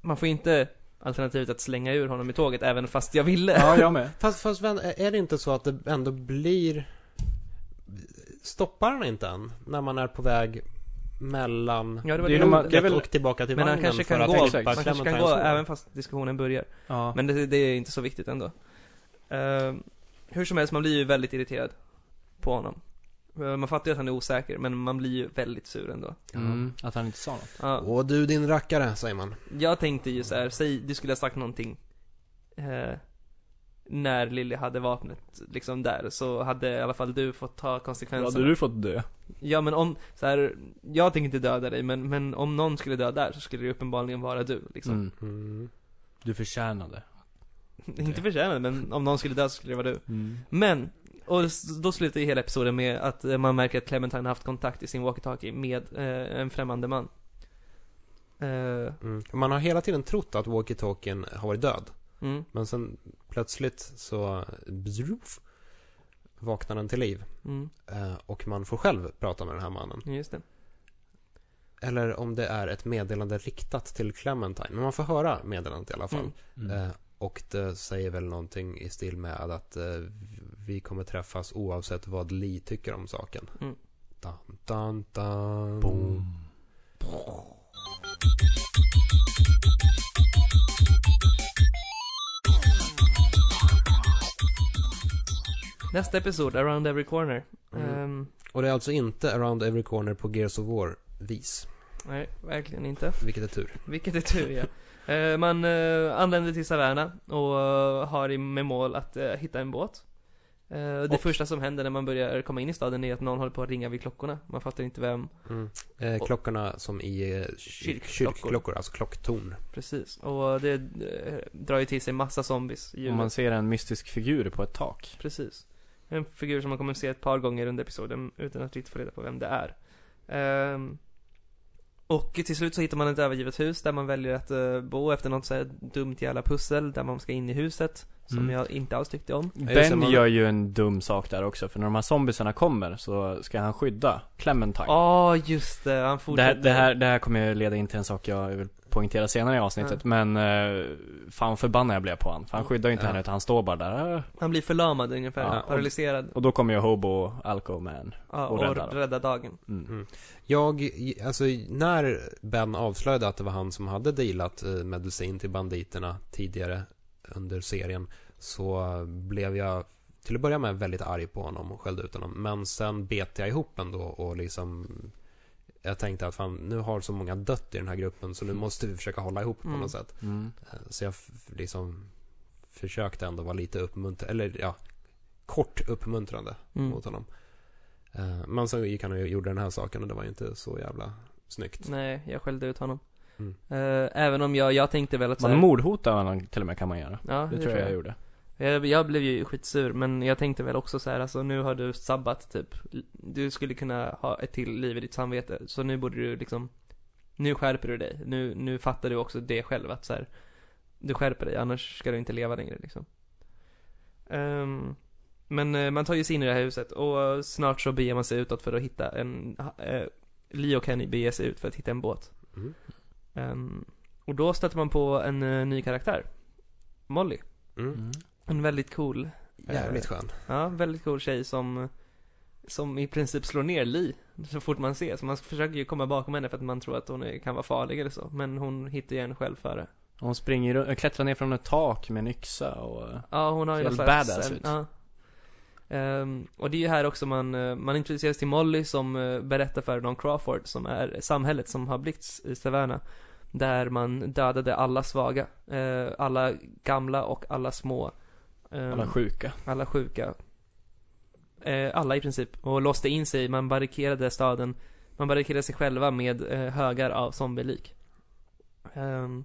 [SPEAKER 1] man får inte alternativet att slänga ur honom i tåget även fast jag ville.
[SPEAKER 2] Ja, jag med.
[SPEAKER 3] Fast, fast vän, är det inte så att det ändå blir... Stoppar han inte en när man är på väg mellan
[SPEAKER 1] Ja, det var
[SPEAKER 2] Det är
[SPEAKER 1] det.
[SPEAKER 2] när man-
[SPEAKER 1] jag
[SPEAKER 3] det är
[SPEAKER 1] gjorde.
[SPEAKER 3] väl... och tillbaka till
[SPEAKER 1] men han
[SPEAKER 3] vagnen
[SPEAKER 1] kanske
[SPEAKER 3] för
[SPEAKER 1] kan
[SPEAKER 3] att
[SPEAKER 1] gå,
[SPEAKER 3] hjälpa
[SPEAKER 1] man kanske kan gå
[SPEAKER 3] Clementines son?
[SPEAKER 1] även fast diskussionen börjar.
[SPEAKER 2] Ja.
[SPEAKER 1] Men det, det är inte så viktigt ändå. Eh, hur som helst, man blir ju väldigt irriterad på honom. Eh, Man fattar ju att han är osäker, men man blir ju väldigt sur ändå.
[SPEAKER 2] Mm, att han inte sa något.
[SPEAKER 1] Ja.
[SPEAKER 3] Åh du din rackare, säger man.
[SPEAKER 1] Jag tänkte ju så här, säg, du skulle ha sagt någonting eh, När Lilly hade vapnet liksom där, så hade i alla fall du fått ta konsekvenserna
[SPEAKER 2] fått dö?
[SPEAKER 1] Ja men om, så här, jag tänker inte döda dig men, men om någon skulle döda där så skulle det uppenbarligen vara du liksom
[SPEAKER 2] Mm.
[SPEAKER 3] Mm.
[SPEAKER 2] Du förtjänade.
[SPEAKER 1] Inte förtjänad men om någon skulle dö så skulle det vara du
[SPEAKER 3] Mm.
[SPEAKER 1] Men, och s- då slutar ju hela episoden med att eh, man märker att Clementine har haft kontakt i sin walkie-talkie med eh, en främmande man eh,
[SPEAKER 3] Mm. Man har hela tiden trott att walkie-talkien har varit död.
[SPEAKER 1] mm,
[SPEAKER 3] Men sen plötsligt så bzruf, vaknar den till liv.
[SPEAKER 1] mm,
[SPEAKER 3] eh, Och man får själv prata med den här mannen.
[SPEAKER 1] just det
[SPEAKER 3] Eller om det är ett meddelande riktat till Clementine. Men man får höra meddelandet i alla fall.
[SPEAKER 1] Mm.
[SPEAKER 3] Eh, Och det säger väl någonting i stil med att eh, vi kommer träffas oavsett vad Lee tycker om saken.
[SPEAKER 1] Mm.
[SPEAKER 3] Dun, dun, dun.
[SPEAKER 1] Nästa episod, Around Every Corner
[SPEAKER 3] Mm.
[SPEAKER 1] Ehm,
[SPEAKER 3] Och det är alltså inte around every corner på Gears of War-vis.
[SPEAKER 1] Nej, verkligen inte
[SPEAKER 3] Vilket är tur.
[SPEAKER 1] Vilket är tur ja. Eh, Man eh, anländer till Savanna och eh, har i- med mål att eh, hitta en båt. Eh, Det
[SPEAKER 2] Och-
[SPEAKER 1] första som händer när man börjar komma in i staden är att någon håller på att ringa vid klockorna. Man fattar inte vem
[SPEAKER 3] Eh,
[SPEAKER 1] Och-
[SPEAKER 3] klockorna som i eh, kyr-
[SPEAKER 1] Kyrkklockor.
[SPEAKER 3] kyrkklockor, alltså klocktorn.
[SPEAKER 1] precis. Och det eh, drar ju till sig massa zombies. i
[SPEAKER 2] Om man
[SPEAKER 1] hjulet.
[SPEAKER 2] ser en mystisk figur på ett tak.
[SPEAKER 1] Precis. En figur som man kommer att se ett par gånger under episoden utan att riktigt få reda på vem det är. Ehm, och till slut så hittar man ett övergivet hus där man väljer att eh, bo efter något så här dumt jävla pussel där man ska in i huset. Som
[SPEAKER 2] Mm.
[SPEAKER 1] jag inte alls tyckte om.
[SPEAKER 3] just det,
[SPEAKER 2] Ben
[SPEAKER 3] man-
[SPEAKER 2] gör ju en dum sak där också, för när de här zombiesarna kommer så ska han skydda Clementine.
[SPEAKER 1] Ja, just det. Han
[SPEAKER 2] det, här,
[SPEAKER 1] fortsätter.
[SPEAKER 2] det, här, det här kommer ju leda in till en sak jag vill poängtera senare i avsnittet, men eh, fan förbannad jag blev på han. För han skyddar ju inte
[SPEAKER 3] Ja.
[SPEAKER 2] henne utan han står bara där. eh.
[SPEAKER 1] Han blir förlamad ungefär.
[SPEAKER 2] Ja, och-
[SPEAKER 1] paralyserad.
[SPEAKER 2] Och då kommer ju Hobo Alco Man.
[SPEAKER 1] Ja,
[SPEAKER 2] och
[SPEAKER 1] och,
[SPEAKER 2] räddar
[SPEAKER 1] rädda
[SPEAKER 2] dem.
[SPEAKER 1] dagen.
[SPEAKER 2] Mm.
[SPEAKER 3] Jag, alltså när Ben avslöjade att det var han som hade dealat eh, medicin till banditerna tidigare under serien så blev jag till att börja med väldigt arg på honom och skällde ut honom. Men sen bet jag ihop ändå och liksom jag tänkte att fan, nu har så många dött i den här gruppen så nu måste vi försöka hålla ihop på
[SPEAKER 1] Mm.
[SPEAKER 3] något sätt. Eh,
[SPEAKER 2] Mm.
[SPEAKER 3] Så jag f- liksom försökte ändå vara lite uppmuntrande, eller ja, kort uppmuntrande
[SPEAKER 1] Mm.
[SPEAKER 3] mot honom. Eh, Men sen gick han och gjorde den här saken och det var ju inte så jävla snyggt.
[SPEAKER 1] Nej, jag skällde ut honom.
[SPEAKER 3] Mm.
[SPEAKER 1] Eh, även om jag, jag tänkte väl att så
[SPEAKER 2] Man
[SPEAKER 1] här-
[SPEAKER 2] mordhotar honom till och med kan man göra.
[SPEAKER 1] Ja,
[SPEAKER 2] Det tror jag jag gjorde.
[SPEAKER 1] Jag, jag blev ju skitsur, men jag tänkte väl också så här, alltså nu har du sabbat typ. Du skulle kunna ha ett till liv i ditt samvete, så nu borde du liksom Nu skärper du dig, nu, nu fattar du också det själv att så här, Du skärper dig, annars ska du inte leva längre liksom Ehm, Men eh, man tar ju sig in i det här huset och eh, snart så beger man sig utåt för att hitta en eh, Lee och Kenny beger sig ut för att hitta en båt
[SPEAKER 3] Mm.
[SPEAKER 1] Ehm, Och då stöter man på en eh, ny karaktär Molly
[SPEAKER 3] Mm. Eh,
[SPEAKER 1] En väldigt cool
[SPEAKER 3] Jävligt skön.
[SPEAKER 1] Ja, väldigt cool tjej som Som i princip slår ner Li så fort man ser. Så man försöker ju komma bakom henne för att man tror att hon är, kan vara farlig eller så. Men hon hittar ju en själv före.
[SPEAKER 2] Hon springer ru- äh, klättrar ner från ett tak med en yxa och... eh,
[SPEAKER 1] Ja, hon har ju
[SPEAKER 2] Ser
[SPEAKER 1] någon
[SPEAKER 2] helt
[SPEAKER 1] slags...
[SPEAKER 2] badass ut.
[SPEAKER 1] Ja. Ehm, och det är ju här också man, eh, man introduceras till Molly som eh, berättar för Don Crawford som är samhället som har blivit i Savannah. Där man dödade alla svaga. eh, alla gamla och alla små. ehm,
[SPEAKER 2] Alla sjuka.
[SPEAKER 1] alla sjuka. Eh, alla i princip. Och låste in sig, man barrikerade staden. Man barrikerade sig själva med eh, högar av zombielik. Ehm,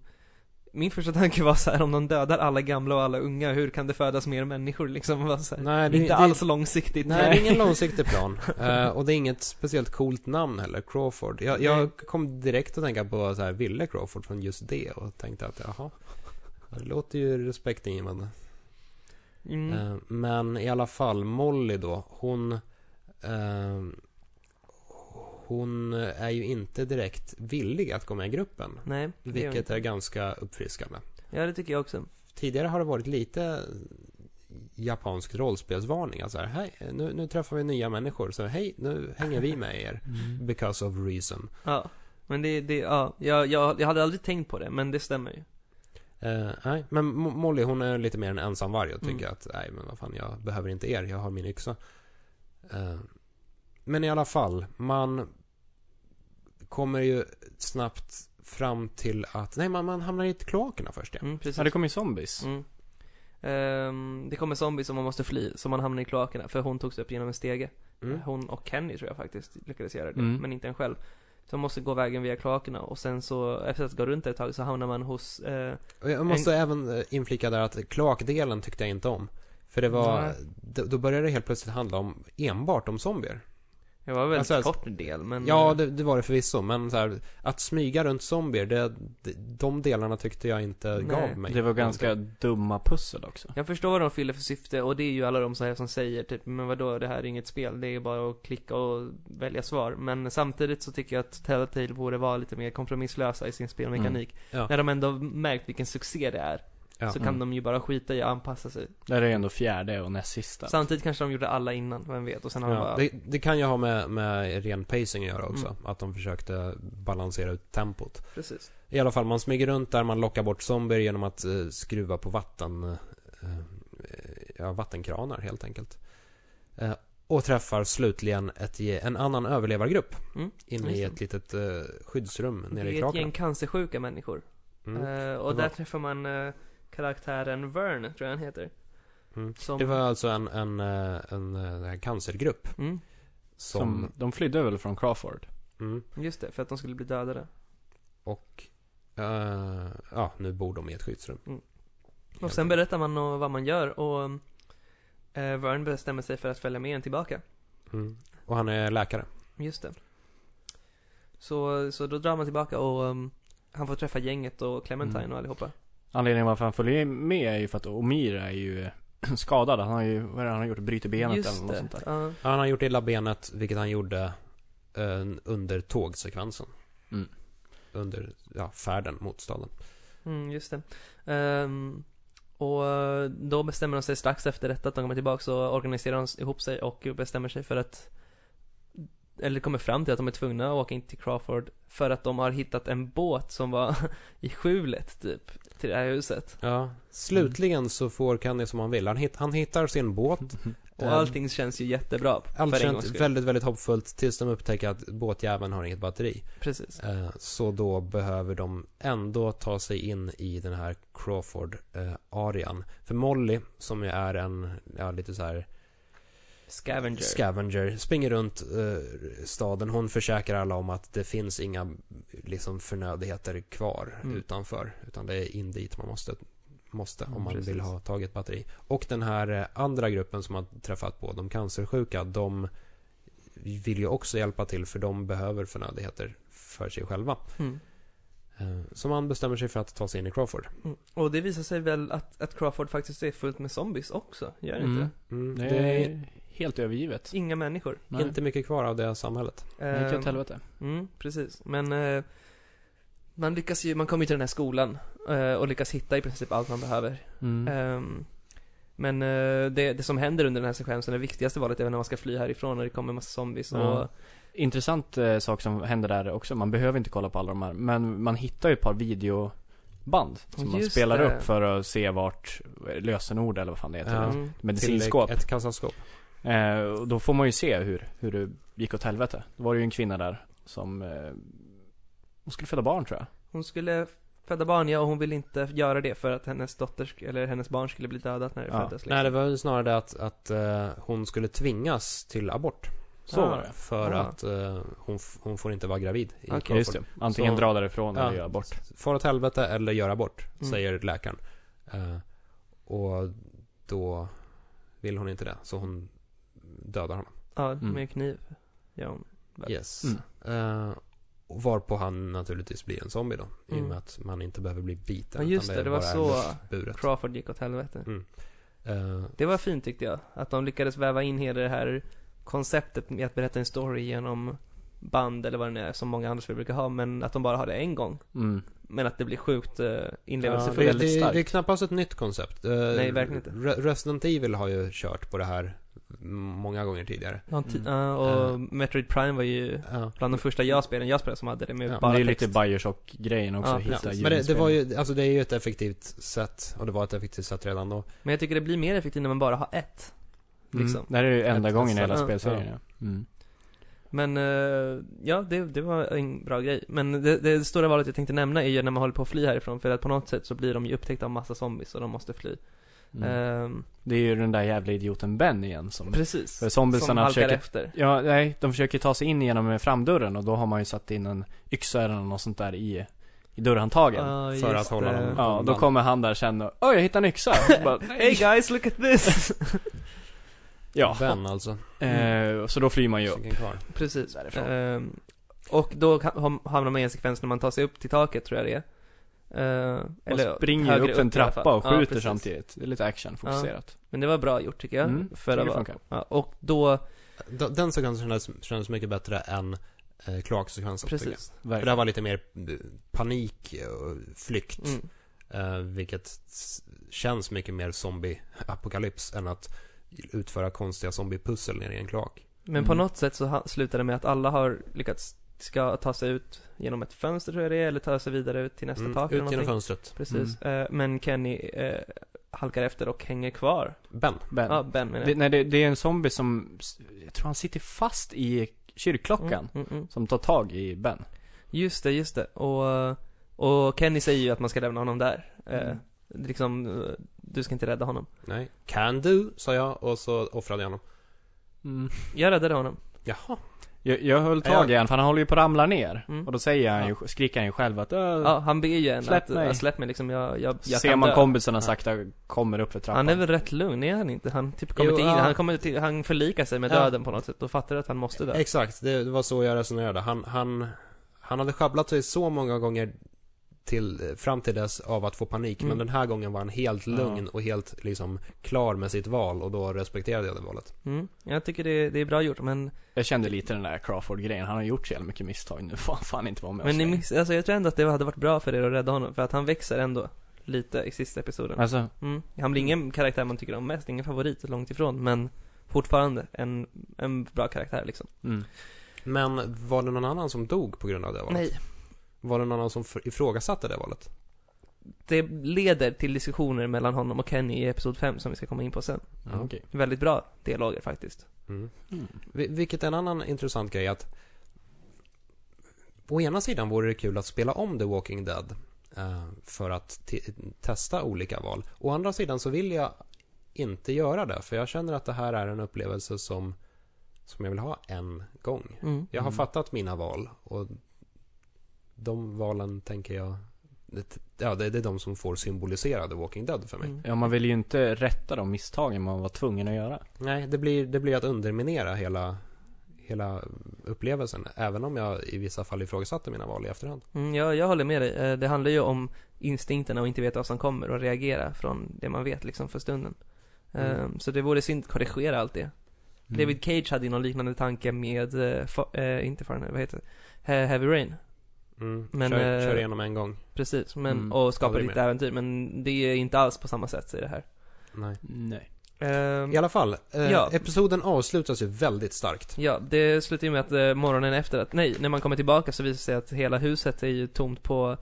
[SPEAKER 1] min första tanke var så här, om de dödar alla gamla och alla unga, hur kan det födas mer människor liksom? Var så här,
[SPEAKER 3] Nej,
[SPEAKER 1] inte alls långsiktigt. Mm.
[SPEAKER 3] Nej, det är ingen långsiktig plan. Eh, och det är inget speciellt coolt namn heller, Crawford. Jag,
[SPEAKER 1] Nej.
[SPEAKER 3] jag kom direkt att tänka på så här, Ville Crawford från just det och tänkte att jaha, det låter ju respektingivande.
[SPEAKER 1] Mm.
[SPEAKER 3] Eh, Men i alla fall, Molly då, hon... Eh, hon är ju inte direkt villig att gå med i gruppen.
[SPEAKER 1] Nej, det gör
[SPEAKER 3] Vilket
[SPEAKER 1] inte.
[SPEAKER 3] är ganska uppfriskande.
[SPEAKER 1] Ja, det tycker jag också.
[SPEAKER 3] Tidigare har det varit lite japansk rollspelsvarning. Alltså, hej, nu, nu träffar vi nya människor. Så hej, nu hänger vi med er.
[SPEAKER 1] Mm.
[SPEAKER 3] Because of reason.
[SPEAKER 1] Ja. Men det, det ja, jag, jag, jag hade aldrig tänkt på det, men det stämmer ju.
[SPEAKER 3] Eh, nej, men Mo- Molly hon är lite mer en ensamvarg och tycker
[SPEAKER 1] Mm.
[SPEAKER 3] att nej men vad fan jag behöver inte er, jag har min yxa. Eh, men i alla fall, man kommer ju snabbt fram till att, nej man, man hamnar i kloakerna först ja.
[SPEAKER 1] Mm, precis.
[SPEAKER 2] Ja, det kommer ju zombies.
[SPEAKER 1] Mm. Ehm, det kommer zombies som man måste fly, så man hamnar i kloakerna, för hon togs upp genom en stege.
[SPEAKER 3] Mm.
[SPEAKER 1] Hon och Kenny tror jag faktiskt lyckades göra det,
[SPEAKER 2] Mm.
[SPEAKER 1] men inte en själv. Så man måste gå vägen via kloakerna och sen så, efter att gå runt där ett tag så hamnar man hos, eh,
[SPEAKER 3] Och jag måste även eh, inflika där att kloakdelen tyckte jag inte om. För det var,
[SPEAKER 1] Nej.
[SPEAKER 3] då då började det helt plötsligt handla om enbart om zombier.
[SPEAKER 1] det var väl
[SPEAKER 3] Alltså,
[SPEAKER 1] en
[SPEAKER 3] alltså-
[SPEAKER 1] kort del men eh,
[SPEAKER 3] Ja, det, det var det förvisso, men så här, att smyga runt zombier, det, de- de delarna tyckte jag inte
[SPEAKER 1] Nej.
[SPEAKER 3] gav mig.
[SPEAKER 2] Det var ganska dumma pussel också.
[SPEAKER 1] Jag förstår vad de fyller för syfte och det är ju alla de så här som säger typ, men vadå det här är inget spel, det är bara att klicka och välja svar. Men samtidigt så tycker jag att Telltale borde vara lite mer kompromisslösa i sin spelmekanik.
[SPEAKER 3] Ja.
[SPEAKER 1] När de ändå märkt vilken succé det är,
[SPEAKER 3] Ja.
[SPEAKER 1] så kan
[SPEAKER 2] Mm.
[SPEAKER 1] de ju bara skita i och anpassa sig.
[SPEAKER 2] Det här är ändå fjärde och näst sista.
[SPEAKER 1] Samtidigt kanske de gjorde alla innan, vem vet? Och sen har de
[SPEAKER 3] Ja,
[SPEAKER 1] bara,
[SPEAKER 3] det, det kan ju ha med, med ren pacing att göra också.
[SPEAKER 1] Mm.
[SPEAKER 3] Att de försökte balansera ut tempot.
[SPEAKER 1] precis.
[SPEAKER 3] I alla fall, man smyger runt där, man lockar bort zombier genom att eh, skruva på vatten, eh, eh, ja, vattenkranar helt enkelt. Eh, och träffar slutligen ett, ge- en annan överlevargrupp
[SPEAKER 1] Mm,
[SPEAKER 3] inne
[SPEAKER 1] just
[SPEAKER 3] i
[SPEAKER 1] det.
[SPEAKER 3] ett litet eh, skyddsrum
[SPEAKER 1] Det
[SPEAKER 3] nere i
[SPEAKER 1] är ett gäng
[SPEAKER 3] kraken.
[SPEAKER 1] cancersjuka människor.
[SPEAKER 3] Mm.
[SPEAKER 1] Eh, och
[SPEAKER 3] Det
[SPEAKER 1] där
[SPEAKER 3] var-
[SPEAKER 1] träffar man eh, karaktären Vern, tror jag han heter.
[SPEAKER 3] Mm.
[SPEAKER 1] Som,
[SPEAKER 3] Det var alltså en, en, eh, en, eh, cancergrupp
[SPEAKER 1] mm,
[SPEAKER 3] som...
[SPEAKER 2] Som, de flydde väl från Crawford?
[SPEAKER 3] Mm,
[SPEAKER 1] just det, för att de skulle bli dödade.
[SPEAKER 3] och... eh, ja, nu bor de i ett skyddsrum.
[SPEAKER 1] Mm. Och
[SPEAKER 3] Helt
[SPEAKER 1] sen
[SPEAKER 3] enkelt.
[SPEAKER 1] berättar man nog vad man gör och eh, Vern bestämmer sig för att följa med en tillbaka.
[SPEAKER 3] Mm. Och han är läkare.
[SPEAKER 1] Just det. Så, så då drar man tillbaka och ehm, han får träffa gänget och Clementine
[SPEAKER 2] Mm.
[SPEAKER 1] och allihopa.
[SPEAKER 2] Anledningen varför han följer med är ju för att Omir är ju eh, skadad. Han har ju, vad är det han har gjort? Bryter benet eller
[SPEAKER 1] Just
[SPEAKER 2] något
[SPEAKER 1] det.
[SPEAKER 2] sånt där.
[SPEAKER 1] ja.
[SPEAKER 3] Ja, Han har gjort illa benet, vilket han gjorde eh, under tågsekvensen.
[SPEAKER 2] Mm.
[SPEAKER 3] Under ja, färden mot staden.
[SPEAKER 1] Mm, just det. Ehm, och eh, då bestämmer de sig strax efter detta att de kommer tillbaka så organiserar de ihop sig och bestämmer sig för att eller kommer fram till att de är tvungna att åka in till Crawford för att de har hittat en båt som var i skjulet typ till det här huset.
[SPEAKER 3] Ja. Slutligen så får Kenny som han vill. Han, hitt, han hittar sin båt.
[SPEAKER 1] Och
[SPEAKER 3] Ehm,
[SPEAKER 1] allting känns ju jättebra.
[SPEAKER 3] Allt
[SPEAKER 1] för en gångs
[SPEAKER 3] känns
[SPEAKER 1] skull.
[SPEAKER 3] väldigt, väldigt hoppfullt tills de upptäcker att båtjäveln har inget batteri.
[SPEAKER 1] Precis.
[SPEAKER 3] Eh, så då behöver de ändå ta sig in i den här Crawford-arian. För Molly, som ju är en, ja lite så här
[SPEAKER 1] Scavenger.
[SPEAKER 3] Scavenger. Springer runt eh, staden. Hon försäkrar alla om att det finns inga liksom, förnödenheter kvar
[SPEAKER 1] Mm.
[SPEAKER 3] utanför. Utan det är in dit man måste, måste
[SPEAKER 1] Mm,
[SPEAKER 3] om man
[SPEAKER 1] precis.
[SPEAKER 3] vill ha taget batteri. Och den här eh, andra gruppen som man träffat på, de cancersjuka, de vill ju också hjälpa till för de behöver förnödenheter för sig själva.
[SPEAKER 1] Mm.
[SPEAKER 3] Eh, Så man bestämmer sig för att ta sig in i Crawford.
[SPEAKER 1] Mm. Och det visar sig väl att, att Crawford faktiskt är fullt med zombies också, gör det
[SPEAKER 2] Mm.
[SPEAKER 1] inte?
[SPEAKER 3] Mm,
[SPEAKER 2] Det
[SPEAKER 3] det är
[SPEAKER 2] är helt övergivet.
[SPEAKER 1] Inga människor.
[SPEAKER 2] Nej.
[SPEAKER 3] inte mycket kvar av det samhället.
[SPEAKER 2] Det gick åt
[SPEAKER 1] Ehm,
[SPEAKER 2] helvete.
[SPEAKER 1] Mm, precis. Men eh, man lyckas ju, man kommer ju till den här skolan eh, och lyckas hitta i princip allt man behöver.
[SPEAKER 2] Mm.
[SPEAKER 1] Ehm, Men eh, det, det som händer under den här sekvensen, det viktigaste valet är väl när man ska fly härifrån när det kommer en massa zombies
[SPEAKER 2] Ja.
[SPEAKER 1] och
[SPEAKER 2] Intressant eh, sak som händer där också, man behöver inte kolla på alla de här, men man hittar ju ett par videoband som man
[SPEAKER 1] Just
[SPEAKER 2] spelar
[SPEAKER 1] det.
[SPEAKER 2] upp för att se vart eh, lösenord eller vad fan det heter.
[SPEAKER 3] Ja.
[SPEAKER 1] Mm.
[SPEAKER 2] Medicinskåp.
[SPEAKER 3] Till ett kassaskåp.
[SPEAKER 2] Eh, och då får man ju se hur, hur det gick åt helvete. Då var det ju en kvinna där som eh, hon skulle föda barn tror jag.
[SPEAKER 1] Hon skulle föda barn, ja, och hon ville inte göra det för att hennes dotter, sk- eller hennes barn skulle bli dödat när det
[SPEAKER 2] Ja.
[SPEAKER 1] föddes liksom.
[SPEAKER 3] Nej, det var ju snarare det att, att eh, hon skulle tvingas till abort.
[SPEAKER 2] Så
[SPEAKER 1] Ah.
[SPEAKER 2] var det.
[SPEAKER 3] För
[SPEAKER 1] Ah.
[SPEAKER 3] att eh, hon, f- hon får inte vara gravid. i
[SPEAKER 1] Okej.
[SPEAKER 2] Ja, just
[SPEAKER 3] Crawford.
[SPEAKER 2] det. Antingen
[SPEAKER 3] Så-
[SPEAKER 2] dra därifrån
[SPEAKER 3] Ja.
[SPEAKER 2] eller göra bort.
[SPEAKER 3] Far åt helvete eller gör abort,
[SPEAKER 1] Mm.
[SPEAKER 3] säger läkaren. Eh, och då vill hon inte det, så hon dödar honom.
[SPEAKER 1] Ja,
[SPEAKER 2] Mm.
[SPEAKER 1] med kniv. Ja, hon. Väl.
[SPEAKER 3] Yes.
[SPEAKER 2] Mm.
[SPEAKER 3] Eh, och varpå han naturligtvis blir en zombie då, i och
[SPEAKER 1] Mm.
[SPEAKER 3] med att man inte behöver bli biten.
[SPEAKER 1] Ja, just
[SPEAKER 3] utan
[SPEAKER 1] det, det var
[SPEAKER 3] bara är
[SPEAKER 1] så
[SPEAKER 3] Buret.
[SPEAKER 1] Crawford gick åt helvete.
[SPEAKER 3] Eh,
[SPEAKER 1] Det var fint tyckte jag, att de lyckades väva in hela det här konceptet med att berätta en story genom band eller vad det nu är som många andra spel brukar ha, men att de bara har det en gång.
[SPEAKER 2] Mm.
[SPEAKER 1] Men att det blir sjukt eh,
[SPEAKER 3] Ja,
[SPEAKER 1] inlevelsefullt.
[SPEAKER 3] det,
[SPEAKER 2] väldigt
[SPEAKER 3] det,
[SPEAKER 2] starkt.
[SPEAKER 3] det är knappast ett nytt koncept. Eh,
[SPEAKER 1] Nej, verkligen inte.
[SPEAKER 3] Re- Resident Evil har ju kört på det här många gånger tidigare.
[SPEAKER 1] Ja, ti-
[SPEAKER 2] Mm.
[SPEAKER 1] ja, och
[SPEAKER 3] Eh.
[SPEAKER 1] Metroid Prime var ju
[SPEAKER 3] Ja.
[SPEAKER 1] bland de första jag-spelen jag spelade som hade det med
[SPEAKER 3] Ja, men
[SPEAKER 2] Men
[SPEAKER 1] bara
[SPEAKER 2] det är ju
[SPEAKER 1] text.
[SPEAKER 2] lite Bioshock-grejen också,
[SPEAKER 1] Ja,
[SPEAKER 2] hitta
[SPEAKER 1] precis.
[SPEAKER 2] djur
[SPEAKER 3] Men
[SPEAKER 2] i
[SPEAKER 3] det, det
[SPEAKER 2] spelet.
[SPEAKER 3] var ju, alltså det är ju ett effektivt sätt, och det var ett effektivt sätt redan då.
[SPEAKER 1] Men jag tycker det blir mer effektivt när man bara har ett. liksom.
[SPEAKER 2] Mm. Det här är ju enda
[SPEAKER 3] Ett
[SPEAKER 2] gången i hela
[SPEAKER 1] nästan, ja.
[SPEAKER 2] spelserien ja. Mm.
[SPEAKER 1] Men eh, ja, det, det var en bra grej. Men det, det stora valet jag tänkte nämna är ju när man håller på att fly härifrån. För att på något sätt så blir de ju upptäckta av massa zombies och de måste fly.
[SPEAKER 2] Mm.
[SPEAKER 1] Ehm,
[SPEAKER 2] Det är ju den där jävla idioten Ben igen som
[SPEAKER 1] precis.
[SPEAKER 2] För zombiesarna
[SPEAKER 1] som halkar
[SPEAKER 2] försöker-
[SPEAKER 1] efter.
[SPEAKER 2] Ja, nej, de försöker ta sig in genom framdörren och då har man ju satt in en yxa eller något sånt där i, i dörrhandtagen.
[SPEAKER 1] Ja,
[SPEAKER 3] för
[SPEAKER 1] just
[SPEAKER 3] att hålla
[SPEAKER 1] det.
[SPEAKER 3] dem-
[SPEAKER 2] ja, då kommer han där sen och Oj, jag hittade en yxa! Bara,
[SPEAKER 1] Hey guys, look at this!
[SPEAKER 2] ja,
[SPEAKER 3] Ben alltså.
[SPEAKER 2] eh, så då flyr man ju upp.
[SPEAKER 1] Mm.
[SPEAKER 3] Stycken kvar.
[SPEAKER 1] precis.
[SPEAKER 2] Därifrån.
[SPEAKER 1] Ehm, och då ka- ham- hamnar man i en sekvens när man tar sig upp till taket tror jag det är. Ehm,
[SPEAKER 2] Man
[SPEAKER 1] eller
[SPEAKER 2] springer ju
[SPEAKER 1] högre
[SPEAKER 2] upp för en
[SPEAKER 1] i alla
[SPEAKER 2] trappa
[SPEAKER 1] fall.
[SPEAKER 2] och
[SPEAKER 1] Ja,
[SPEAKER 2] skjuter
[SPEAKER 1] precis.
[SPEAKER 2] samtidigt. Det är lite actionfokuserat.
[SPEAKER 1] Men det var bra gjort tycker jag.
[SPEAKER 2] Mm,
[SPEAKER 1] för
[SPEAKER 2] tycker
[SPEAKER 1] att
[SPEAKER 2] det
[SPEAKER 1] vara,
[SPEAKER 2] funkar.
[SPEAKER 1] ja, och då,
[SPEAKER 3] Den den sekvensen kändes, kändes mycket bättre än eh, Clark-sekvensen. tycker jag.
[SPEAKER 1] precis.
[SPEAKER 3] För
[SPEAKER 2] Verkligen.
[SPEAKER 3] där var lite mer eh, panik och flykt.
[SPEAKER 1] Mm.
[SPEAKER 3] Eh, vilket s- känns mycket mer zombie-apokalyps än att utföra konstiga zombie-pussel nere i en kloak.
[SPEAKER 1] Men på
[SPEAKER 2] Mm.
[SPEAKER 1] något sätt så ha- slutar det med att alla har lyckats ska ta sig ut genom ett fönster tror jag det är, eller ta sig vidare ut till nästa
[SPEAKER 3] Mm,
[SPEAKER 1] tak eller
[SPEAKER 3] ut genom
[SPEAKER 1] någonting.
[SPEAKER 3] fönstret.
[SPEAKER 1] Precis. Eh, men Kenny eh, halkar efter och hänger kvar.
[SPEAKER 3] Ben.
[SPEAKER 1] Ja,
[SPEAKER 2] Ben.
[SPEAKER 1] ah, Ben menar
[SPEAKER 2] det,
[SPEAKER 1] jag.
[SPEAKER 2] nej, det, det är en zombie som, jag tror han sitter fast i kyrkklockan.
[SPEAKER 1] Mm, mm, mm.
[SPEAKER 2] Som tar tag i Ben.
[SPEAKER 1] Just det, just det. Och, och Kenny säger ju att man ska lämna honom där. Eh,
[SPEAKER 2] Mm.
[SPEAKER 1] Liksom, eh, du ska inte rädda honom.
[SPEAKER 3] Nej. Can do, sa jag och så offrade jag honom.
[SPEAKER 1] Mm. Jag räddade honom.
[SPEAKER 3] Jaha.
[SPEAKER 2] Jag, jag höll
[SPEAKER 3] Ja,
[SPEAKER 2] tag
[SPEAKER 3] jag-
[SPEAKER 2] i honom för han håller ju på att ramla ner.
[SPEAKER 1] Mm.
[SPEAKER 2] Och då säger han ju, skriker han ju själv att
[SPEAKER 1] Ja,
[SPEAKER 2] äh,
[SPEAKER 1] han ber ju en
[SPEAKER 2] Släpp
[SPEAKER 1] att,
[SPEAKER 2] mig.
[SPEAKER 1] ja, släpp mig liksom, jag, jag, jag
[SPEAKER 2] Ser
[SPEAKER 1] kan
[SPEAKER 2] man
[SPEAKER 1] dö.
[SPEAKER 2] kompisarna sakta kommer upp för trappan.
[SPEAKER 1] Han är väl rätt lugn, är han inte? Han typ kommer
[SPEAKER 3] Jo,
[SPEAKER 1] till,
[SPEAKER 3] ja.
[SPEAKER 1] han kommer till, han förlikar sig med
[SPEAKER 3] Ja.
[SPEAKER 1] döden på något sätt och fattar att han måste dö.
[SPEAKER 3] Exakt, det det var så jag resonerade. Han, han, han hade sjabblat sig så många gånger till, fram till dess av att få panik.
[SPEAKER 1] Mm.
[SPEAKER 3] Men den här gången var han helt
[SPEAKER 2] Ja.
[SPEAKER 3] lugn och helt liksom klar med sitt val och då respekterade jag det valet.
[SPEAKER 1] Mm. Jag tycker det, det är bra gjort, men,
[SPEAKER 2] Jag kände lite den där Crawford-grejen. Han har gjort så jävla mycket misstag nu. Fan, fan inte vara med
[SPEAKER 1] men
[SPEAKER 2] oss
[SPEAKER 1] ni
[SPEAKER 2] längre.
[SPEAKER 1] miss, alltså jag tror ändå att det hade varit bra för er att rädda honom, för att han växer ändå lite i sista episoden.
[SPEAKER 2] Alltså,
[SPEAKER 1] Mm. Han blir ingen karaktär man tycker om mest, ingen favorit, långt ifrån, men fortfarande en, en bra karaktär liksom.
[SPEAKER 2] mm.
[SPEAKER 3] Men var det någon annan som dog på grund av det valet?
[SPEAKER 1] Nej,
[SPEAKER 3] Var det någon annan som för- ifrågasatte det valet?
[SPEAKER 1] det leder till diskussioner mellan honom och Kenny i episod 5 som vi ska komma in på sen.
[SPEAKER 3] Ja.
[SPEAKER 2] okej.
[SPEAKER 1] Väldigt bra dialoger faktiskt.
[SPEAKER 3] Mm. Vi- Vilket är en annan intressant grej att Å ena sidan vore det kul att spela om The Walking Dead eh, för att te- testa olika val. Å andra sidan så vill jag inte göra det för jag känner att det här är en upplevelse som, som jag vill ha en gång.
[SPEAKER 1] Mm.
[SPEAKER 3] Jag har
[SPEAKER 2] Mm.
[SPEAKER 3] fattat mina val och de valen tänker jag det, ja, det, det är de som får symbolisera The Walking Dead för mig.
[SPEAKER 1] Mm.
[SPEAKER 2] Ja, man vill ju inte rätta de misstagen man var tvungen att göra.
[SPEAKER 3] Nej, det blir, det blir att underminera hela, hela upplevelsen. Även om jag i vissa fall ifrågasatte mina val i efterhand.
[SPEAKER 1] Mm, ja, jag håller med dig. Eh, Det handlar ju om instinkterna och inte veta vad som kommer och reagera från det man vet liksom för stunden. Eh, Så det vore synd att korrigera allt det. David Cage hade ju någon liknande tanke med, eh, fa- eh, inte Fahrenheit, vad heter det? He- Heavy Rain.
[SPEAKER 3] Mm.
[SPEAKER 1] Men,
[SPEAKER 3] kör,
[SPEAKER 1] eh,
[SPEAKER 3] kör igenom en gång.
[SPEAKER 1] Precis, men,
[SPEAKER 2] Mm,
[SPEAKER 1] och skapa
[SPEAKER 3] aldrig
[SPEAKER 1] ditt äventyr. Men det är inte alls på samma sätt i det här.
[SPEAKER 3] Nej.
[SPEAKER 2] Nej.
[SPEAKER 1] Ehm,
[SPEAKER 3] I alla fall, eh,
[SPEAKER 1] Ja.
[SPEAKER 3] episoden avslutas ju väldigt starkt.
[SPEAKER 1] Ja, det slutar ju med att eh, morgonen efter att, nej, när man kommer tillbaka så visar det sig att hela huset är ju tomt på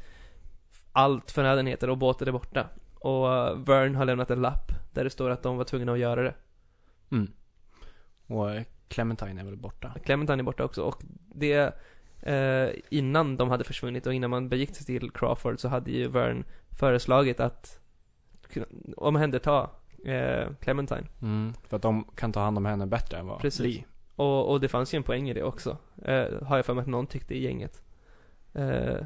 [SPEAKER 1] allt förnödenheter och båten är borta. Och eh, Vern har lämnat en lapp där det står att de var tvungna att göra det.
[SPEAKER 2] Mm. Och eh, Clementine är väl borta.
[SPEAKER 1] Clementine är borta också och det eh, innan de hade försvunnit och innan man begick sig till Crawford så hade ju Vern föreslagit att kunna- omhänderta eh, Clementine.
[SPEAKER 2] Mm. För att de kan ta hand om henne bättre än vad
[SPEAKER 1] Precis.
[SPEAKER 2] Lee.
[SPEAKER 1] Och, och det fanns ju en poäng i det också. Eh, har jag för mig att någon tyckte i gänget. Eh,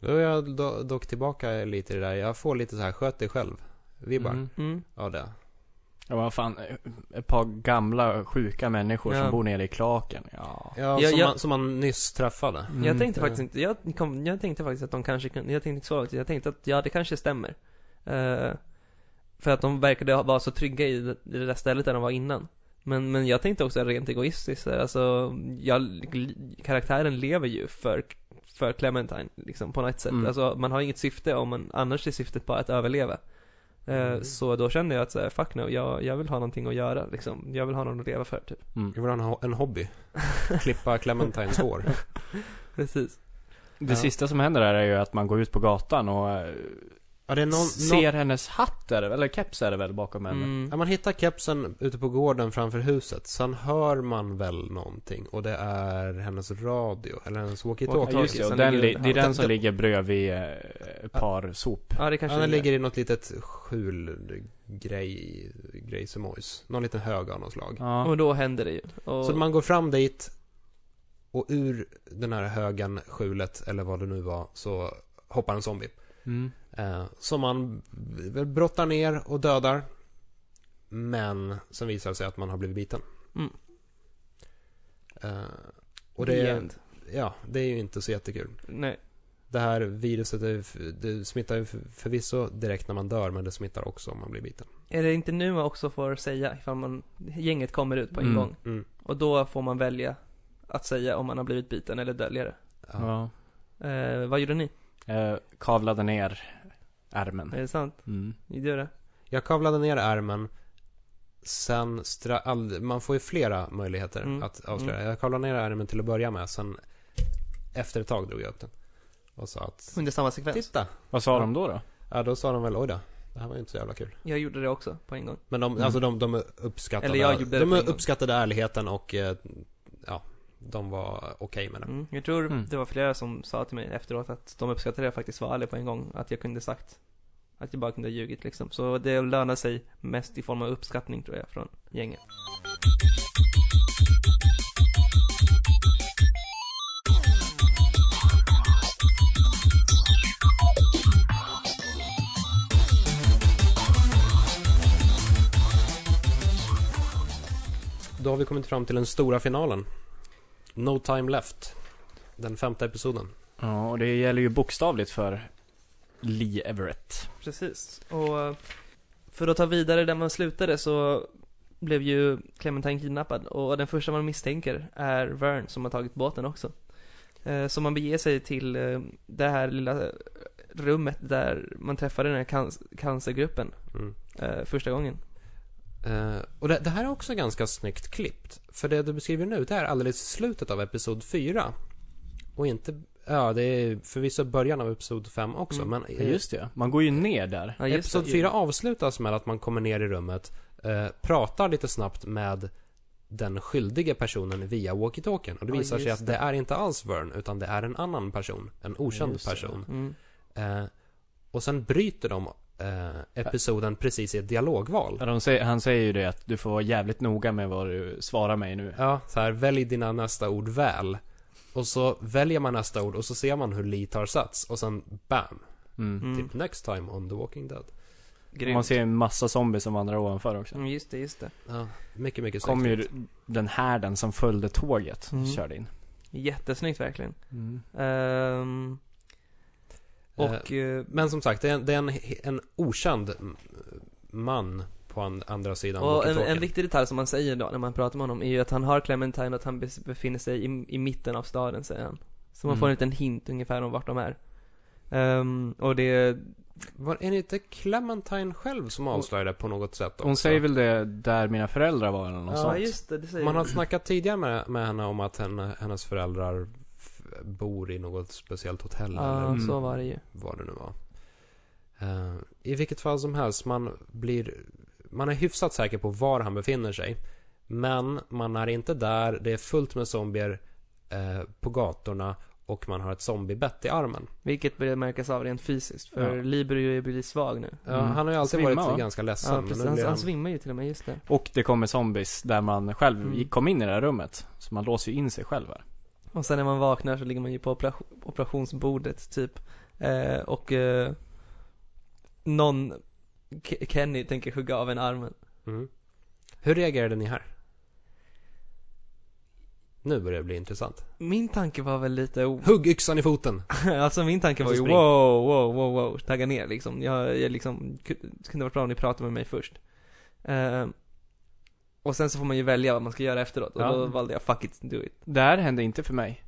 [SPEAKER 3] Då är jag do- dock tillbaka lite i det där. Jag får lite så här, sköt dig själv. Vibbar
[SPEAKER 2] Mm.
[SPEAKER 1] mm.
[SPEAKER 3] av det.
[SPEAKER 2] Ja, vad fan. eh, Ett par gamla sjuka människor
[SPEAKER 1] Ja.
[SPEAKER 2] som bor nere i klaken. Ja.
[SPEAKER 3] Ja,
[SPEAKER 1] Ja,
[SPEAKER 3] som,
[SPEAKER 1] jag-
[SPEAKER 3] Man, som man nyss träffade.
[SPEAKER 2] Mm.
[SPEAKER 1] jag tänkte
[SPEAKER 3] det-
[SPEAKER 1] faktiskt inte, jag, kom, jag tänkte faktiskt att de kanske kunde, jag tänkte inte så långt, jag tänkte att ja det kanske stämmer. Eh, för att de verkade ha- vara så trygga i det, i det där stället där de var innan. Men, men jag tänkte också rent egoistiskt, där, alltså, jag, karaktären lever ju för, för Clementine liksom på något sätt.
[SPEAKER 2] Mm.
[SPEAKER 1] Alltså man har inget syfte om man, annars är syftet bara att överleva. Eh,
[SPEAKER 3] Mm.
[SPEAKER 1] Så då kände jag att så här, fuck no, jag, jag vill ha någonting att göra liksom. Jag vill ha någon att leva för typ.
[SPEAKER 2] Mm.
[SPEAKER 3] Jag vill ha en ho- en hobby. Klippa Clementines hår.
[SPEAKER 1] Precis.
[SPEAKER 2] Det
[SPEAKER 3] Ja.
[SPEAKER 2] sista som händer där är ju att man går ut på gatan och eh,
[SPEAKER 3] Ja, det är någon, någon,
[SPEAKER 2] ser hennes hatt är det, väl, eller keps är det väl bakom henne.
[SPEAKER 1] Mm.
[SPEAKER 3] Ja, man hittar kepsen ute på gården framför huset. Sen hör man väl någonting och det är hennes radio, eller hennes
[SPEAKER 2] Ja,
[SPEAKER 1] Walkie-talkie.
[SPEAKER 3] walkie-talkie.
[SPEAKER 2] just det, och
[SPEAKER 1] Sen
[SPEAKER 2] den
[SPEAKER 1] ligger
[SPEAKER 2] li- det är den som
[SPEAKER 3] den-
[SPEAKER 2] ligger bredvid eh, ett par sop.
[SPEAKER 1] Ja det kanske
[SPEAKER 3] Ja, den
[SPEAKER 1] det är.
[SPEAKER 3] ligger i något litet skjul grej, grejsemojs. Någon liten hög av något slag.
[SPEAKER 2] Ja.
[SPEAKER 1] Och då händer det ju. Och,
[SPEAKER 3] Så man går fram dit och ur den här högen, skjulet, eller vad det nu var, så hoppar en zombie.
[SPEAKER 2] Mm.
[SPEAKER 3] Eh, som man väl brottar ner och dödar. Men sen visar det sig att man har blivit biten.
[SPEAKER 1] Mm.
[SPEAKER 3] Eh, och det,
[SPEAKER 1] The
[SPEAKER 3] är-
[SPEAKER 1] end.
[SPEAKER 3] ja, det är ju inte så jättekul.
[SPEAKER 1] Nej,
[SPEAKER 3] Det här viruset är, f- det smittar ju f- förvisso direkt när man dör, men det smittar också om man blir biten.
[SPEAKER 1] är det inte nu man också får säga ifall man, gänget kommer ut på en
[SPEAKER 2] Mm.
[SPEAKER 1] gång?
[SPEAKER 3] Mm.
[SPEAKER 1] Och då får man välja att säga om man har blivit biten eller dölja det.
[SPEAKER 3] Ja.
[SPEAKER 1] Eh, vad gjorde ni?
[SPEAKER 2] Eh, kavlade ner ärmen.
[SPEAKER 1] Är det sant?
[SPEAKER 2] Mm.
[SPEAKER 1] Ni gjorde det?
[SPEAKER 3] Jag kavlade ner ärmen. Sen, stra- all- man får ju flera möjligheter
[SPEAKER 1] Mm.
[SPEAKER 3] att avslöja. Jag kavlade ner ärmen till att börja med. Sen efter ett tag drog jag upp den. Och sa att,
[SPEAKER 1] Under samma sekvens?
[SPEAKER 3] titta!
[SPEAKER 2] Vad sa de då då?
[SPEAKER 3] Ja, då sa de väl, oj då, det här var ju inte så jävla kul.
[SPEAKER 1] Jag gjorde det också på en gång.
[SPEAKER 3] Men de,
[SPEAKER 2] Mm.
[SPEAKER 3] alltså de, de uppskattade,
[SPEAKER 1] Eller jag gjorde det
[SPEAKER 3] de
[SPEAKER 1] på en gång.
[SPEAKER 3] uppskattade ärligheten och, eh, ja, de var okej med det.
[SPEAKER 1] Mm. Jag tror
[SPEAKER 2] Mm.
[SPEAKER 1] det var flera som sa till mig efteråt att de uppskattade att jag faktiskt var ärlig på en gång. Att jag kunde sagt att jag bara kunde ha ljugit liksom. Så det lönar sig mest i form av uppskattning tror jag från gänget.
[SPEAKER 3] Då har vi kommit fram till den stora finalen. No time left. Den femte episoden.
[SPEAKER 2] Ja, och det gäller ju bokstavligt för Lee Everett.
[SPEAKER 1] Precis. Och för att ta vidare där man slutade så blev ju Clementine kidnappad och den första man misstänker är Vern som har tagit båten också. Eh, Så man beger sig till eh, det här lilla eh, rummet där man träffade den här can- cancergruppen
[SPEAKER 3] Mm.
[SPEAKER 1] eh, första gången.
[SPEAKER 3] Eh, och det, det här är också ganska snyggt klippt. För det du beskriver nu, det är alldeles i slutet av episod 4. Och inte, ja det är förvisso början av episod 5 också,
[SPEAKER 1] Mm.
[SPEAKER 3] men
[SPEAKER 2] Ja, just det. Man går ju ner där.
[SPEAKER 1] Ja, just
[SPEAKER 3] Episod
[SPEAKER 1] det.
[SPEAKER 3] 4 avslutas med att man kommer ner i rummet, eh, pratar lite snabbt med den skyldige personen via walkie-talkien. Och det
[SPEAKER 1] Ja,
[SPEAKER 3] visar sig
[SPEAKER 1] just
[SPEAKER 3] att det är inte alls Vern, utan det är en annan person. En okänd
[SPEAKER 2] Just det.
[SPEAKER 3] person.
[SPEAKER 1] Mm.
[SPEAKER 3] Eh, och sen bryter de eh, episoden precis i ett dialogval.
[SPEAKER 2] Ja, De säger, han säger ju det att du får vara jävligt noga med vad du svarar mig nu.
[SPEAKER 3] Ja, så här, välj dina nästa ord väl. Och så väljer man nästa ord och så ser man hur Lee tar sats. Och sen bam!
[SPEAKER 2] Mm.
[SPEAKER 1] Mm.
[SPEAKER 3] Typ next time on the walking dead.
[SPEAKER 1] Grymt.
[SPEAKER 2] Man ser en massa zombies som vandrar ovanför också.
[SPEAKER 1] Mm, just det, just det.
[SPEAKER 3] Ja, mycket, mycket
[SPEAKER 2] kom
[SPEAKER 3] snyggt.
[SPEAKER 2] ju den härden som följde tåget
[SPEAKER 1] Mm.
[SPEAKER 2] körde in.
[SPEAKER 1] Jättesnyggt verkligen. Ehm, och... eh,
[SPEAKER 3] Men som sagt, det är en, det är en, en okänd m- man på an, andra sidan
[SPEAKER 1] Och en, en
[SPEAKER 3] walkie-talkien.
[SPEAKER 1] viktig detalj som man säger då när man pratar med honom är ju att han har Clementine och att han bes- befinner sig i, i mitten av staden säger han. Så man
[SPEAKER 2] Mm.
[SPEAKER 1] får en liten hint ungefär om vart de är. Ehm, och det,
[SPEAKER 3] Var, är det inte Clementine själv som avslöjar det på något sätt också?
[SPEAKER 2] Hon säger väl det där mina föräldrar var eller något
[SPEAKER 1] ja
[SPEAKER 2] sånt.
[SPEAKER 1] just det, det säger
[SPEAKER 3] Man har
[SPEAKER 1] du.
[SPEAKER 3] snackat tidigare med, med henne om att henne, hennes föräldrar f- bor i något speciellt hotell
[SPEAKER 1] Ja,
[SPEAKER 3] eller
[SPEAKER 2] Mm.
[SPEAKER 1] så var det ju.
[SPEAKER 3] vad det nu var. Eh, I vilket fall som helst, man blir... Man är hyfsat säker på var han befinner sig. Men man är inte där, det är fullt med zombier eh, på gatorna och man har ett zombiebett i armen.
[SPEAKER 1] Vilket börjar märkas av rent fysiskt, för
[SPEAKER 2] Ja.
[SPEAKER 1] Libero blir svag nu.
[SPEAKER 3] Ja,
[SPEAKER 2] Mm.
[SPEAKER 3] Han har ju alltid
[SPEAKER 2] Svimma,
[SPEAKER 3] varit
[SPEAKER 2] va?
[SPEAKER 3] ganska ledsen.
[SPEAKER 1] Ja,
[SPEAKER 3] men
[SPEAKER 1] precis.
[SPEAKER 3] nu
[SPEAKER 1] Han,
[SPEAKER 3] blir
[SPEAKER 1] han
[SPEAKER 3] han,
[SPEAKER 1] svimmar ju till och med, just det.
[SPEAKER 2] Och det kommer zombies där man själv
[SPEAKER 1] Mm.
[SPEAKER 2] gick- kom in i det här rummet. Så man låser ju in sig själv här.
[SPEAKER 1] Och sen när man vaknar så ligger man ju på operation, operationsbordet typ. Eh, och eh, någon, Ke- Kenny tänker hugga av en armen.
[SPEAKER 3] mm. Hur reagerade ni här? Nu börjar det bli intressant.
[SPEAKER 1] Min tanke var väl lite, o-
[SPEAKER 3] Hugg yxan i foten!
[SPEAKER 1] alltså min tanke var ju
[SPEAKER 3] Alltså, spring.
[SPEAKER 1] wow, wow, wow, wow, tagga ner liksom. Jag, jag liksom, det kunde varit bra om ni pratade med mig först. Eh, och sen så får man ju välja vad man ska göra efteråt och
[SPEAKER 2] Ja.
[SPEAKER 1] då valde jag fuck it, do it.
[SPEAKER 2] Det här hände inte för mig.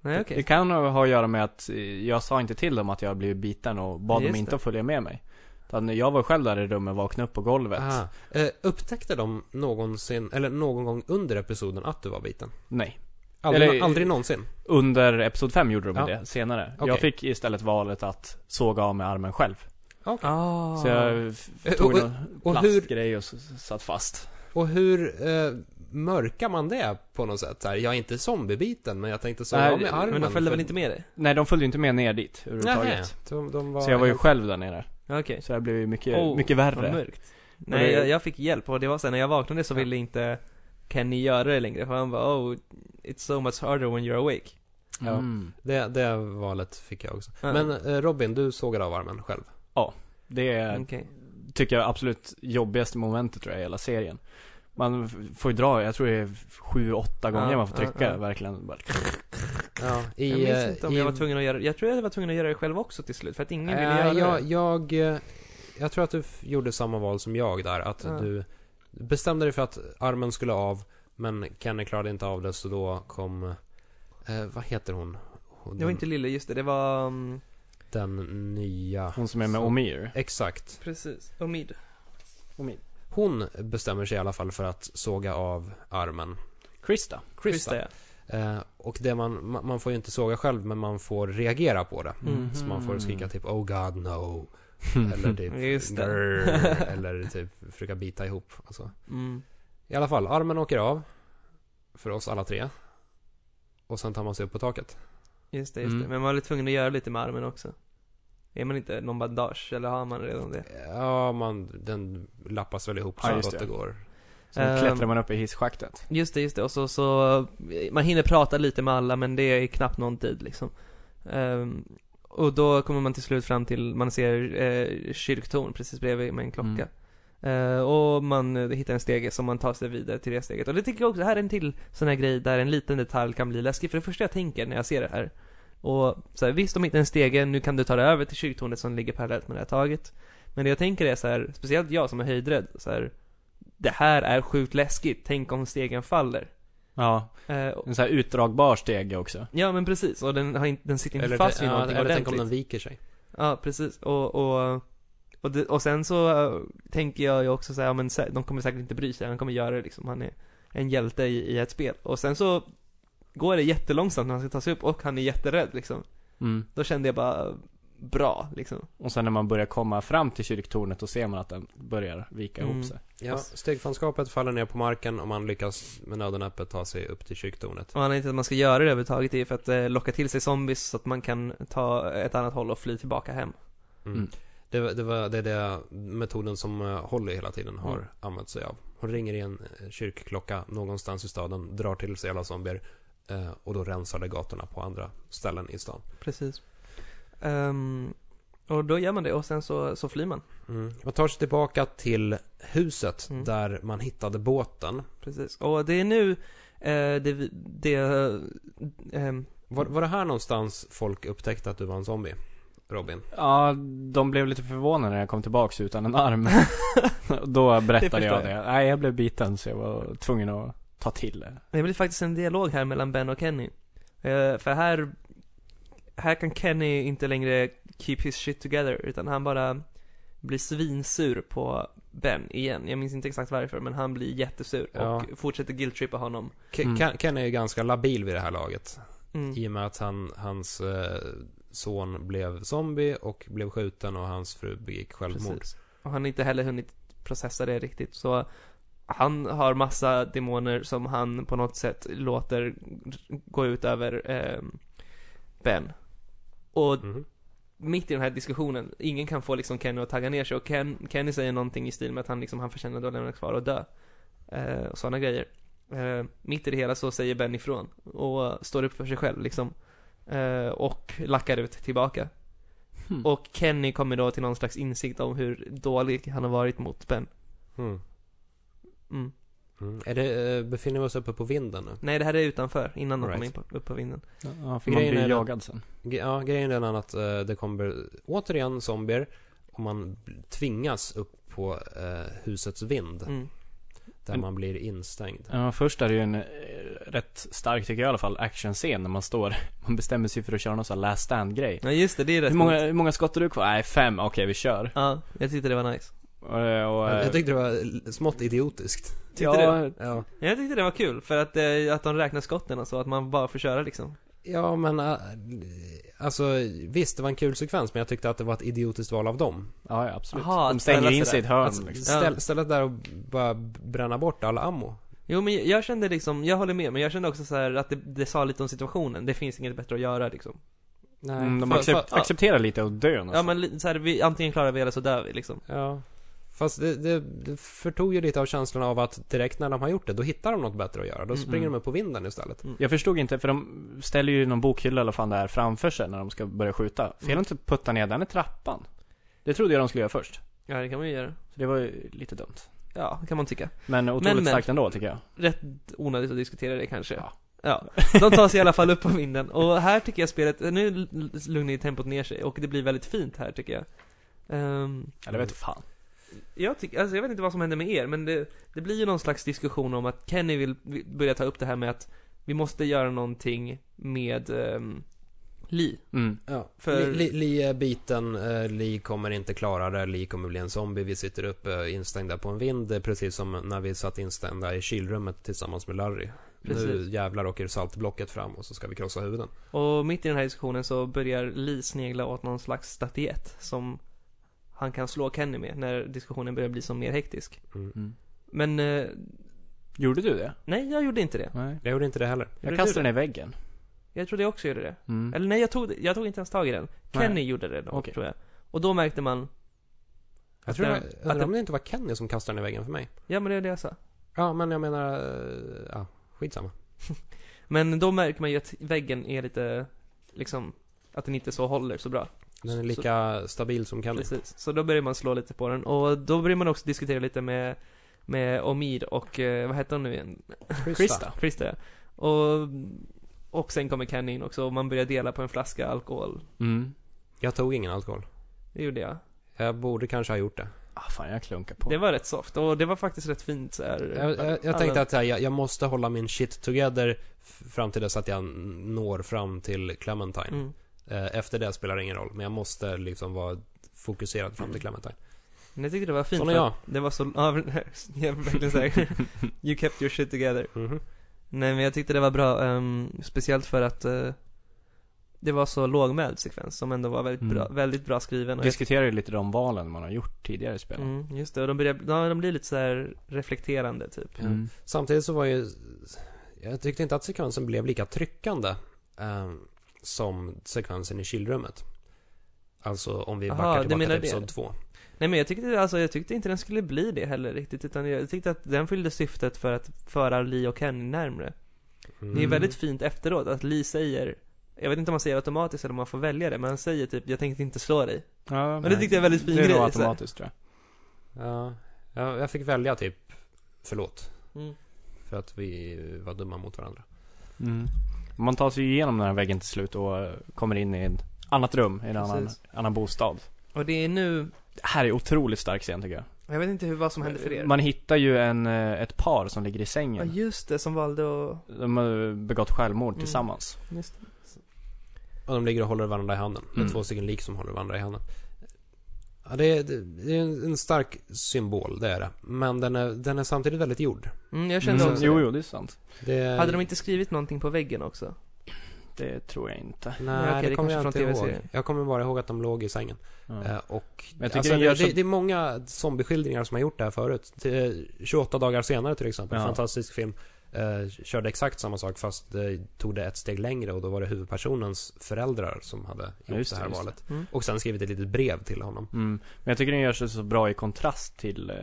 [SPEAKER 1] Nej
[SPEAKER 2] Det
[SPEAKER 1] okej.
[SPEAKER 2] kan ha att göra med att eh, jag sa inte till dem att jag blev biten och bad
[SPEAKER 1] Just
[SPEAKER 2] dem inte
[SPEAKER 1] det.
[SPEAKER 2] att följa med mig. Utan jag var själv där i rummet och vaknade upp på golvet.
[SPEAKER 3] Ah, eh, upptäckte de någonsin, eller någon gång under episoden att du var biten?
[SPEAKER 2] Nej.
[SPEAKER 3] Aldrig,
[SPEAKER 2] Eller-
[SPEAKER 3] aldrig någonsin?
[SPEAKER 2] Under episod 5 gjorde de
[SPEAKER 3] Ja.
[SPEAKER 2] det senare.
[SPEAKER 3] Okej.
[SPEAKER 2] Jag fick istället valet att såga av mig armen själv.
[SPEAKER 1] Ah.
[SPEAKER 2] Så jag f-
[SPEAKER 3] Eh,
[SPEAKER 2] tog
[SPEAKER 3] och-
[SPEAKER 2] någon
[SPEAKER 3] och hur-
[SPEAKER 2] plastgrej och s- s- satt fast.
[SPEAKER 3] Och hur eh, mörkar man det på något sätt? Så här, jag är inte zombiebiten, men jag tänkte såga
[SPEAKER 2] Nej,
[SPEAKER 3] av mig armen.
[SPEAKER 1] Men de följde
[SPEAKER 3] för-
[SPEAKER 1] väl inte med liksom. dig?
[SPEAKER 2] Nej, de följde ju inte med ner dit
[SPEAKER 3] Nähä.
[SPEAKER 2] överhuvudtaget.
[SPEAKER 3] De, de var...
[SPEAKER 2] Så jag var ju själv där nere.
[SPEAKER 1] Ja, Okej.
[SPEAKER 2] Så det här blev ju mycket,
[SPEAKER 1] Oh,
[SPEAKER 2] mycket
[SPEAKER 1] Vad
[SPEAKER 2] värre.
[SPEAKER 1] mörkt. Nej,
[SPEAKER 2] det-
[SPEAKER 1] jag, jag fick hjälp och det var sen när jag vaknade så
[SPEAKER 3] Ja.
[SPEAKER 1] ville inte Kenny göra det längre för han bara oh, it's so much harder when you're awake.
[SPEAKER 2] Ja.
[SPEAKER 3] det, det valet fick jag också.
[SPEAKER 1] Ja.
[SPEAKER 3] Men eh, Robin, du sågade av armen själv.
[SPEAKER 2] Det är,
[SPEAKER 1] Okej.
[SPEAKER 2] tycker jag, absolut jobbigaste momentet tror jag i hela serien. Man f- får ju dra, jag tror det är f- sju, åtta gånger
[SPEAKER 1] Ja,
[SPEAKER 2] man får
[SPEAKER 1] ja,
[SPEAKER 2] trycka
[SPEAKER 1] ja.
[SPEAKER 2] verkligen. Bara-
[SPEAKER 3] Ja, i,
[SPEAKER 1] Jag minns
[SPEAKER 3] eh,
[SPEAKER 1] inte om
[SPEAKER 3] i,
[SPEAKER 1] jag var tvungen att göra det. Jag tror jag var tvungen att göra det själv också till slut för att ingen ville
[SPEAKER 3] Nej,
[SPEAKER 1] göra
[SPEAKER 3] jag,
[SPEAKER 1] det.
[SPEAKER 3] jag, eh, jag tror att du f- gjorde samma val som jag där. Att
[SPEAKER 1] Ja.
[SPEAKER 3] du bestämde dig för att armen skulle av, men Kenny klarade inte av det, så då kom... Eh, vad heter hon? hon
[SPEAKER 1] Det var inte Lille, just det. Det var... mm,
[SPEAKER 3] Den nya...
[SPEAKER 2] Hon som är med
[SPEAKER 3] Så.
[SPEAKER 2] Omir.
[SPEAKER 3] Exakt.
[SPEAKER 1] precis. Omid.
[SPEAKER 2] Omir.
[SPEAKER 3] Hon bestämmer sig i alla fall för att såga av armen.
[SPEAKER 2] Krista.
[SPEAKER 3] Krista.
[SPEAKER 1] Krista, ja.
[SPEAKER 3] Eh, och det man, man man får ju inte såga själv, men man får reagera på det.
[SPEAKER 1] Mm.
[SPEAKER 3] Så man får skrika typ Oh God no. Eller typ
[SPEAKER 1] Just det.
[SPEAKER 3] "Grr", Eller typ försöka bita ihop. Alltså.
[SPEAKER 1] Mm.
[SPEAKER 3] I alla fall, armen åker av. För oss alla tre. Och sen tar man sig upp på taket.
[SPEAKER 1] Just det, just det.
[SPEAKER 2] Mm.
[SPEAKER 1] Men man var lite tvungen att göra lite med armen också. Är man inte någon bandage, eller har man redan det?
[SPEAKER 3] Ja, man, den lappas väl ihop så
[SPEAKER 2] Ja, just
[SPEAKER 3] gott
[SPEAKER 2] det.
[SPEAKER 3] det går.
[SPEAKER 2] Sen
[SPEAKER 1] Ehm.
[SPEAKER 2] klättrar man upp i hisschaktet.
[SPEAKER 1] Just det, just det. Och så, så, man hinner prata lite med alla men det är knappt någon tid liksom. Ehm, och då kommer man till slut fram till, man ser eh, kyrktorn precis bredvid med en klocka.
[SPEAKER 2] Mm.
[SPEAKER 1] Eh, och man eh, hittar en stege som man tar sig vidare till det steget. Och det tycker jag också, här är en till sån här grej där en liten detalj kan bli läskig. För det första jag tänker när jag ser det här. Och så här, visst om inte en stege, nu kan du ta dig över till kyrktornet som ligger parallellt med det här taget. Men det jag tänker är så här, speciellt jag som är höjdrädd, så här. Det här är sjukt läskigt, tänk om stegen faller.
[SPEAKER 2] Ja,
[SPEAKER 1] Eh, och-
[SPEAKER 2] en sån här utdragbar stege också.
[SPEAKER 1] ja men precis, och den, har inte, den sitter inte
[SPEAKER 3] Eller,
[SPEAKER 1] fast vid
[SPEAKER 3] ja,
[SPEAKER 1] någonting
[SPEAKER 3] eller tänk om
[SPEAKER 1] ordentligt.
[SPEAKER 3] den viker sig.
[SPEAKER 1] Ja, precis. Och, och, och, det, och sen så eh, tänker jag ju också så här, ja, men sä- de kommer säkert inte bry sig, han kommer göra det liksom. Han är en hjälte i, i ett spel. Och sen så går det jättelångsamt när han ska ta sig upp och han är jätterädd liksom.
[SPEAKER 2] Mm.
[SPEAKER 1] Då kände jag bara, bra liksom.
[SPEAKER 2] Och sen när man börjar komma fram till kyrktornet då ser man att den börjar vika
[SPEAKER 1] Mm.
[SPEAKER 2] ihop sig.
[SPEAKER 3] Ja, stegfanskapet faller ner på marken och man lyckas med nöden öppet ta sig upp till kyrktornet.
[SPEAKER 1] Och anledningen till att man ska göra det överhuvudtaget är ju för att eh, locka till sig zombies så att man kan ta ett annat håll och fly tillbaka hem.
[SPEAKER 3] Mm.
[SPEAKER 2] Mm.
[SPEAKER 3] Det, var- det, var, det är det metoden som eh, Holly hela tiden har
[SPEAKER 1] Mm.
[SPEAKER 3] använt sig av. Hon ringer i en eh, kyrkklocka någonstans i staden, drar till sig alla zombier eh, och då rensar det gatorna på andra ställen i stan.
[SPEAKER 1] Precis. Ehm, och då gör man det och sen så, så flyr man.
[SPEAKER 3] Mm. Man tar sig tillbaka till huset
[SPEAKER 1] Mm.
[SPEAKER 3] där man hittade båten.
[SPEAKER 1] Precis. Och det är nu eh, det, vi- det eh, ehm,
[SPEAKER 3] Var, var det här någonstans folk upptäckte att du var en zombie? Robin?
[SPEAKER 2] Ja, de blev lite förvånade när jag kom tillbaks utan en arm. då berättade
[SPEAKER 1] Det förstår
[SPEAKER 2] jag det. Nej, jag blev biten så jag var tvungen att ta till det.
[SPEAKER 1] det blir faktiskt en dialog här mellan Ben och Kenny. Eh, för här här kan Kenny inte längre keep his shit together utan han bara blir svinsur på Ben igen. Jag minns inte exakt varför men han blir jättesur
[SPEAKER 3] Ja.
[SPEAKER 1] och fortsätter guilt-trippa honom.
[SPEAKER 3] Ke-
[SPEAKER 2] Mm.
[SPEAKER 3] Ken, Ken är ju ganska labil vid det här laget.
[SPEAKER 1] Mm.
[SPEAKER 3] I och med att han, hans eh, son blev zombie och blev skjuten och hans fru begick självmord.
[SPEAKER 1] Precis. Och han har inte heller hunnit processa det riktigt så han har massa demoner som han på något sätt låter gå ut över ehm, Ben. Och
[SPEAKER 3] Mhm.
[SPEAKER 1] mitt i den här diskussionen, ingen kan få liksom Kenny att tagga ner sig och Ken, Kenny säger någonting i stil med att han liksom, han förtjänade att lämna kvar och dö. Eh, och sådana grejer. Eh, mitt i det hela så säger Ben ifrån och står upp för sig själv liksom. Eh, och lackar ut tillbaka.
[SPEAKER 2] Hmm.
[SPEAKER 1] Och Kenny kommer då till någon slags insikt om hur dålig han har varit mot Ben.
[SPEAKER 3] Mm.
[SPEAKER 1] Mm.
[SPEAKER 3] Mm. Är det, eh, befinner vi oss uppe på vinden nu?
[SPEAKER 1] Nej, det här är utanför, innan de
[SPEAKER 3] Right.
[SPEAKER 1] kommer in på, upp på vinden.
[SPEAKER 2] Ja, för man
[SPEAKER 3] Grejen är
[SPEAKER 2] blir
[SPEAKER 3] den-
[SPEAKER 2] jagad sen.
[SPEAKER 3] Ge- Ja, grejen är den att eh, det kommer återigen zombier och man b- tvingas upp på eh, husets vind
[SPEAKER 1] Mm.
[SPEAKER 3] där
[SPEAKER 2] Men-
[SPEAKER 3] man blir instängd.
[SPEAKER 2] Ja, först är det ju en eh, rätt stark, tycker jag i alla fall, actionscen när man står, man bestämmer sig för att köra någon sån här last stand grej.
[SPEAKER 1] Ja, just det, det är rätt
[SPEAKER 2] Hur många,
[SPEAKER 1] coolt.
[SPEAKER 2] hur många skott har du kvar? Nej, fem. Okej, vi kör.
[SPEAKER 1] Ja, jag tyckte det var nice.
[SPEAKER 2] Och, och,
[SPEAKER 1] eh,
[SPEAKER 3] Jag jag tyckte det var l- smått idiotiskt.
[SPEAKER 1] Tyckte du?
[SPEAKER 2] ja,
[SPEAKER 3] Ja,
[SPEAKER 1] Jag tyckte det var kul, för att, eh, att de räknar skotten och så, att man bara får köra liksom.
[SPEAKER 3] ja men eh, alltså visst, det var en kul sekvens men jag tyckte att det var ett idiotiskt val av dem.
[SPEAKER 2] ja, ja, absolut.
[SPEAKER 1] Aha,
[SPEAKER 2] De
[SPEAKER 1] att ställa
[SPEAKER 2] stänger
[SPEAKER 1] sig
[SPEAKER 2] in sig i ett hörn
[SPEAKER 3] Att
[SPEAKER 2] liksom.
[SPEAKER 3] ställ, ställa där och bara bränna bort all ammo.
[SPEAKER 1] Jo men jag kände liksom, jag håller med, men jag kände också så här att det, det sa lite om situationen, det finns inget bättre att göra liksom.
[SPEAKER 3] Nej,
[SPEAKER 2] Mm, de
[SPEAKER 3] fa-
[SPEAKER 2] accep-
[SPEAKER 3] fa-
[SPEAKER 1] ja.
[SPEAKER 2] accepterar lite att dö
[SPEAKER 1] Ja
[SPEAKER 2] någonstans.
[SPEAKER 1] men li- så här, vi, antingen klarar vi eller så dör vi liksom.
[SPEAKER 3] Ja. Fast det, det, det förtog ju lite av känslan av att direkt när de har gjort det, då hittar de något bättre att göra. Då
[SPEAKER 1] Mm.
[SPEAKER 3] springer de upp på vinden istället.
[SPEAKER 2] Jag förstod inte, för de ställer ju någon bokhylla eller vad fan det är framför sig när de ska börja skjuta. Fel
[SPEAKER 1] Mm.
[SPEAKER 2] att inte putta ner den i trappan. Det trodde jag de skulle göra först.
[SPEAKER 1] Ja det kan man ju göra.
[SPEAKER 2] Så det var ju lite dumt.
[SPEAKER 1] Ja, det kan man tycka.
[SPEAKER 2] Men otroligt
[SPEAKER 1] Men, men.
[SPEAKER 2] starkt ändå tycker jag.
[SPEAKER 1] Rätt onödigt att diskutera det kanske.
[SPEAKER 2] Ja.
[SPEAKER 1] Ja. De tar sig i alla fall upp på vinden och här tycker jag spelet, nu l- lugnar ju tempot ner sig och det blir väldigt fint här tycker jag. Ehm,
[SPEAKER 2] Eller vet fan.
[SPEAKER 1] Jag tycker, alltså jag vet inte vad som händer med er, men det, det blir ju någon slags diskussion om att Kenny vill vill börja ta upp det här med att vi måste göra någonting med ehm, Lee.
[SPEAKER 2] Mm.
[SPEAKER 3] Ja.
[SPEAKER 1] För-
[SPEAKER 3] För... Li, li är biten, eh, Li kommer inte klara det, Li kommer bli en zombie. Vi sitter uppe instängda på en vind, eh, precis som när vi satt instängda i kylrummet tillsammans med Larry. Nu
[SPEAKER 1] Precis.
[SPEAKER 3] jävlar åker saltblocket fram och så ska vi krossa huvuden.
[SPEAKER 1] Och mitt i den här diskussionen så börjar Lee snegla åt någon slags statyett som han kan slå Kenny med när diskussionen börjar bli som mer hektisk.
[SPEAKER 2] Mm.
[SPEAKER 1] Men eh,
[SPEAKER 2] Gjorde du det?
[SPEAKER 1] nej, jag gjorde inte det.
[SPEAKER 2] Nej.
[SPEAKER 3] Jag gjorde inte det heller.
[SPEAKER 2] Jag
[SPEAKER 1] Gjorde
[SPEAKER 2] kastade
[SPEAKER 1] du
[SPEAKER 2] den i väggen.
[SPEAKER 1] Jag trodde jag också gjorde det.
[SPEAKER 2] Mm.
[SPEAKER 1] Eller nej, jag tog, jag tog inte ens tag i den. Kenny
[SPEAKER 2] Nej.
[SPEAKER 1] gjorde det då,
[SPEAKER 2] Okej.
[SPEAKER 1] tror jag. Och då märkte man,
[SPEAKER 3] Jag tror
[SPEAKER 1] det-
[SPEAKER 3] eh, jag,
[SPEAKER 1] att
[SPEAKER 3] undrar
[SPEAKER 1] det-
[SPEAKER 3] om det inte var Kenny som kastade den i väggen för mig.
[SPEAKER 1] ja men det är det jag sa.
[SPEAKER 3] Ja, men jag menar, eh, ja, skitsamma.
[SPEAKER 1] Men då märker man ju att väggen är lite, liksom, att den inte så håller så bra.
[SPEAKER 3] Den är lika stabil som Kenny.
[SPEAKER 1] Precis. Så då börjar man slå lite på den. Och då börjar man också diskutera lite med, med Omid och, eh, vad heter hon nu igen?
[SPEAKER 2] Krista.
[SPEAKER 1] Krista ja. Och, och sen kommer Kenny in också och man börjar dela på en flaska alkohol.
[SPEAKER 2] Mm.
[SPEAKER 3] Jag tog ingen alkohol.
[SPEAKER 1] Det gjorde jag.
[SPEAKER 3] Jag borde kanske ha gjort det.
[SPEAKER 2] Ah, fan, jag klunkar på.
[SPEAKER 1] Det var rätt soft och det var faktiskt rätt fint så här.
[SPEAKER 3] Jag, jag, jag tänkte att så här, jag, jag måste hålla min shit together f- fram till dess att jag n- når fram till Clementine.
[SPEAKER 1] Mm.
[SPEAKER 3] Eh, Efter det spelar det ingen roll, men jag måste liksom vara fokuserad fram till Clementine.
[SPEAKER 1] Men jag tyckte det var fint
[SPEAKER 3] Sån är
[SPEAKER 1] för att Det var så, ja, jag vill verkligen säga You kept your shit together.
[SPEAKER 3] Mhm.
[SPEAKER 1] Nej men jag tyckte det var bra, ehm, speciellt för att eh, det var så lågmäld sekvens som ändå var väldigt,
[SPEAKER 2] Mm.
[SPEAKER 1] bra, väldigt bra skriven. Och
[SPEAKER 2] Diskuterar ju lite de valen man har gjort tidigare i
[SPEAKER 1] jag,
[SPEAKER 2] spelet.
[SPEAKER 1] mm, just det, och de, börjar, ja, de blir lite så här reflekterande typ.
[SPEAKER 2] Mm.
[SPEAKER 3] Samtidigt så var ju... Jag tyckte inte att sekvensen blev lika tryckande eh, som sekvensen i kylrummet. Alltså om vi
[SPEAKER 1] Aha,
[SPEAKER 3] backar
[SPEAKER 1] du
[SPEAKER 3] tillbaka
[SPEAKER 1] menar
[SPEAKER 3] till
[SPEAKER 1] det?
[SPEAKER 3] episod två.
[SPEAKER 1] Nej men jag tyckte, alltså, jag tyckte inte den skulle bli det heller riktigt, utan jag tyckte att den fyllde syftet för att föra Lee och Kenny närmre.
[SPEAKER 3] Mm.
[SPEAKER 1] Det är väldigt fint efteråt att Lee säger jag vet inte om man säger automatiskt eller om man får välja det, men han säger typ 'Jag tänkte inte slå dig'
[SPEAKER 2] Ja,
[SPEAKER 1] Men det tyckte jag var väldigt fin
[SPEAKER 2] det är nog
[SPEAKER 1] grej, så här.
[SPEAKER 2] automatiskt tror
[SPEAKER 3] Ja, jag, jag fick välja typ, förlåt, för att vi var dumma mot varandra.
[SPEAKER 2] jag. Mm. Man tar sig ju igenom den här väggen till slut och eh, kommer in i ett annat rum, i en annan,
[SPEAKER 1] Precis.
[SPEAKER 2] annan bostad.
[SPEAKER 1] Och det är nu,
[SPEAKER 2] Det här är otroligt stark scen tycker jag.
[SPEAKER 1] jag vet inte hur, vad som hände för er.
[SPEAKER 2] Man hittar ju en, eh, ett par som ligger i
[SPEAKER 1] Ja
[SPEAKER 2] sängen.
[SPEAKER 1] just det, som valde att
[SPEAKER 2] De har begått självmord
[SPEAKER 1] Mm.
[SPEAKER 2] tillsammans.
[SPEAKER 1] Just
[SPEAKER 3] Och de ligger och håller varandra i handen. Det är
[SPEAKER 2] Mm.
[SPEAKER 3] två stycken lik som håller varandra i handen. Ja, det, är, det är en en stark symbol, det är det. Men den är, den är samtidigt väldigt gjord.
[SPEAKER 1] Mm, jag kände
[SPEAKER 2] Mm.
[SPEAKER 1] också
[SPEAKER 2] Jo,
[SPEAKER 1] det.
[SPEAKER 2] jo, det är sant.
[SPEAKER 3] Det är,
[SPEAKER 1] Hade de inte skrivit någonting på väggen också?
[SPEAKER 2] Det tror jag inte.
[SPEAKER 1] Nej,
[SPEAKER 3] Nej,
[SPEAKER 1] okej, det
[SPEAKER 3] det kommer jag
[SPEAKER 1] kanske
[SPEAKER 3] inte
[SPEAKER 1] är från
[SPEAKER 3] ihåg.
[SPEAKER 1] TV-serien.
[SPEAKER 3] Jag kommer bara ihåg att de låg i sängen.
[SPEAKER 2] Ja.
[SPEAKER 3] Eh, Och
[SPEAKER 2] Men jag tycker
[SPEAKER 3] alltså,
[SPEAKER 2] den gör
[SPEAKER 3] det,
[SPEAKER 2] så-
[SPEAKER 3] det är många zombieskildringar som har gjort det här förut. Till- 28 dagar senare till exempel,
[SPEAKER 2] Ja.
[SPEAKER 3] fantastisk film. Eh, körde exakt samma sak fast eh, tog det ett steg längre och då var det huvudpersonens föräldrar som hade
[SPEAKER 2] Ja,
[SPEAKER 3] gjort
[SPEAKER 2] just
[SPEAKER 3] det
[SPEAKER 2] det,
[SPEAKER 3] här
[SPEAKER 2] just det.
[SPEAKER 3] valet.
[SPEAKER 1] Mm.
[SPEAKER 3] Och sen skrivit ett litet brev till honom.
[SPEAKER 2] Mm. Men jag tycker den gör sig så bra i kontrast till, eh,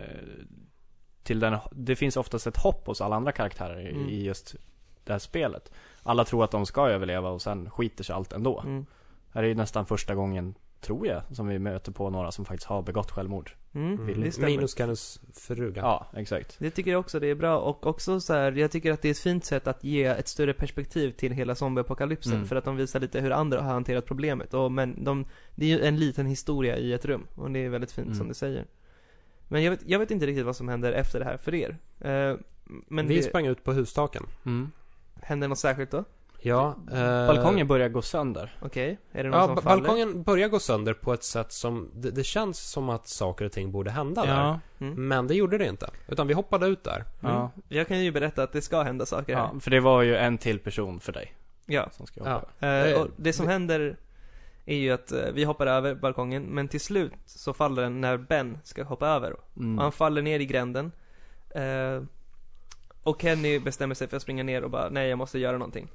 [SPEAKER 2] till den, det finns oftast ett hopp hos alla andra karaktärer i-
[SPEAKER 1] Mm.
[SPEAKER 2] i just det här spelet. Alla tror att de ska överleva och sen skiter sig allt ändå.
[SPEAKER 1] Mm.
[SPEAKER 2] Här är ju nästan första gången, tror jag, som vi möter på några som faktiskt har begått självmord.
[SPEAKER 1] Mm.
[SPEAKER 2] Vill-
[SPEAKER 1] Det stämmer.
[SPEAKER 3] Minus hennes fruga.
[SPEAKER 2] Ja, exakt.
[SPEAKER 1] Det tycker jag också det är bra och också så här, jag tycker att det är ett fint sätt att ge ett större perspektiv till hela zombieapokalypsen
[SPEAKER 2] Mm.
[SPEAKER 1] för att de visar lite hur andra har hanterat problemet och men de, det är ju en liten historia i ett rum och det är väldigt fint
[SPEAKER 2] Mm.
[SPEAKER 1] som du säger. Men jag vet, jag vet inte riktigt vad som händer efter det här för er. Eh, men
[SPEAKER 3] vi
[SPEAKER 1] det,
[SPEAKER 3] sprang ut på hustaken.
[SPEAKER 1] Mm. händer något särskilt då?
[SPEAKER 3] Ja, eh,
[SPEAKER 2] Mm. Balkongen börjar gå sönder.
[SPEAKER 1] Okej, är det någon
[SPEAKER 3] Ja,
[SPEAKER 1] som
[SPEAKER 3] ba-
[SPEAKER 1] faller?
[SPEAKER 3] balkongen börjar gå sönder på ett sätt som, det, det känns som att saker och ting borde hända där.
[SPEAKER 1] Mm.
[SPEAKER 3] Men det gjorde det inte. Utan vi hoppade ut där.
[SPEAKER 2] Ja.
[SPEAKER 1] Jag kan ju berätta att det ska hända saker här.
[SPEAKER 2] ja. För det var ju en till person för dig
[SPEAKER 1] Ja.
[SPEAKER 2] som ska
[SPEAKER 3] Ja.
[SPEAKER 2] hoppa.
[SPEAKER 1] Eh, och
[SPEAKER 3] Eh,
[SPEAKER 1] det som händer är ju att eh, vi hoppar över balkongen men till slut så faller den när Ben ska hoppa över
[SPEAKER 2] Mm.
[SPEAKER 1] Och han faller ner i gränden. Eh, och Kenny bestämmer sig för att springa ner och bara, nej jag måste göra någonting.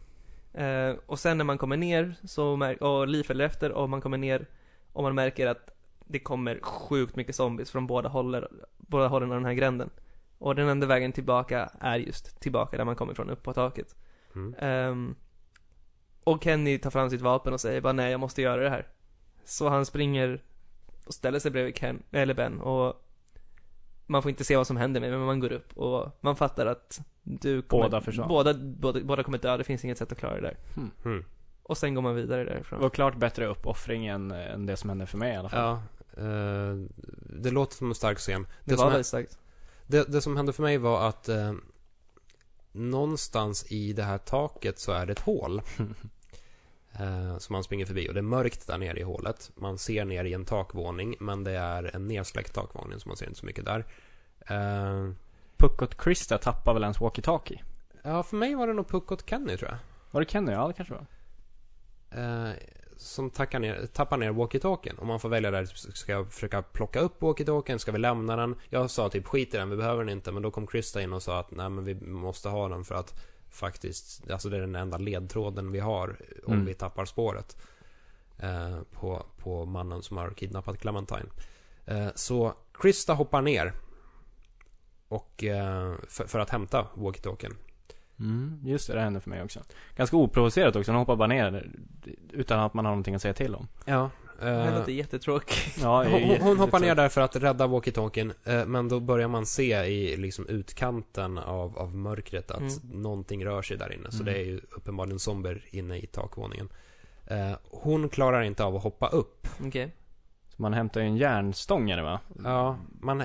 [SPEAKER 1] Eh, och sen när man kommer ner, så mär- och Lee följer efter, och man kommer ner och man märker att det kommer sjukt mycket zombies från båda, håller, båda hållen av den här gränden. Och den enda vägen tillbaka är just tillbaka där man kommer ifrån, upp på taket.
[SPEAKER 3] Mm.
[SPEAKER 1] Ehm, och Kenny tar fram sitt vapen och säger bara nej, jag måste göra det här. Så han springer och ställer sig bredvid Ken, eller Ben och man får inte se vad som händer men man går upp och man fattar att du kommer,
[SPEAKER 2] Båda försvann.
[SPEAKER 1] båda, båda, båda kommer dö, det finns inget sätt att klara det där.
[SPEAKER 3] Mm.
[SPEAKER 1] Och sen går man vidare
[SPEAKER 2] Det
[SPEAKER 1] därifrån.
[SPEAKER 2] var klart bättre uppoffring än, än det som hände för mig i alla fall.
[SPEAKER 3] Ja, eh, det låter som en stark scen.
[SPEAKER 1] det,
[SPEAKER 3] Det,
[SPEAKER 1] var
[SPEAKER 3] som,
[SPEAKER 1] väldigt starkt.
[SPEAKER 3] det, det som hände för mig var att eh, någonstans i det här taket så är det ett hål. eh, som man springer förbi och det är mörkt där nere i hålet. Man ser ner i en takvåning men det är en nedsläckt takvåning så man ser inte så mycket där. Eh,
[SPEAKER 2] Puck och Krista tappade väl ens walkie-talkie?
[SPEAKER 3] ja, för mig var det nog Puck och Kenny tror jag.
[SPEAKER 2] Var det Kenny? Ja, det kanske var.
[SPEAKER 3] Eh, som tackar ner, tappar ner walkie-talkien. Och man får välja där, ska jag försöka plocka upp walkie-talkien, ska vi lämna den? Jag sa typ skit i den, vi behöver den inte. Men då kom Krista in och sa att nej men vi måste ha den för att faktiskt, alltså det är den enda ledtråden vi har eh, om
[SPEAKER 2] Mm.
[SPEAKER 3] vi tappar spåret. Eh, på, på mannen som har kidnappat Clementine. Eh, så Krista hoppar ner. Och eh, för, för att hämta walkie-talkien.
[SPEAKER 2] Mm, just det, det hände för mig också. Ganska oprovocerat också, hon hoppar bara ner eh, utan att man har någonting att säga till om.
[SPEAKER 3] Ja.
[SPEAKER 1] Det
[SPEAKER 2] Eh,
[SPEAKER 1] låter jättetråkigt.
[SPEAKER 2] Ja, det är ju
[SPEAKER 3] Hon, hon- hon hoppar ner
[SPEAKER 2] jättetrevligt.
[SPEAKER 3] där för att rädda walkie-talkien, eh, men då börjar man se i liksom utkanten av, av mörkret att
[SPEAKER 1] Mm.
[SPEAKER 3] någonting rör sig där inne. Så
[SPEAKER 2] Mm.
[SPEAKER 3] det är ju uppenbarligen zombier inne i takvåningen. Eh, Hon klarar inte av att hoppa upp.
[SPEAKER 1] Okej.
[SPEAKER 2] Så man hämtar ju en järnstång är det va?
[SPEAKER 3] Ja, man,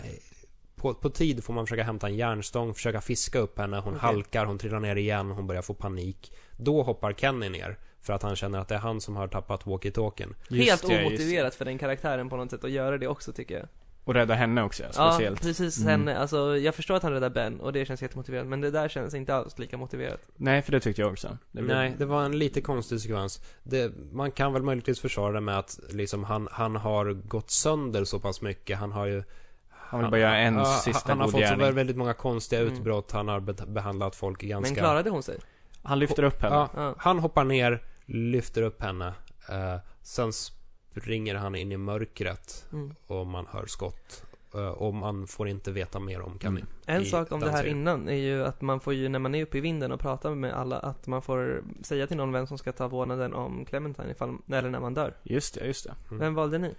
[SPEAKER 3] på, på tid får man försöka hämta en järnstång, försöka fiska upp henne. Hon
[SPEAKER 1] Okej.
[SPEAKER 3] halkar, hon trillar ner igen, hon börjar få panik. Då hoppar Kenny ner för att han känner att det är han som har tappat walkie-talkien.
[SPEAKER 1] Helt
[SPEAKER 2] Just det, just det.
[SPEAKER 1] omotiverat för den karaktären på något sätt att göra det också tycker jag.
[SPEAKER 2] Och rädda henne också,
[SPEAKER 1] Ja,
[SPEAKER 2] speciellt.
[SPEAKER 1] precis
[SPEAKER 2] Mm.
[SPEAKER 1] henne. Alltså, jag förstår att han räddar Ben och det känns jättemotiverat men det där känns inte alls lika motiverat.
[SPEAKER 2] Nej, för det tyckte jag också. Det blev-
[SPEAKER 3] Nej, det var en lite konstig sekvens. Det, man kan väl möjligtvis försvara det med att liksom han, han har gått sönder så pass mycket. Han har ju...
[SPEAKER 2] Han vill bara göra en
[SPEAKER 3] Ja,
[SPEAKER 2] sista
[SPEAKER 3] Han har
[SPEAKER 2] god
[SPEAKER 3] fått så
[SPEAKER 2] gärning.
[SPEAKER 3] väl- väldigt många konstiga
[SPEAKER 1] Mm.
[SPEAKER 3] utbrott. Han har be- behandlat folk ganska...
[SPEAKER 1] Men klarade hon sig?
[SPEAKER 2] Han lyfter upp henne.
[SPEAKER 3] ja,
[SPEAKER 1] Ja.
[SPEAKER 3] Han hoppar ner, lyfter upp henne. Eh, sen springer han in i mörkret
[SPEAKER 1] Mm.
[SPEAKER 3] och man hör skott. Eh, och man får inte veta mer om Camille.
[SPEAKER 2] Mm.
[SPEAKER 1] En
[SPEAKER 3] i
[SPEAKER 1] sak om det
[SPEAKER 3] den
[SPEAKER 1] här
[SPEAKER 3] serien.
[SPEAKER 1] innan är ju att man får ju, när man är uppe i vinden och pratar med alla, att man får säga till någon vem som ska ta vårdnaden om Clementine ifall, eller när man
[SPEAKER 3] Mm.
[SPEAKER 1] dör.
[SPEAKER 2] Just det, just det.
[SPEAKER 1] Vem valde ni?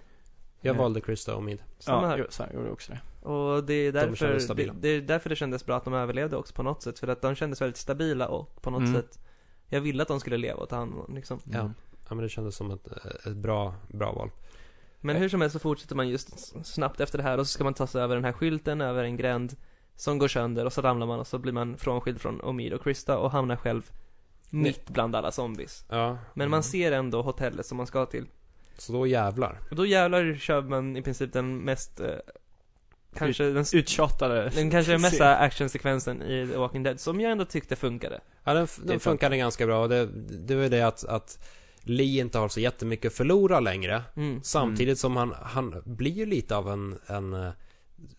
[SPEAKER 3] Jag
[SPEAKER 2] Nej.
[SPEAKER 3] valde Krista och Mid.
[SPEAKER 1] Samma
[SPEAKER 2] ja,
[SPEAKER 1] här.
[SPEAKER 2] jo, så han gjorde också det.
[SPEAKER 1] Och det är
[SPEAKER 3] kändes
[SPEAKER 1] därför, det,
[SPEAKER 3] stabila.
[SPEAKER 1] det är därför det kändes bra att de överlevde också på något sätt, för att de kändes väldigt stabila och på något
[SPEAKER 2] Mm.
[SPEAKER 1] sätt jag ville att de skulle leva och ta hand om någon, liksom.
[SPEAKER 3] Ja. Ja, men det kändes som ett, eh, ett bra, bra val.
[SPEAKER 1] Men hur som helst så fortsätter man just s- snabbt efter det här och så ska man ta sig över den här skylten, över en gränd som går sönder och så ramlar man och så blir man frånskild från Omid och Krista och hamnar själv Mitt bland alla zombies.
[SPEAKER 3] Ja. Mm.
[SPEAKER 1] Men man ser ändå hotellet som man ska till.
[SPEAKER 3] Så då jävlar.
[SPEAKER 1] Och då jävlar kör man i princip den mest eh, Kanske den, s-
[SPEAKER 2] Uttjatade.
[SPEAKER 1] den kanske den mesta actionsekvensen i The Walking Dead, som jag ändå tyckte funkade.
[SPEAKER 3] Ja, den, f- den funkade ganska bra. Det, det var ju det att, att Lee inte har så jättemycket att förlora längre.
[SPEAKER 1] Mm.
[SPEAKER 3] Samtidigt som han, han blir ju lite av en, en eh,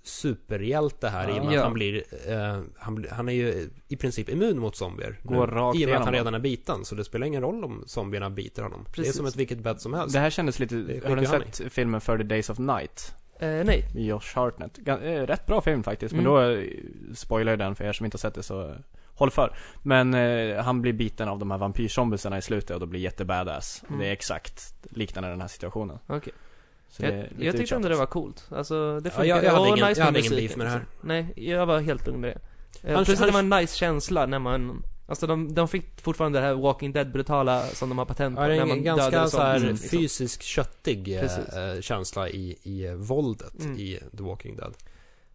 [SPEAKER 3] superhjälte här i och med
[SPEAKER 1] Ja.
[SPEAKER 3] att han blir, eh, han, blir- han är ju i princip immun mot zombier.
[SPEAKER 2] Går rakt
[SPEAKER 3] I och med att
[SPEAKER 2] igenom
[SPEAKER 3] han
[SPEAKER 2] dem.
[SPEAKER 3] redan är biten, så det spelar ingen roll om zombierna biter honom. Det
[SPEAKER 1] Precis.
[SPEAKER 3] är som ett vilket bett som
[SPEAKER 1] alltså,
[SPEAKER 3] helst.
[SPEAKER 2] Det här kändes lite,
[SPEAKER 3] skiter
[SPEAKER 2] har du
[SPEAKER 3] han
[SPEAKER 2] sett filmen 30 Days of Night?
[SPEAKER 1] Eh, nej.
[SPEAKER 2] Med Josh Hartnett. Gan- eh, Rätt bra film faktiskt,
[SPEAKER 1] Mm.
[SPEAKER 2] men då eh, spoilar jag den för er som inte har sett det så eh, håll för. Men eh, han blir biten av de här vampyrzombisarna i slutet och då blir jättebadass.
[SPEAKER 1] Mm.
[SPEAKER 2] Det är exakt liknande den här situationen.
[SPEAKER 1] Okej.
[SPEAKER 2] Så det
[SPEAKER 1] Jag,
[SPEAKER 2] är lite
[SPEAKER 1] jag tyckte ändå det
[SPEAKER 2] uttjatat.
[SPEAKER 1] var coolt. Alltså, det
[SPEAKER 3] Ja,
[SPEAKER 1] funkade.
[SPEAKER 3] jag- jag hade
[SPEAKER 1] Och
[SPEAKER 3] ingen- jag hade
[SPEAKER 1] med
[SPEAKER 3] ingen
[SPEAKER 1] musiken,
[SPEAKER 3] beef med det här.
[SPEAKER 1] liksom. Nej, jag var helt lugn med det. Eh,
[SPEAKER 3] Han-
[SPEAKER 1] Plus att det var
[SPEAKER 3] han-
[SPEAKER 1] en nice känsla när man Alltså de, de fick fortfarande det här Walking Dead brutala som de har patent på.
[SPEAKER 3] Ja, det är
[SPEAKER 1] när
[SPEAKER 3] en
[SPEAKER 1] man
[SPEAKER 3] ganska
[SPEAKER 1] dödade
[SPEAKER 3] så här
[SPEAKER 1] zombies, liksom.
[SPEAKER 3] fysisk, köttig eh,
[SPEAKER 1] Precis.
[SPEAKER 3] eh, känsla i, i eh, våldet
[SPEAKER 1] Mm.
[SPEAKER 3] i The Walking Dead.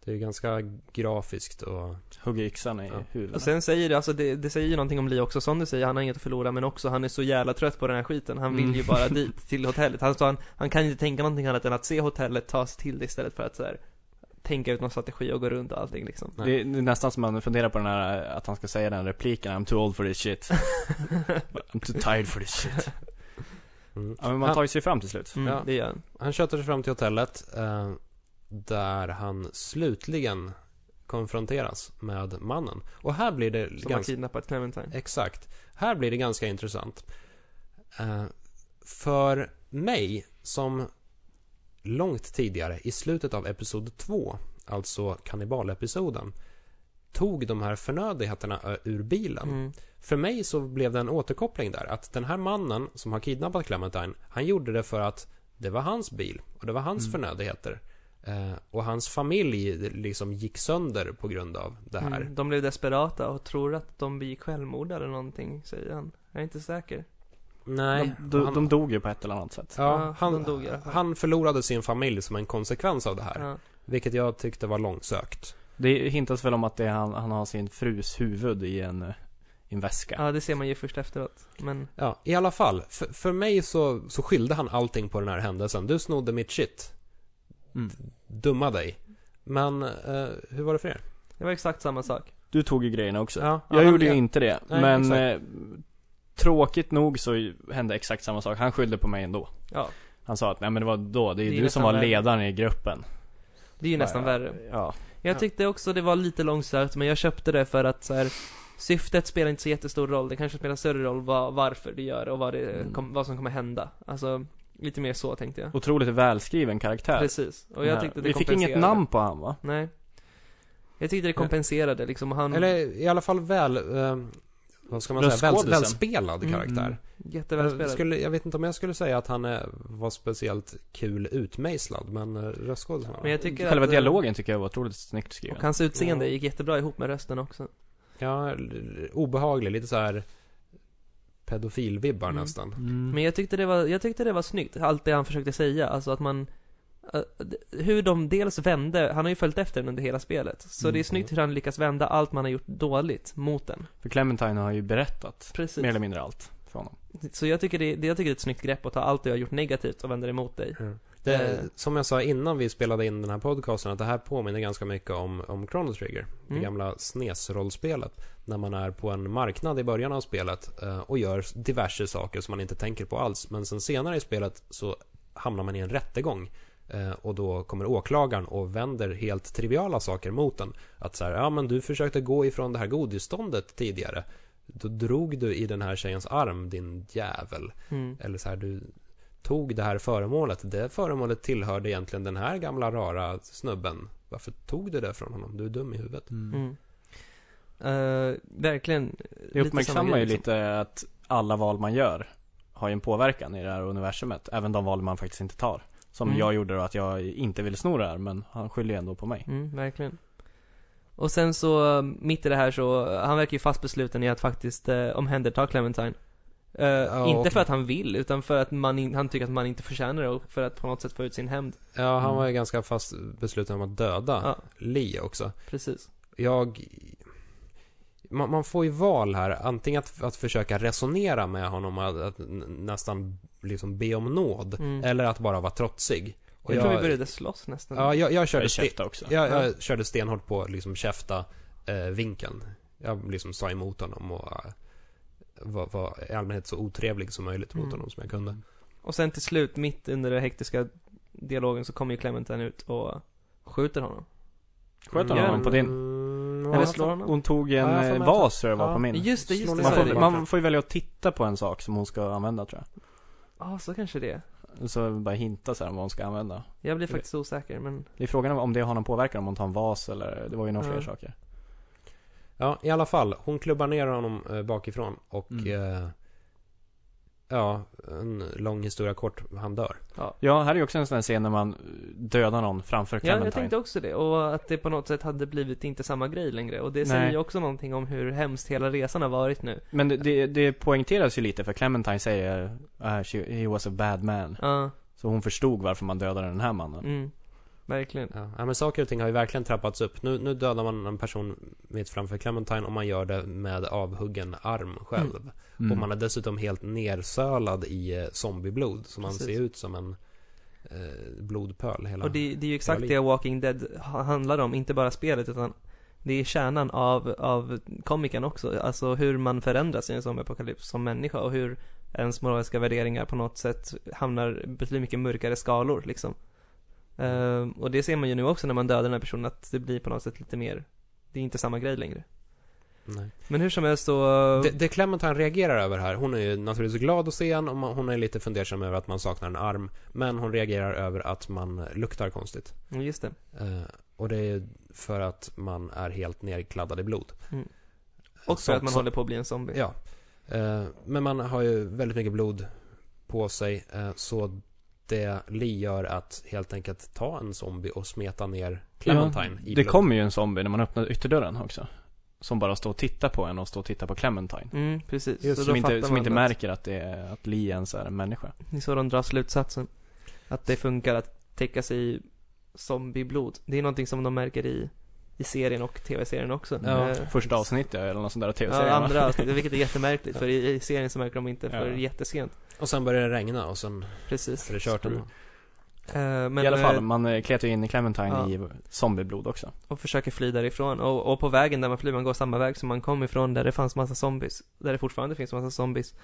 [SPEAKER 3] Det är ganska grafiskt och...
[SPEAKER 2] Hugga yxan i
[SPEAKER 3] Ja.
[SPEAKER 2] huvudet.
[SPEAKER 1] Och sen säger det, alltså det, det säger ju någonting om Lee också som du säger, han har inget att förlora men också han är så jävla trött på den här skiten. Han vill
[SPEAKER 2] Mm.
[SPEAKER 1] ju bara dit, till hotellet. Han, så han, han kan ju inte tänka någonting annat än att se hotellet, ta sig till det istället för att så här, tänka ut någon strategi och gå runt och allting liksom.
[SPEAKER 3] Nej.
[SPEAKER 2] Det är, det är nästan som man funderar på den här, eh, att han ska säga den repliken, I'm too old for this shit. I'm too tired for this shit.
[SPEAKER 3] Mm.
[SPEAKER 2] Ja, men man tar ju sig fram till slut.
[SPEAKER 1] Mm,
[SPEAKER 3] Ja.
[SPEAKER 1] Det gör han.
[SPEAKER 3] Han köttar sig fram till hotellet eh, där han slutligen konfronteras med mannen. Och här blir det
[SPEAKER 1] Som har
[SPEAKER 3] ganska...
[SPEAKER 1] kidnappat Clementine.
[SPEAKER 3] Exakt. Här blir det ganska intressant. Eh, för mig som långt tidigare, i slutet av episod 2, alltså kannibalepisoden, tog de här förnödenheterna ö- ur bilen.
[SPEAKER 1] Mm.
[SPEAKER 3] För mig så blev det en återkoppling där. Att den här mannen som har kidnappat Clementine, han gjorde det för att det var hans bil och det var hans
[SPEAKER 2] Mm.
[SPEAKER 3] förnödenheter. Eh, och hans familj liksom gick sönder på grund av det här.
[SPEAKER 1] Mm, de blev desperata och tror att de begick självmord eller någonting, säger han. Jag är inte säker.
[SPEAKER 3] Nej,
[SPEAKER 2] de, de,
[SPEAKER 3] han-
[SPEAKER 2] de dog ju på ett eller annat sätt.
[SPEAKER 1] Ja,
[SPEAKER 3] Ja, han,
[SPEAKER 1] de dog i alla fall.
[SPEAKER 3] han förlorade sin familj som en konsekvens av det här.
[SPEAKER 1] Ja.
[SPEAKER 3] Vilket jag tyckte var långsökt.
[SPEAKER 2] Det hintas väl om att det är han, han har sin frus huvud i en, eh, i en väska.
[SPEAKER 1] ja, det ser man ju först efteråt. Men,
[SPEAKER 3] Ja, i alla fall. För, för mig så, så skyllde han allting på den här händelsen. Du snodde mitt shit.
[SPEAKER 2] Mm.
[SPEAKER 3] Dumma dig. Men eh, hur var det för er?
[SPEAKER 1] det var exakt samma sak.
[SPEAKER 2] Du tog ju grejerna också.
[SPEAKER 3] Ja,
[SPEAKER 2] jag
[SPEAKER 3] han-
[SPEAKER 2] gjorde ju inte det,
[SPEAKER 3] Nej,
[SPEAKER 2] men
[SPEAKER 3] exakt.
[SPEAKER 2] eh, tråkigt nog så ju- hände exakt samma sak. Han skyllde på mig ändå.
[SPEAKER 1] Ja,
[SPEAKER 2] Han sa att nej men det var då, det är
[SPEAKER 1] Det
[SPEAKER 2] ju
[SPEAKER 1] är
[SPEAKER 2] du
[SPEAKER 1] nästan
[SPEAKER 2] som var
[SPEAKER 1] värre.
[SPEAKER 2] ledaren i gruppen.
[SPEAKER 1] det är ju nästan
[SPEAKER 2] ja,
[SPEAKER 1] värre.
[SPEAKER 2] Ja.
[SPEAKER 1] Jag tyckte också det var lite långsökt, men jag köpte det för att så här, syftet spelar inte så jättestor roll. Det kanske spelar större roll vad, varför du gör och vad, det,
[SPEAKER 2] Mm.
[SPEAKER 1] kom, vad som kommer hända. Alltså, lite mer så tänkte jag.
[SPEAKER 2] Otroligt välskriven karaktär.
[SPEAKER 1] Precis. Och jag tyckte det
[SPEAKER 2] Vi fick inget
[SPEAKER 1] kompenserade.
[SPEAKER 2] namn på han va?
[SPEAKER 1] Nej. Jag tyckte det kompenserade liksom. Han,
[SPEAKER 3] Eller i alla fall väl... Eh, vad ska man
[SPEAKER 2] Den
[SPEAKER 3] säga? Väl,
[SPEAKER 2] skådisen.
[SPEAKER 3] välspelad
[SPEAKER 1] Mm,
[SPEAKER 3] karaktär.
[SPEAKER 2] mm.
[SPEAKER 1] jättevälspelad.
[SPEAKER 3] Jag, skulle, jag vet inte om jag skulle säga att han eh, var speciellt kul utmejslad, men eh, röstskådisen var
[SPEAKER 1] Men jag tycker
[SPEAKER 2] Själva
[SPEAKER 1] att, eh,
[SPEAKER 2] dialogen tycker jag var otroligt snyggt skriven.
[SPEAKER 1] Och hans utseende
[SPEAKER 3] Ja.
[SPEAKER 1] gick jättebra ihop med rösten också.
[SPEAKER 3] Ja, l- obehaglig. Lite så här pedofilvibbar
[SPEAKER 1] Mm.
[SPEAKER 3] nästan.
[SPEAKER 2] Mm.
[SPEAKER 1] Men jag tyckte det var, jag tyckte det var snyggt, allt det han försökte säga, alltså att man eh, d- hur de dels vände, han har ju följt efter den under hela spelet. Så
[SPEAKER 2] Mm.
[SPEAKER 1] det är snyggt hur han lyckas vända allt man har gjort dåligt mot den.
[SPEAKER 2] För Clementine har ju berättat
[SPEAKER 1] Precis.
[SPEAKER 2] mer eller mindre allt för honom.
[SPEAKER 1] Så jag tycker det, det- jag tycker det är ett snyggt grepp att ta allt du har gjort negativt och vända det mot dig.
[SPEAKER 3] Det,
[SPEAKER 1] Eh.
[SPEAKER 3] som jag sa innan vi spelade in den här podcasten, att det här påminner ganska mycket om, om Chrono Trigger. Det
[SPEAKER 1] Mm.
[SPEAKER 3] gamla SNES-rollspelet. När man är på en marknad i början av spelet eh, och gör diverse saker som man inte tänker på alls. Men sen senare i spelet så hamnar man i en rättegång. eh, Och då kommer åklagaren och vänder helt triviala saker mot en. Att så här, ja men du försökte gå ifrån det här godisståndet tidigare. Då drog du i den här tjejens arm, din jävel.
[SPEAKER 1] Mm.
[SPEAKER 3] Eller så här, du tog det här föremålet. Det föremålet tillhörde egentligen den här gamla rara snubben. Varför tog du det från honom? Du är dum i huvudet.
[SPEAKER 1] Mm. Eh, verkligen.
[SPEAKER 2] Det
[SPEAKER 1] lite samma
[SPEAKER 2] uppmärksammar
[SPEAKER 1] grej,
[SPEAKER 2] ju
[SPEAKER 1] liksom.
[SPEAKER 2] lite att alla val man gör har ju en påverkan i det här universumet. Även de val man faktiskt inte tar. Som
[SPEAKER 1] Mm.
[SPEAKER 2] jag gjorde då att jag inte ville sno det här men han skyller ju ändå på mig.
[SPEAKER 1] Mm, verkligen. Och sen så, eh, mitt i det här så, eh, han verkar ju fast besluten i att faktiskt eh, omhänderta Clementine. Eh, inte
[SPEAKER 3] och-
[SPEAKER 1] för att han vill, utan för att man in, han tycker att man inte förtjänar det och för att på något sätt få ut sin hämnd.
[SPEAKER 3] Ja, han
[SPEAKER 2] Mm.
[SPEAKER 3] var ju ganska fast besluten om att döda
[SPEAKER 1] Ja,
[SPEAKER 3] Lee också.
[SPEAKER 1] precis.
[SPEAKER 3] Jag... man, man får ju val här. Antingen att, att försöka resonera med honom, att, att n- nästan liksom be om nåd.
[SPEAKER 1] Mm.
[SPEAKER 3] Eller att bara vara trotsig. Och
[SPEAKER 1] Jag, tror vi
[SPEAKER 3] jag,
[SPEAKER 1] började slåss nästan.
[SPEAKER 3] Eh, ja, jag, jag, körde,
[SPEAKER 2] Jag
[SPEAKER 3] ste,
[SPEAKER 2] käftar också.
[SPEAKER 3] jag, jag körde stenhårt på liksom käfta eh, vinkeln. Jag liksom sa emot honom och eh, var, var i allmänhet så otrevlig som möjligt mot
[SPEAKER 1] Mm.
[SPEAKER 3] honom som jag kunde.
[SPEAKER 1] Och sen till slut, mitt under den hektiska dialogen så kommer ju Clementine ut och skjuter honom.
[SPEAKER 2] Sköt
[SPEAKER 1] Mm.
[SPEAKER 2] honom
[SPEAKER 1] Gör den.
[SPEAKER 2] på din?
[SPEAKER 3] Mm,
[SPEAKER 1] Eller
[SPEAKER 3] ja.
[SPEAKER 1] slår honom?
[SPEAKER 2] Hon tog en
[SPEAKER 3] Ja, jag får
[SPEAKER 2] eh,
[SPEAKER 3] med
[SPEAKER 2] vas tror jag var
[SPEAKER 3] Ja.
[SPEAKER 2] på min.
[SPEAKER 1] Just det, just
[SPEAKER 3] Slår
[SPEAKER 1] det.
[SPEAKER 3] ni
[SPEAKER 1] så
[SPEAKER 2] Man
[SPEAKER 1] är
[SPEAKER 2] får,
[SPEAKER 1] det.
[SPEAKER 2] man får ju välja att titta på en sak som hon ska använda tror
[SPEAKER 1] Ja, så kanske det är.
[SPEAKER 2] jag. Så bara hinta så här om vad hon ska använda.
[SPEAKER 1] Jag blir faktiskt osäker, men
[SPEAKER 2] Det är frågan om det har någon påverkan om hon tar en vas eller, det var ju några
[SPEAKER 1] Ja.
[SPEAKER 2] fler saker.
[SPEAKER 3] Ja, i alla fall. Hon klubbar ner honom eh, bakifrån och...
[SPEAKER 2] Mm.
[SPEAKER 3] Eh, ja, en lång historia kort. Han dör.
[SPEAKER 2] Ja, här är ju också en sån här scen när man eh, dödar någon framför
[SPEAKER 1] Ja, jag
[SPEAKER 2] Clementine.
[SPEAKER 1] tänkte också det. Och att det på något sätt hade blivit inte samma grej längre. Och det säger
[SPEAKER 2] Nej.
[SPEAKER 1] ju också någonting om hur hemskt hela resan har varit nu.
[SPEAKER 2] Men det- det, det poängteras ju lite för Clementine säger uh, she, he was a bad man.
[SPEAKER 1] Ja,
[SPEAKER 2] Så hon förstod varför man dödade den här mannen.
[SPEAKER 1] mm. Verkligen.
[SPEAKER 3] Ja, ja, men saker och ting har ju verkligen trappats upp. Nu, nu dödar man en person mitt framför Clementine och man gör det med avhuggen arm själv.
[SPEAKER 2] Mm.
[SPEAKER 3] Och man är dessutom helt nersölad i eh, zombieblod. Så man
[SPEAKER 1] Precis.
[SPEAKER 3] ser ut som en eh, blodpöl hela...
[SPEAKER 1] Och det, det är ju exakt
[SPEAKER 3] Ja,
[SPEAKER 1] det Walking Dead ha- handlar om. Inte bara spelet, utan det är kärnan av, av komikern också. Alltså hur man förändras i en zombieapokalyps som människa och hur ens moraliska värderingar på något sätt hamnar betydligt mycket mörkare skalor liksom. Ehm, och det ser man ju nu också när man dödar den här personen, att det blir på något sätt lite mer, det är inte samma grej längre.
[SPEAKER 3] Nej.
[SPEAKER 1] Men hur som helst så...
[SPEAKER 3] Det, det Clementine reagerar över här, hon är ju naturligtvis glad att se en och man, hon är lite fundersam över att man saknar en arm. Men hon reagerar över att man luktar konstigt.
[SPEAKER 1] Mm, Just det.
[SPEAKER 3] Eh, och det är ju för att man är helt nerkladdad i blod. Eh,
[SPEAKER 1] Mm. Och för
[SPEAKER 3] Sånt
[SPEAKER 1] att man
[SPEAKER 3] som-
[SPEAKER 1] håller på att bli en zombie.
[SPEAKER 3] Ja. Eh, Men man har ju väldigt mycket blod på sig eh, så det Lee gör att helt enkelt ta en zombie och smeta ner Clementine i
[SPEAKER 2] ja, Det
[SPEAKER 3] blod.
[SPEAKER 2] kommer ju en zombie när man öppnar ytterdörren också. Som bara står och tittar på en och står och tittar på Clementine.
[SPEAKER 1] Mm, precis.
[SPEAKER 3] Just
[SPEAKER 1] Så
[SPEAKER 2] som
[SPEAKER 1] då
[SPEAKER 2] inte,
[SPEAKER 1] fattar
[SPEAKER 2] som
[SPEAKER 1] man
[SPEAKER 2] inte
[SPEAKER 1] att-
[SPEAKER 2] märker att, det är, att Lee ens är en människa.
[SPEAKER 1] Det är så de drar slutsatsen. Att det funkar att täcka sig i zombieblod. Det är någonting som de märker i, i serien och tv-serien också.
[SPEAKER 3] Ja.
[SPEAKER 1] Eh,
[SPEAKER 2] Första avsnittet eller något sånt där tv-serien
[SPEAKER 1] Ja,
[SPEAKER 2] va?
[SPEAKER 1] andra avsnittet, vilket är jättemärkligt för i, i serien så märker de inte för
[SPEAKER 2] Ja.
[SPEAKER 1] jättesent.
[SPEAKER 3] Och sen börjar det regna och sen
[SPEAKER 1] Precis.
[SPEAKER 3] är det kört ändå.
[SPEAKER 1] Eh, men,
[SPEAKER 2] I alla fall,
[SPEAKER 1] eh,
[SPEAKER 2] man eh, kletar ju in i Clementine
[SPEAKER 1] ja.
[SPEAKER 2] i zombieblod också.
[SPEAKER 1] Och försöker fly därifrån. Och, och på vägen där man flyr, man går samma väg som man kom ifrån där det fanns massa zombies. Där det fortfarande finns massa zombies.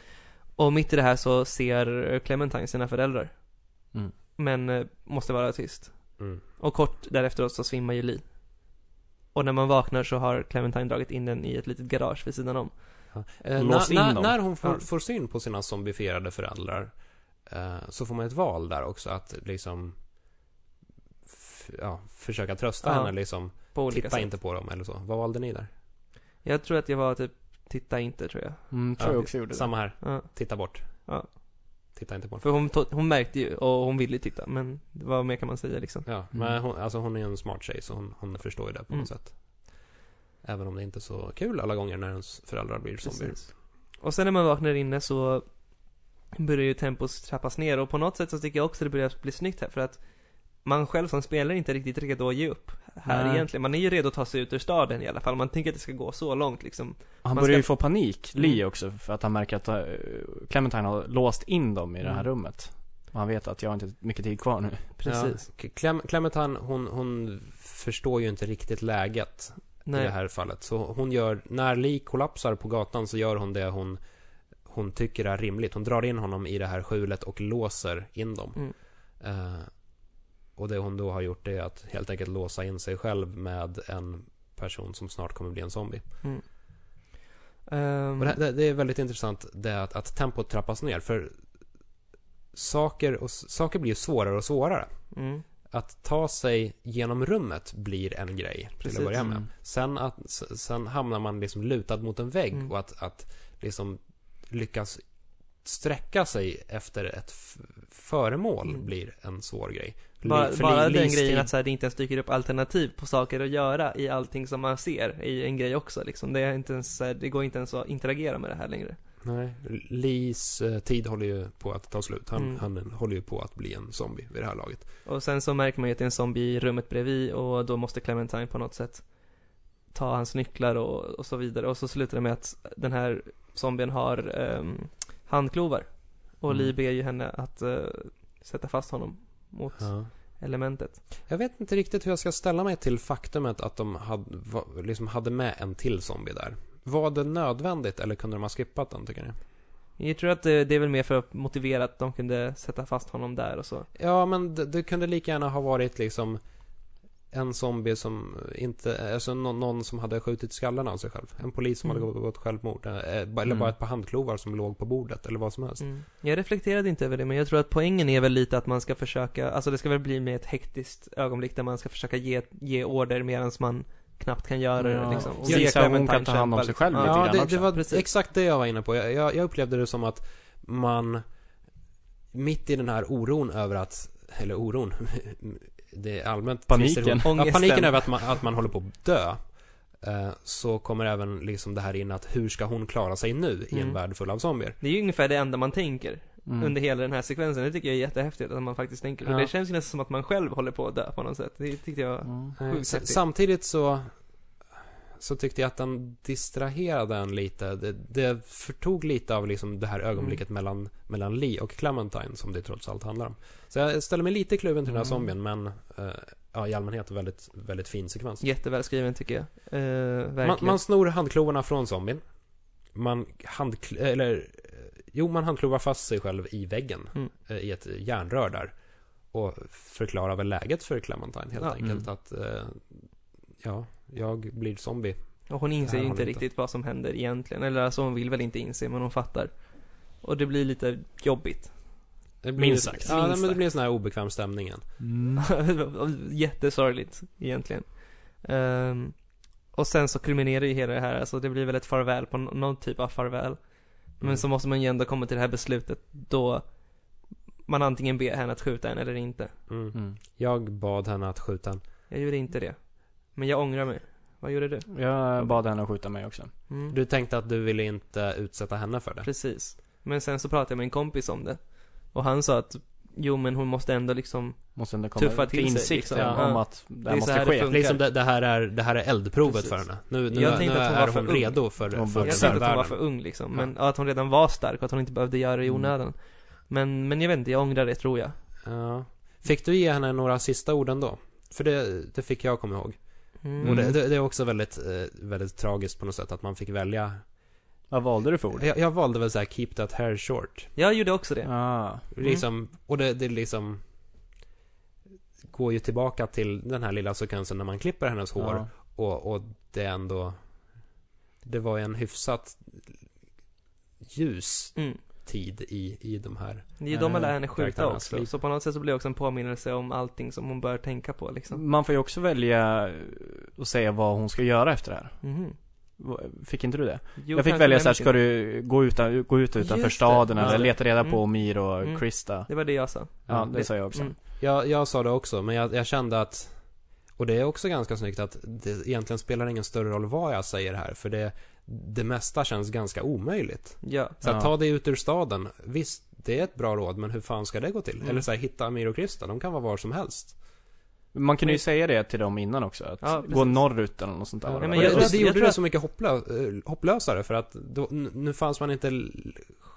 [SPEAKER 1] Och mitt i det här så ser Clementine sina föräldrar.
[SPEAKER 2] Mm.
[SPEAKER 1] Men eh, måste vara tyst.
[SPEAKER 3] Mm.
[SPEAKER 1] Och kort därefter så svimmar ju Lee. Och när man vaknar så har Clementine dragit in den i ett litet garage vid sidan om.
[SPEAKER 3] Ja. Eh,
[SPEAKER 2] Lås
[SPEAKER 3] när,
[SPEAKER 2] in
[SPEAKER 3] när,
[SPEAKER 2] dem.
[SPEAKER 3] när hon får,
[SPEAKER 1] Ja.
[SPEAKER 3] får syn på sina zombifierade föräldrar eh, så får man ett val där också att liksom f- ja, försöka trösta
[SPEAKER 1] Ja.
[SPEAKER 3] henne liksom.
[SPEAKER 1] På olika
[SPEAKER 3] Titta
[SPEAKER 1] sätt.
[SPEAKER 3] inte på dem eller så. Vad valde ni där?
[SPEAKER 1] Jag tror att jag var typ, titta inte tror jag.
[SPEAKER 2] Mm, tror
[SPEAKER 3] Ja.
[SPEAKER 2] jag också gjorde det.
[SPEAKER 3] Samma här.
[SPEAKER 1] Ja.
[SPEAKER 3] Titta bort.
[SPEAKER 1] Ja.
[SPEAKER 3] Titta inte på dem.
[SPEAKER 1] För hon, to- hon märkte ju och hon ville ju titta men vad mer kan man säga liksom.
[SPEAKER 3] Ja,
[SPEAKER 2] Mm.
[SPEAKER 3] men hon, alltså hon är ju en smart tjej så hon, hon förstår ju det på
[SPEAKER 1] Mm.
[SPEAKER 3] något sätt. Även om det inte är så kul alla gånger när ens föräldrar blir zombier.
[SPEAKER 1] Precis. Och sen när man vaknar inne så börjar ju tempot trappas ner och på något sätt så tycker jag också det börjar bli snyggt här för att man själv som spelare är inte riktigt redo att ge upp här
[SPEAKER 2] Nej.
[SPEAKER 1] egentligen. Man är ju redo att ta sig ut ur staden i alla fall. Man tänker att det ska gå så långt liksom.
[SPEAKER 2] Han
[SPEAKER 1] Man
[SPEAKER 2] börjar ju
[SPEAKER 1] ska-
[SPEAKER 2] få panik, Lee
[SPEAKER 1] Mm.
[SPEAKER 2] också, för att han märker att eh, Clementine har låst in dem i det här
[SPEAKER 1] Mm.
[SPEAKER 2] rummet. Och han vet att jag har inte mycket tid kvar nu.
[SPEAKER 1] Precis.
[SPEAKER 3] Ja, Clem, Clementine, hon, hon förstår ju inte riktigt läget i det
[SPEAKER 1] Nej.
[SPEAKER 3] här fallet. Så hon gör, när Lee kollapsar på gatan så gör hon det hon, hon tycker är rimligt. Hon drar in honom i det här skjulet och låser in dem.
[SPEAKER 1] Mm.
[SPEAKER 3] Eh, och det hon då har gjort är att helt enkelt låsa in sig själv med en person som snart kommer bli en zombie.
[SPEAKER 1] Ehm,
[SPEAKER 3] Och det, det, det är väldigt intressant det att, att tempot trappas ner för saker, och, s- saker blir ju svårare och svårare.
[SPEAKER 1] mm.
[SPEAKER 3] Att ta sig genom rummet blir en grej till
[SPEAKER 1] Precis.
[SPEAKER 3] att börja med.
[SPEAKER 2] Mm.
[SPEAKER 3] Sen, att, s- sen hamnar man liksom lutad mot en vägg
[SPEAKER 1] Mm.
[SPEAKER 3] och att, att liksom lyckas sträcka sig efter ett f- föremål
[SPEAKER 1] Mm.
[SPEAKER 3] blir en svår grej. Li-
[SPEAKER 1] Bara,
[SPEAKER 3] för
[SPEAKER 1] bara
[SPEAKER 3] li-
[SPEAKER 1] den
[SPEAKER 3] livstid-
[SPEAKER 1] grejen att så här, det inte ens dyker upp alternativ på saker att göra i allting som man ser är en grej också liksom. Det, är inte ens, så här, det går inte ens att interagera med det här längre.
[SPEAKER 3] Nej, Lees eh, tid håller ju på att ta slut. Han,
[SPEAKER 1] Mm.
[SPEAKER 3] han håller ju på att bli en zombie vid det här laget.
[SPEAKER 1] Och sen så märker man ju att det är en zombie i rummet bredvid och då måste Clementine på något sätt ta hans nycklar och, och så vidare. Och så slutar det med att den här zombien har ehm, handklovar. Och
[SPEAKER 2] Mm.
[SPEAKER 1] Lee ber ju henne att eh, sätta fast honom mot
[SPEAKER 3] Ja.
[SPEAKER 1] elementet.
[SPEAKER 3] Jag vet inte riktigt hur jag ska ställa mig till faktumet att de hade, va- liksom hade med en till zombie där. Var det nödvändigt eller kunde de ha skippat den tycker ni?
[SPEAKER 1] Jag tror att eh, det, det är väl mer för att motivera att de kunde sätta fast honom där och så.
[SPEAKER 3] Ja, men det, det kunde lika gärna ha varit liksom en zombie som inte, alltså någon, någon som hade skjutit skallen av sig själv. En polis som
[SPEAKER 1] Mm.
[SPEAKER 3] hade begått självmord. eh, eh, ba- Eller
[SPEAKER 2] Mm.
[SPEAKER 3] bara ett par handklovar som låg på bordet eller vad som helst.
[SPEAKER 1] Mm. Jag reflekterade inte över det, men jag tror att poängen är väl lite att man ska försöka, alltså det ska väl bli med ett hektiskt ögonblick där man ska försöka ge, ge order medan man knappt kan göra
[SPEAKER 2] Ja,
[SPEAKER 1] det liksom.
[SPEAKER 2] och
[SPEAKER 1] Se
[SPEAKER 2] visa
[SPEAKER 1] Clementine
[SPEAKER 2] hon kan ta hand om
[SPEAKER 1] kämpa,
[SPEAKER 2] sig själv lite
[SPEAKER 3] Ja,
[SPEAKER 2] grann
[SPEAKER 3] det,
[SPEAKER 2] också.
[SPEAKER 3] det var
[SPEAKER 1] Precis.
[SPEAKER 3] exakt det jag var inne på. Jag, jag, jag upplevde det som att man mitt i den här oron över att, eller oron, det är allmänt
[SPEAKER 2] Paniken.
[SPEAKER 3] trist- Ja,
[SPEAKER 1] Ångesten.
[SPEAKER 3] paniken över att man, att man håller på att dö. eh, Så kommer även liksom det här in att hur ska hon klara sig nu i en
[SPEAKER 1] Mm.
[SPEAKER 3] värld full av zombier?
[SPEAKER 1] Det är ju ungefär det enda man tänker
[SPEAKER 2] Mm.
[SPEAKER 1] under hela den här sekvensen. Det tycker jag är jättehäftigt att man faktiskt tänker.
[SPEAKER 3] Ja.
[SPEAKER 1] Och det känns ju nästan som att man själv håller på att dö på något sätt. Det tyckte jag.
[SPEAKER 2] Mm.
[SPEAKER 3] Eh,
[SPEAKER 1] Sjukt
[SPEAKER 3] s-
[SPEAKER 1] häftigt.
[SPEAKER 3] Samtidigt så så tyckte jag att den distraherade en lite. Det, det förtog lite av liksom det här
[SPEAKER 1] Mm.
[SPEAKER 3] ögonblicket mellan, mellan Lee och Clementine som det trots allt handlar om. Så jag ställer mig lite kluven till den här
[SPEAKER 2] Mm.
[SPEAKER 3] zombien men eh, ja, i allmänhet väldigt, väldigt fin sekvens.
[SPEAKER 1] Jättevälskriven tycker jag. Eh, verkligen.
[SPEAKER 3] Man, man snor handklovarna från zombien. Man handkl... eller eh, jo, man handklovar fast sig själv i väggen
[SPEAKER 1] Mm.
[SPEAKER 3] eh, i ett järnrör där. Och förklarar väl läget för Clementine helt
[SPEAKER 1] Ja.
[SPEAKER 3] enkelt
[SPEAKER 2] Mm.
[SPEAKER 3] att eh, ja, jag blir zombie.
[SPEAKER 1] Och hon
[SPEAKER 3] Det
[SPEAKER 1] inser
[SPEAKER 3] här
[SPEAKER 1] ju
[SPEAKER 3] håller
[SPEAKER 1] inte
[SPEAKER 3] inte.
[SPEAKER 1] riktigt vad som händer egentligen. Eller alltså hon vill väl inte inse, men hon fattar. Och det blir lite jobbigt.
[SPEAKER 3] Det blir,
[SPEAKER 2] Minst sagt.
[SPEAKER 3] Ja,
[SPEAKER 1] Minst
[SPEAKER 3] men det
[SPEAKER 1] sagt.
[SPEAKER 3] blir en sån här obekväm stämning igen.
[SPEAKER 2] Mm.
[SPEAKER 1] Jättesorgligt egentligen. Ehm, och sen så kulminerar ju hela det här, alltså det blir väl ett farväl på nå- någon typ av farväl. Men så måste man ju ändå komma till det här beslutet då man antingen ber henne att skjuta en eller inte.
[SPEAKER 3] Mm.
[SPEAKER 2] Mm.
[SPEAKER 3] Jag bad henne att skjuta en.
[SPEAKER 1] Jag gjorde inte det. Men jag ångrar mig. Vad gjorde du?
[SPEAKER 2] Jag bad henne att skjuta mig också.
[SPEAKER 1] Mm.
[SPEAKER 3] Du tänkte att du ville inte utsätta henne för det?
[SPEAKER 1] Precis. Men sen så pratade jag med en kompis om det. Och han sa att jo men hon måste ändå liksom
[SPEAKER 2] Måste ändå komma
[SPEAKER 1] Tuffa till sig,
[SPEAKER 2] insikt
[SPEAKER 1] liksom.
[SPEAKER 2] ja,
[SPEAKER 1] Ja.
[SPEAKER 2] om att det här
[SPEAKER 1] är så
[SPEAKER 2] måste
[SPEAKER 1] här det
[SPEAKER 2] ske.
[SPEAKER 1] funkar.
[SPEAKER 3] Liksom det, det, här är, det här är eldprovet
[SPEAKER 1] Precis.
[SPEAKER 3] för henne. Nu, nu,
[SPEAKER 1] Jag
[SPEAKER 3] är- nu
[SPEAKER 1] tänkte att hon
[SPEAKER 3] är
[SPEAKER 1] var för
[SPEAKER 3] hon
[SPEAKER 1] ung.
[SPEAKER 3] redo för,
[SPEAKER 2] Hon
[SPEAKER 3] för
[SPEAKER 1] Jag
[SPEAKER 2] vuxen.
[SPEAKER 1] tänkte att hon var
[SPEAKER 3] världen.
[SPEAKER 1] för ung liksom, men ja. att hon redan var stark och att hon inte behövde göra det i
[SPEAKER 2] Mm.
[SPEAKER 1] onödan. Men, men jag vet inte, jag ångrar det tror jag.
[SPEAKER 3] Ja. Fick du ge henne några sista ord ändå? För det, det fick jag komma ihåg.
[SPEAKER 1] Mm.
[SPEAKER 3] Och det, det, det är också väldigt, eh, väldigt tragiskt på något sätt att man fick välja.
[SPEAKER 2] Vad valde du för ord?
[SPEAKER 3] Jag, jag valde väl så här, keep that hair short.
[SPEAKER 1] Jag gjorde också det.
[SPEAKER 2] Ah.
[SPEAKER 3] Liksom, och det, det liksom går ju tillbaka till den här lilla sekvensen när man klipper hennes hår
[SPEAKER 2] Ja.
[SPEAKER 3] och, och det är ändå, det var ju en hyfsat ljus
[SPEAKER 1] Mm.
[SPEAKER 3] tid i, i de här.
[SPEAKER 1] Det är ju de
[SPEAKER 2] Eh,
[SPEAKER 1] man lär henne skjuta
[SPEAKER 3] karaktärernas
[SPEAKER 1] också.
[SPEAKER 3] liv.
[SPEAKER 1] Så på något sätt så blir det också en påminnelse om allting som hon bör tänka på liksom.
[SPEAKER 2] Man får ju också välja att säga vad hon ska göra efter det här.
[SPEAKER 1] Mhm.
[SPEAKER 2] Fick inte du det?
[SPEAKER 1] Jo,
[SPEAKER 2] jag fick
[SPEAKER 1] kanske
[SPEAKER 2] välja så här,
[SPEAKER 1] nämns
[SPEAKER 2] ska du gå, utan, gå ut utanför
[SPEAKER 1] Just det.
[SPEAKER 2] staden
[SPEAKER 3] Ja.
[SPEAKER 2] eller leta reda på
[SPEAKER 1] Mm.
[SPEAKER 2] Mir och
[SPEAKER 1] Mm.
[SPEAKER 2] Krista?
[SPEAKER 1] Det var det jag sa.
[SPEAKER 2] Ja,
[SPEAKER 3] Mm.
[SPEAKER 2] det sa jag också.
[SPEAKER 1] Mm.
[SPEAKER 3] Jag, jag sa det också, men jag, jag kände att och det är också ganska snyggt att det egentligen spelar ingen större roll vad jag säger här för det, det mesta känns ganska omöjligt.
[SPEAKER 1] Ja.
[SPEAKER 3] Så
[SPEAKER 2] Ja.
[SPEAKER 3] att ta dig ut ur staden, visst det är ett bra råd men hur fan ska det gå till?
[SPEAKER 1] Mm.
[SPEAKER 3] Eller så här, hitta Amir och Krista, de kan vara var som helst.
[SPEAKER 2] Man kunde ju
[SPEAKER 1] Men-
[SPEAKER 2] säga det till dem innan också, att
[SPEAKER 1] Ja,
[SPEAKER 2] gå
[SPEAKER 1] precis.
[SPEAKER 2] norrut eller något sånt där.
[SPEAKER 1] Ja,
[SPEAKER 2] Vad
[SPEAKER 1] men
[SPEAKER 2] det
[SPEAKER 3] och
[SPEAKER 1] jag
[SPEAKER 2] var.
[SPEAKER 1] tror
[SPEAKER 3] det, det,
[SPEAKER 1] att-
[SPEAKER 3] det
[SPEAKER 1] jag
[SPEAKER 3] gjorde
[SPEAKER 1] tror
[SPEAKER 3] det
[SPEAKER 1] att-
[SPEAKER 3] så mycket hopplös, eh, hopplösare för att då, n- nu fanns man inte l-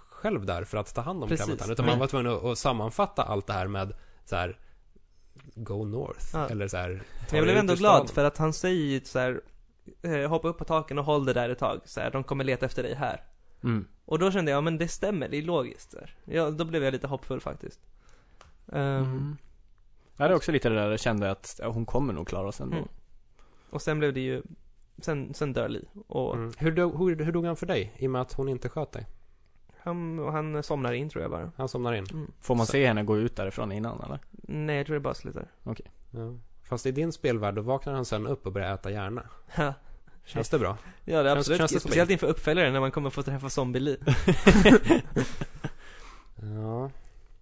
[SPEAKER 3] själv där för att ta hand om
[SPEAKER 1] Precis.
[SPEAKER 3] Clementine utan
[SPEAKER 2] Nej.
[SPEAKER 3] man var tvungen att, att sammanfatta allt det här med så här Go North
[SPEAKER 1] Ja.
[SPEAKER 3] eller så här ta
[SPEAKER 1] Men jag
[SPEAKER 3] dig
[SPEAKER 1] blev
[SPEAKER 3] ut
[SPEAKER 1] ändå
[SPEAKER 3] ur
[SPEAKER 1] glad
[SPEAKER 3] staden.
[SPEAKER 1] för att han säger ju så här, eh, hoppa upp på taken och håll det där ett tag. Så här, de kommer leta efter dig här.
[SPEAKER 2] Mm.
[SPEAKER 1] Och då kände jag, men det stämmer, det är logiskt. Där. Ja, då blev jag lite hoppfull faktiskt. Ehm,
[SPEAKER 2] Mm. Ja, det är också lite det där, jag kände att ja, hon kommer nog klara oss ändå.
[SPEAKER 1] Mm. Och sen blev det ju, sen, sen dör Li. Och
[SPEAKER 3] Mm. Hur, dog, hur, hur dog han för dig? I och med att hon inte sköt dig?
[SPEAKER 1] han, och han somnar in tror jag bara.
[SPEAKER 3] Han somnar in.
[SPEAKER 1] Mm.
[SPEAKER 2] Får man
[SPEAKER 3] Så-
[SPEAKER 2] se henne gå ut därifrån innan eller?
[SPEAKER 1] Nej, jag tror det bara slutar.
[SPEAKER 3] Ja. Fast i din spelvärld, då vaknar han sen upp och börjar äta hjärna.
[SPEAKER 1] Ja,
[SPEAKER 3] Känns det bra?
[SPEAKER 1] ja det är
[SPEAKER 3] Känns-
[SPEAKER 1] absolut.
[SPEAKER 3] känns det som-
[SPEAKER 1] Speciellt inför uppföljaren när man kommer få träffa zombie Li.
[SPEAKER 3] Ja.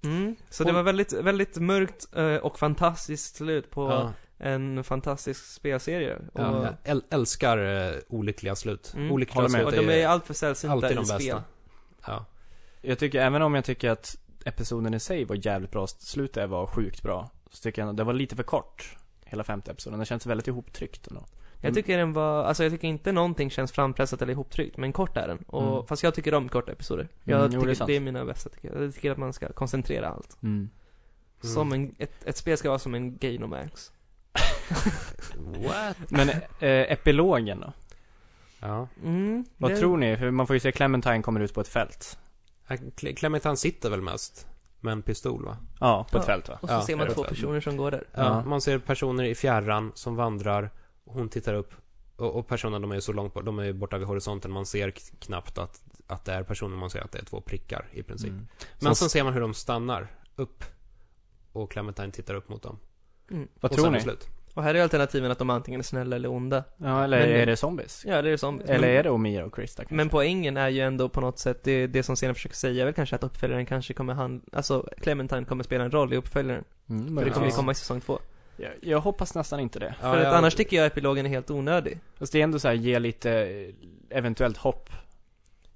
[SPEAKER 1] Mm. Så det
[SPEAKER 3] Hon-
[SPEAKER 1] var väldigt, väldigt mörkt eh, och fantastiskt slut på
[SPEAKER 3] ja.
[SPEAKER 1] en fantastisk spelserie. Och,
[SPEAKER 3] ja. Jag äl- älskar eh, olyckliga slut.
[SPEAKER 1] Mm.
[SPEAKER 3] Olyckliga
[SPEAKER 2] Håller med.
[SPEAKER 1] och
[SPEAKER 3] slut
[SPEAKER 1] de är
[SPEAKER 3] är
[SPEAKER 1] alltför sällsynta
[SPEAKER 3] alltid de
[SPEAKER 1] i spel.
[SPEAKER 3] bästa. Ja.
[SPEAKER 2] Jag tycker, även om jag tycker att episoden i sig var jävligt bra, slutet var sjukt bra. Så tycker jag ändå- det var lite för kort. Hela femte episoden. Den känns väldigt ihoptryckt ändå.
[SPEAKER 3] Mm.
[SPEAKER 1] Jag tycker den var, alltså jag tycker inte någonting känns frampressat eller ihoptryckt, men kort är den. Och,
[SPEAKER 2] Mm.
[SPEAKER 1] Fast jag tycker om korta episoder. Jag
[SPEAKER 2] Mm, jo, det är
[SPEAKER 1] tycker
[SPEAKER 2] sant.
[SPEAKER 1] det är mina bästa tycker jag. Jag tycker att man ska koncentrera allt.
[SPEAKER 2] Mm.
[SPEAKER 3] Mm.
[SPEAKER 1] Som en, ett, ett spel ska vara som en Gainomax.
[SPEAKER 3] What?
[SPEAKER 2] Men eh, epilogen då?
[SPEAKER 3] Ja.
[SPEAKER 1] Mm,
[SPEAKER 2] Vad
[SPEAKER 1] det-
[SPEAKER 2] tror ni? För man får ju se Clementine kommer ut på ett fält.
[SPEAKER 3] Cle- Clementine sitter väl mest med en pistol va?
[SPEAKER 2] Ja, på ett
[SPEAKER 1] Ja.
[SPEAKER 2] fält va?
[SPEAKER 1] Och så
[SPEAKER 3] Ja,
[SPEAKER 1] ser
[SPEAKER 3] jag
[SPEAKER 1] man
[SPEAKER 3] vet
[SPEAKER 1] två
[SPEAKER 3] vad.
[SPEAKER 1] personer som går där.
[SPEAKER 3] Ja.
[SPEAKER 2] Ja.
[SPEAKER 3] Man ser personer i fjärran som vandrar. Hon tittar upp. Och, och personerna, de är ju så långt bort, de är ju borta vid horisonten. Man ser k- knappt att, att det är personer, man ser att det är två prickar i princip.
[SPEAKER 2] Mm. Så-
[SPEAKER 3] Men sen ser man hur de stannar upp. Och Clementine tittar upp mot dem.
[SPEAKER 1] Mm.
[SPEAKER 2] Vad
[SPEAKER 3] och
[SPEAKER 2] tror
[SPEAKER 3] sen är
[SPEAKER 2] ni?
[SPEAKER 3] det Slut.
[SPEAKER 1] Och här är alternativen att de antingen är snälla eller onda.
[SPEAKER 2] Ja, eller
[SPEAKER 1] Men-
[SPEAKER 2] är det zombies?
[SPEAKER 1] Ja, det är zombies.
[SPEAKER 2] typ. Eller
[SPEAKER 1] Men-
[SPEAKER 2] är det Omira och Krista kanske?
[SPEAKER 1] Men poängen är ju ändå på något sätt, det, det som scenen försöker säga är väl kanske att uppföljaren kanske kommer han, alltså Clementine kommer spela en roll i uppföljaren.
[SPEAKER 2] Mm,
[SPEAKER 1] För det
[SPEAKER 2] möjligtvis.
[SPEAKER 1] kommer ju
[SPEAKER 3] Ja.
[SPEAKER 1] komma i säsong två.
[SPEAKER 2] jag, jag hoppas nästan inte det.
[SPEAKER 3] Ja,
[SPEAKER 1] För att
[SPEAKER 3] jag-
[SPEAKER 1] annars tycker jag epilogen är helt onödig.
[SPEAKER 2] Fast det är ändå så här, ge lite eh, eventuellt hopp.
[SPEAKER 1] Ja,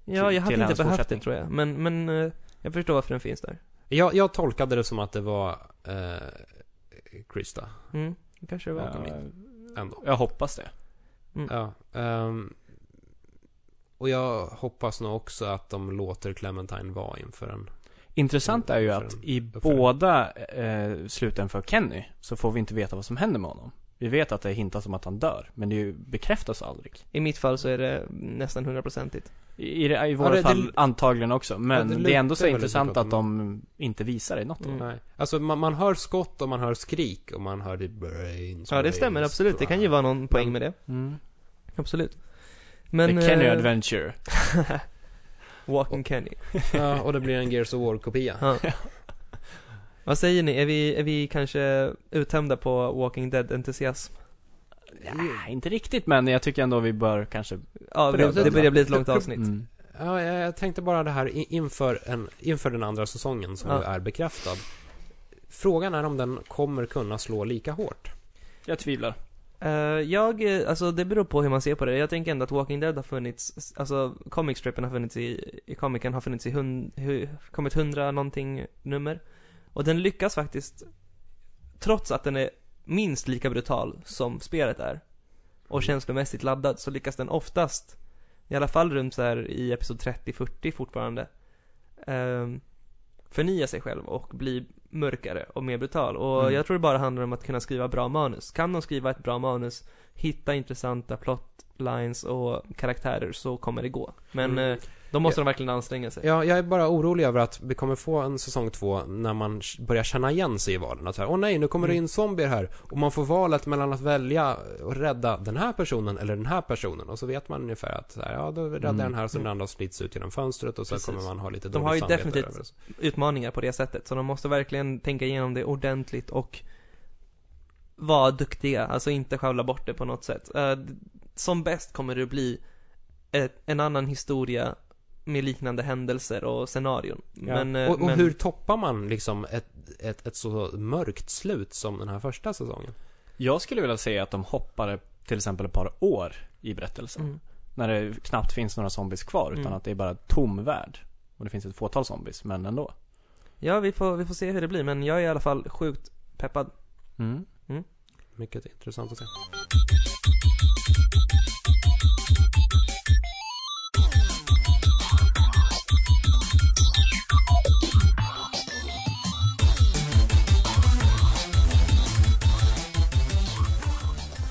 [SPEAKER 2] Till-
[SPEAKER 1] jag hade
[SPEAKER 2] till
[SPEAKER 1] inte
[SPEAKER 2] hans
[SPEAKER 1] behövt
[SPEAKER 2] fortsättning.
[SPEAKER 1] det tror jag. Men, men eh, jag förstår varför den finns där.
[SPEAKER 3] Jag, jag tolkade det som att det var eh, Krista
[SPEAKER 1] Mm, det kanske det var.
[SPEAKER 2] Ja,
[SPEAKER 3] ändå.
[SPEAKER 2] Eh, jag hoppas det.
[SPEAKER 3] Ja. ehm, och jag hoppas nog också att de låter Clementine vara inför en.
[SPEAKER 2] Intressant är ju att
[SPEAKER 3] För-
[SPEAKER 2] i
[SPEAKER 3] för-
[SPEAKER 2] båda eh, sluten för Kenny så får vi inte veta vad som händer med honom. Vi vet att det hintas om att han dör, men det är ju bekräftas aldrig.
[SPEAKER 1] I mitt fall så är det nästan hundraprocentigt.
[SPEAKER 2] I, i, det- i våra
[SPEAKER 3] det- det-
[SPEAKER 2] fall antagligen också, men
[SPEAKER 3] det
[SPEAKER 2] det, är
[SPEAKER 3] lutar
[SPEAKER 2] ändå så
[SPEAKER 3] väl
[SPEAKER 2] intressant
[SPEAKER 3] lite åt
[SPEAKER 2] att de inte visar det något.
[SPEAKER 1] Mm.
[SPEAKER 3] Nej. Alltså man, man hör skott och man hör skrik och man hör det brains.
[SPEAKER 1] Ja, det stämmer
[SPEAKER 3] brains,
[SPEAKER 1] absolut. Det kan ju vara någon poäng med det.
[SPEAKER 2] Mm.
[SPEAKER 1] Absolut. Men...
[SPEAKER 2] The Kenny
[SPEAKER 1] eh,
[SPEAKER 2] Adventure.
[SPEAKER 1] Walking Kenny.
[SPEAKER 3] Ja, och det blir en Gears of War-kopia.
[SPEAKER 1] Ja. Vad säger ni? Är vi, är vi kanske uttömda på Walking Dead-entusiasm?
[SPEAKER 2] Ja, inte riktigt, men jag tycker ändå vi bör kanske...
[SPEAKER 1] Ja,
[SPEAKER 2] På
[SPEAKER 1] vi,
[SPEAKER 2] det sättet.
[SPEAKER 1] det börjar bli ett långt avsnitt.
[SPEAKER 2] Mm.
[SPEAKER 3] Ja, jag, jag tänkte bara det här i- inför, en, inför den andra säsongen som
[SPEAKER 1] Ja.
[SPEAKER 3] ju är bekräftad. Frågan är om den kommer kunna slå lika hårt.
[SPEAKER 2] Jag tvivlar.
[SPEAKER 1] Eh, jag, eh, alltså det beror på hur man ser på det. Jag tänker ändå att Walking Dead har funnits, alltså comic stripen har funnits i, i comicen har funnits i hund, hu, kommit hundra någonting nummer. Och den lyckas faktiskt, trots att den är minst lika brutal som spelet är, och känslomässigt laddad, så lyckas den oftast, i alla fall runt så här i episod 30-40 fortfarande, ehm, förnya sig själv och bli mörkare och mer brutal. Och
[SPEAKER 2] Mm.
[SPEAKER 1] jag tror det bara handlar om att kunna skriva bra manus. Kan de skriva ett bra manus, hitta intressanta plotlines och karaktärer så kommer det gå. Men
[SPEAKER 3] Mm.
[SPEAKER 1] eh, då måste de verkligen anstränga sig.
[SPEAKER 3] Ja, jag är bara orolig över att vi kommer få en säsong två när man sh- börjar känna igen sig i valen. Att så här, åh nej, nu kommer
[SPEAKER 1] Mm.
[SPEAKER 3] det in zombier här. Och man får valet mellan att välja och rädda den här personen eller den här personen. Och så vet man ungefär att så här, ja, då räddar jag
[SPEAKER 2] Mm.
[SPEAKER 3] den här så den andra slits ut genom fönstret och så
[SPEAKER 1] Precis.
[SPEAKER 3] kommer man ha lite
[SPEAKER 1] De
[SPEAKER 3] dåligt
[SPEAKER 1] har ju
[SPEAKER 3] samvete
[SPEAKER 1] definitivt-
[SPEAKER 3] över det.
[SPEAKER 1] Utmaningar på det sättet. Så de måste verkligen tänka igenom det ordentligt och vara duktiga. Alltså inte skavla bort det på något sätt. Eh, d- Som bäst kommer det bli ett, en annan historia med liknande händelser och scenarion. Men, eh,
[SPEAKER 3] och och
[SPEAKER 1] men...
[SPEAKER 3] hur toppar man liksom ett, ett, ett så mörkt slut som den här första säsongen?
[SPEAKER 2] Jag skulle vilja säga att de hoppade till exempel ett par år i berättelsen.
[SPEAKER 1] Mm.
[SPEAKER 2] När det knappt finns några zombies kvar, utan
[SPEAKER 1] Mm.
[SPEAKER 2] att det är bara tom värld. Och det finns ett fåtal zombies, men ändå.
[SPEAKER 1] Ja, vi får, vi får se hur det blir, men jag är i alla fall sjukt peppad.
[SPEAKER 2] Mm.
[SPEAKER 3] Mycket intressant att se.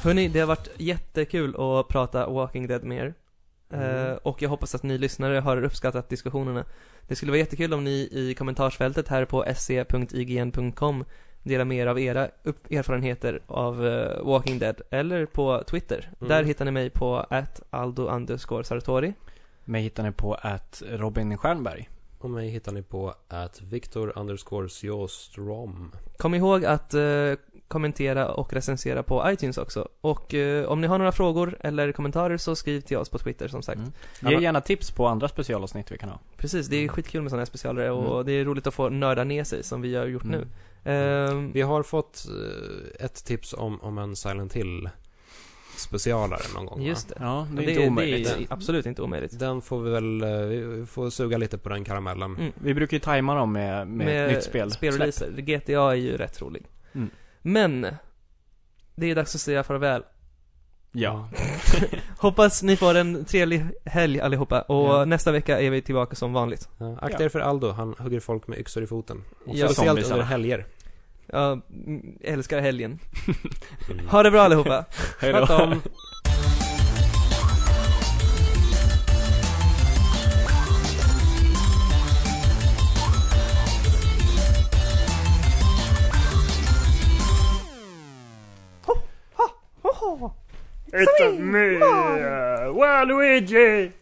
[SPEAKER 1] Hörni, det har varit jättekul att prata Walking Dead med er. Eh, och jag hoppas att ni lyssnare har uppskattat diskussionerna. Det skulle vara jättekul om ni i kommentarsfältet här på se.ign.com delar med er av era upp- erfarenheter av eh, Walking Dead eller på Twitter.
[SPEAKER 3] Mm.
[SPEAKER 1] Där hittar ni mig på aldo sartori.
[SPEAKER 2] Mig hittar ni på att Robin Stjernberg.
[SPEAKER 3] Och mig hittar ni på att Victor underscore Sjostrom.
[SPEAKER 1] Kom ihåg att eh, kommentera och recensera på iTunes också. Och eh, om ni har några frågor eller kommentarer så skriv till oss på Twitter som sagt.
[SPEAKER 2] Mm.
[SPEAKER 3] Alla-
[SPEAKER 2] Ge gärna tips på andra specialavsnitt vi kan ha.
[SPEAKER 1] Precis, det är skitkul med sådana här specialare och
[SPEAKER 2] Mm.
[SPEAKER 1] det är roligt att få nörda ner sig som vi har gjort nu.
[SPEAKER 2] Mm.
[SPEAKER 1] Ehm,
[SPEAKER 3] Vi har fått eh, ett tips om, om en Silent Hill specialare någon gång
[SPEAKER 1] just
[SPEAKER 3] va?
[SPEAKER 1] det.
[SPEAKER 2] Ja, det är
[SPEAKER 1] det,
[SPEAKER 2] inte omöjligt.
[SPEAKER 1] Det är absolut inte omöjligt.
[SPEAKER 3] Den får vi väl, eh, vi får suga lite på den karamellen.
[SPEAKER 1] Mm.
[SPEAKER 2] Vi brukar ju tajma dem med, med, ett nytt spel. Släpp.
[SPEAKER 1] Spelreleaser. GTA är ju rätt rolig.
[SPEAKER 2] Mm.
[SPEAKER 1] Men, det är dags att säga farväl
[SPEAKER 2] Ja.
[SPEAKER 1] Hoppas ni får en trevlig helg allihopa och
[SPEAKER 3] Ja.
[SPEAKER 1] nästa vecka är vi tillbaka som vanligt.
[SPEAKER 3] Ja, akta er för Aldo, han hugger folk med yxor i foten.
[SPEAKER 1] Och
[SPEAKER 2] så
[SPEAKER 3] Speciellt
[SPEAKER 2] zombiesarna.
[SPEAKER 3] under helger.
[SPEAKER 1] Jag mm, älskar helgen. Ha det bra allihopa.
[SPEAKER 2] Hej då.
[SPEAKER 1] Sköt om.
[SPEAKER 4] It's a me, uh, Waluigi.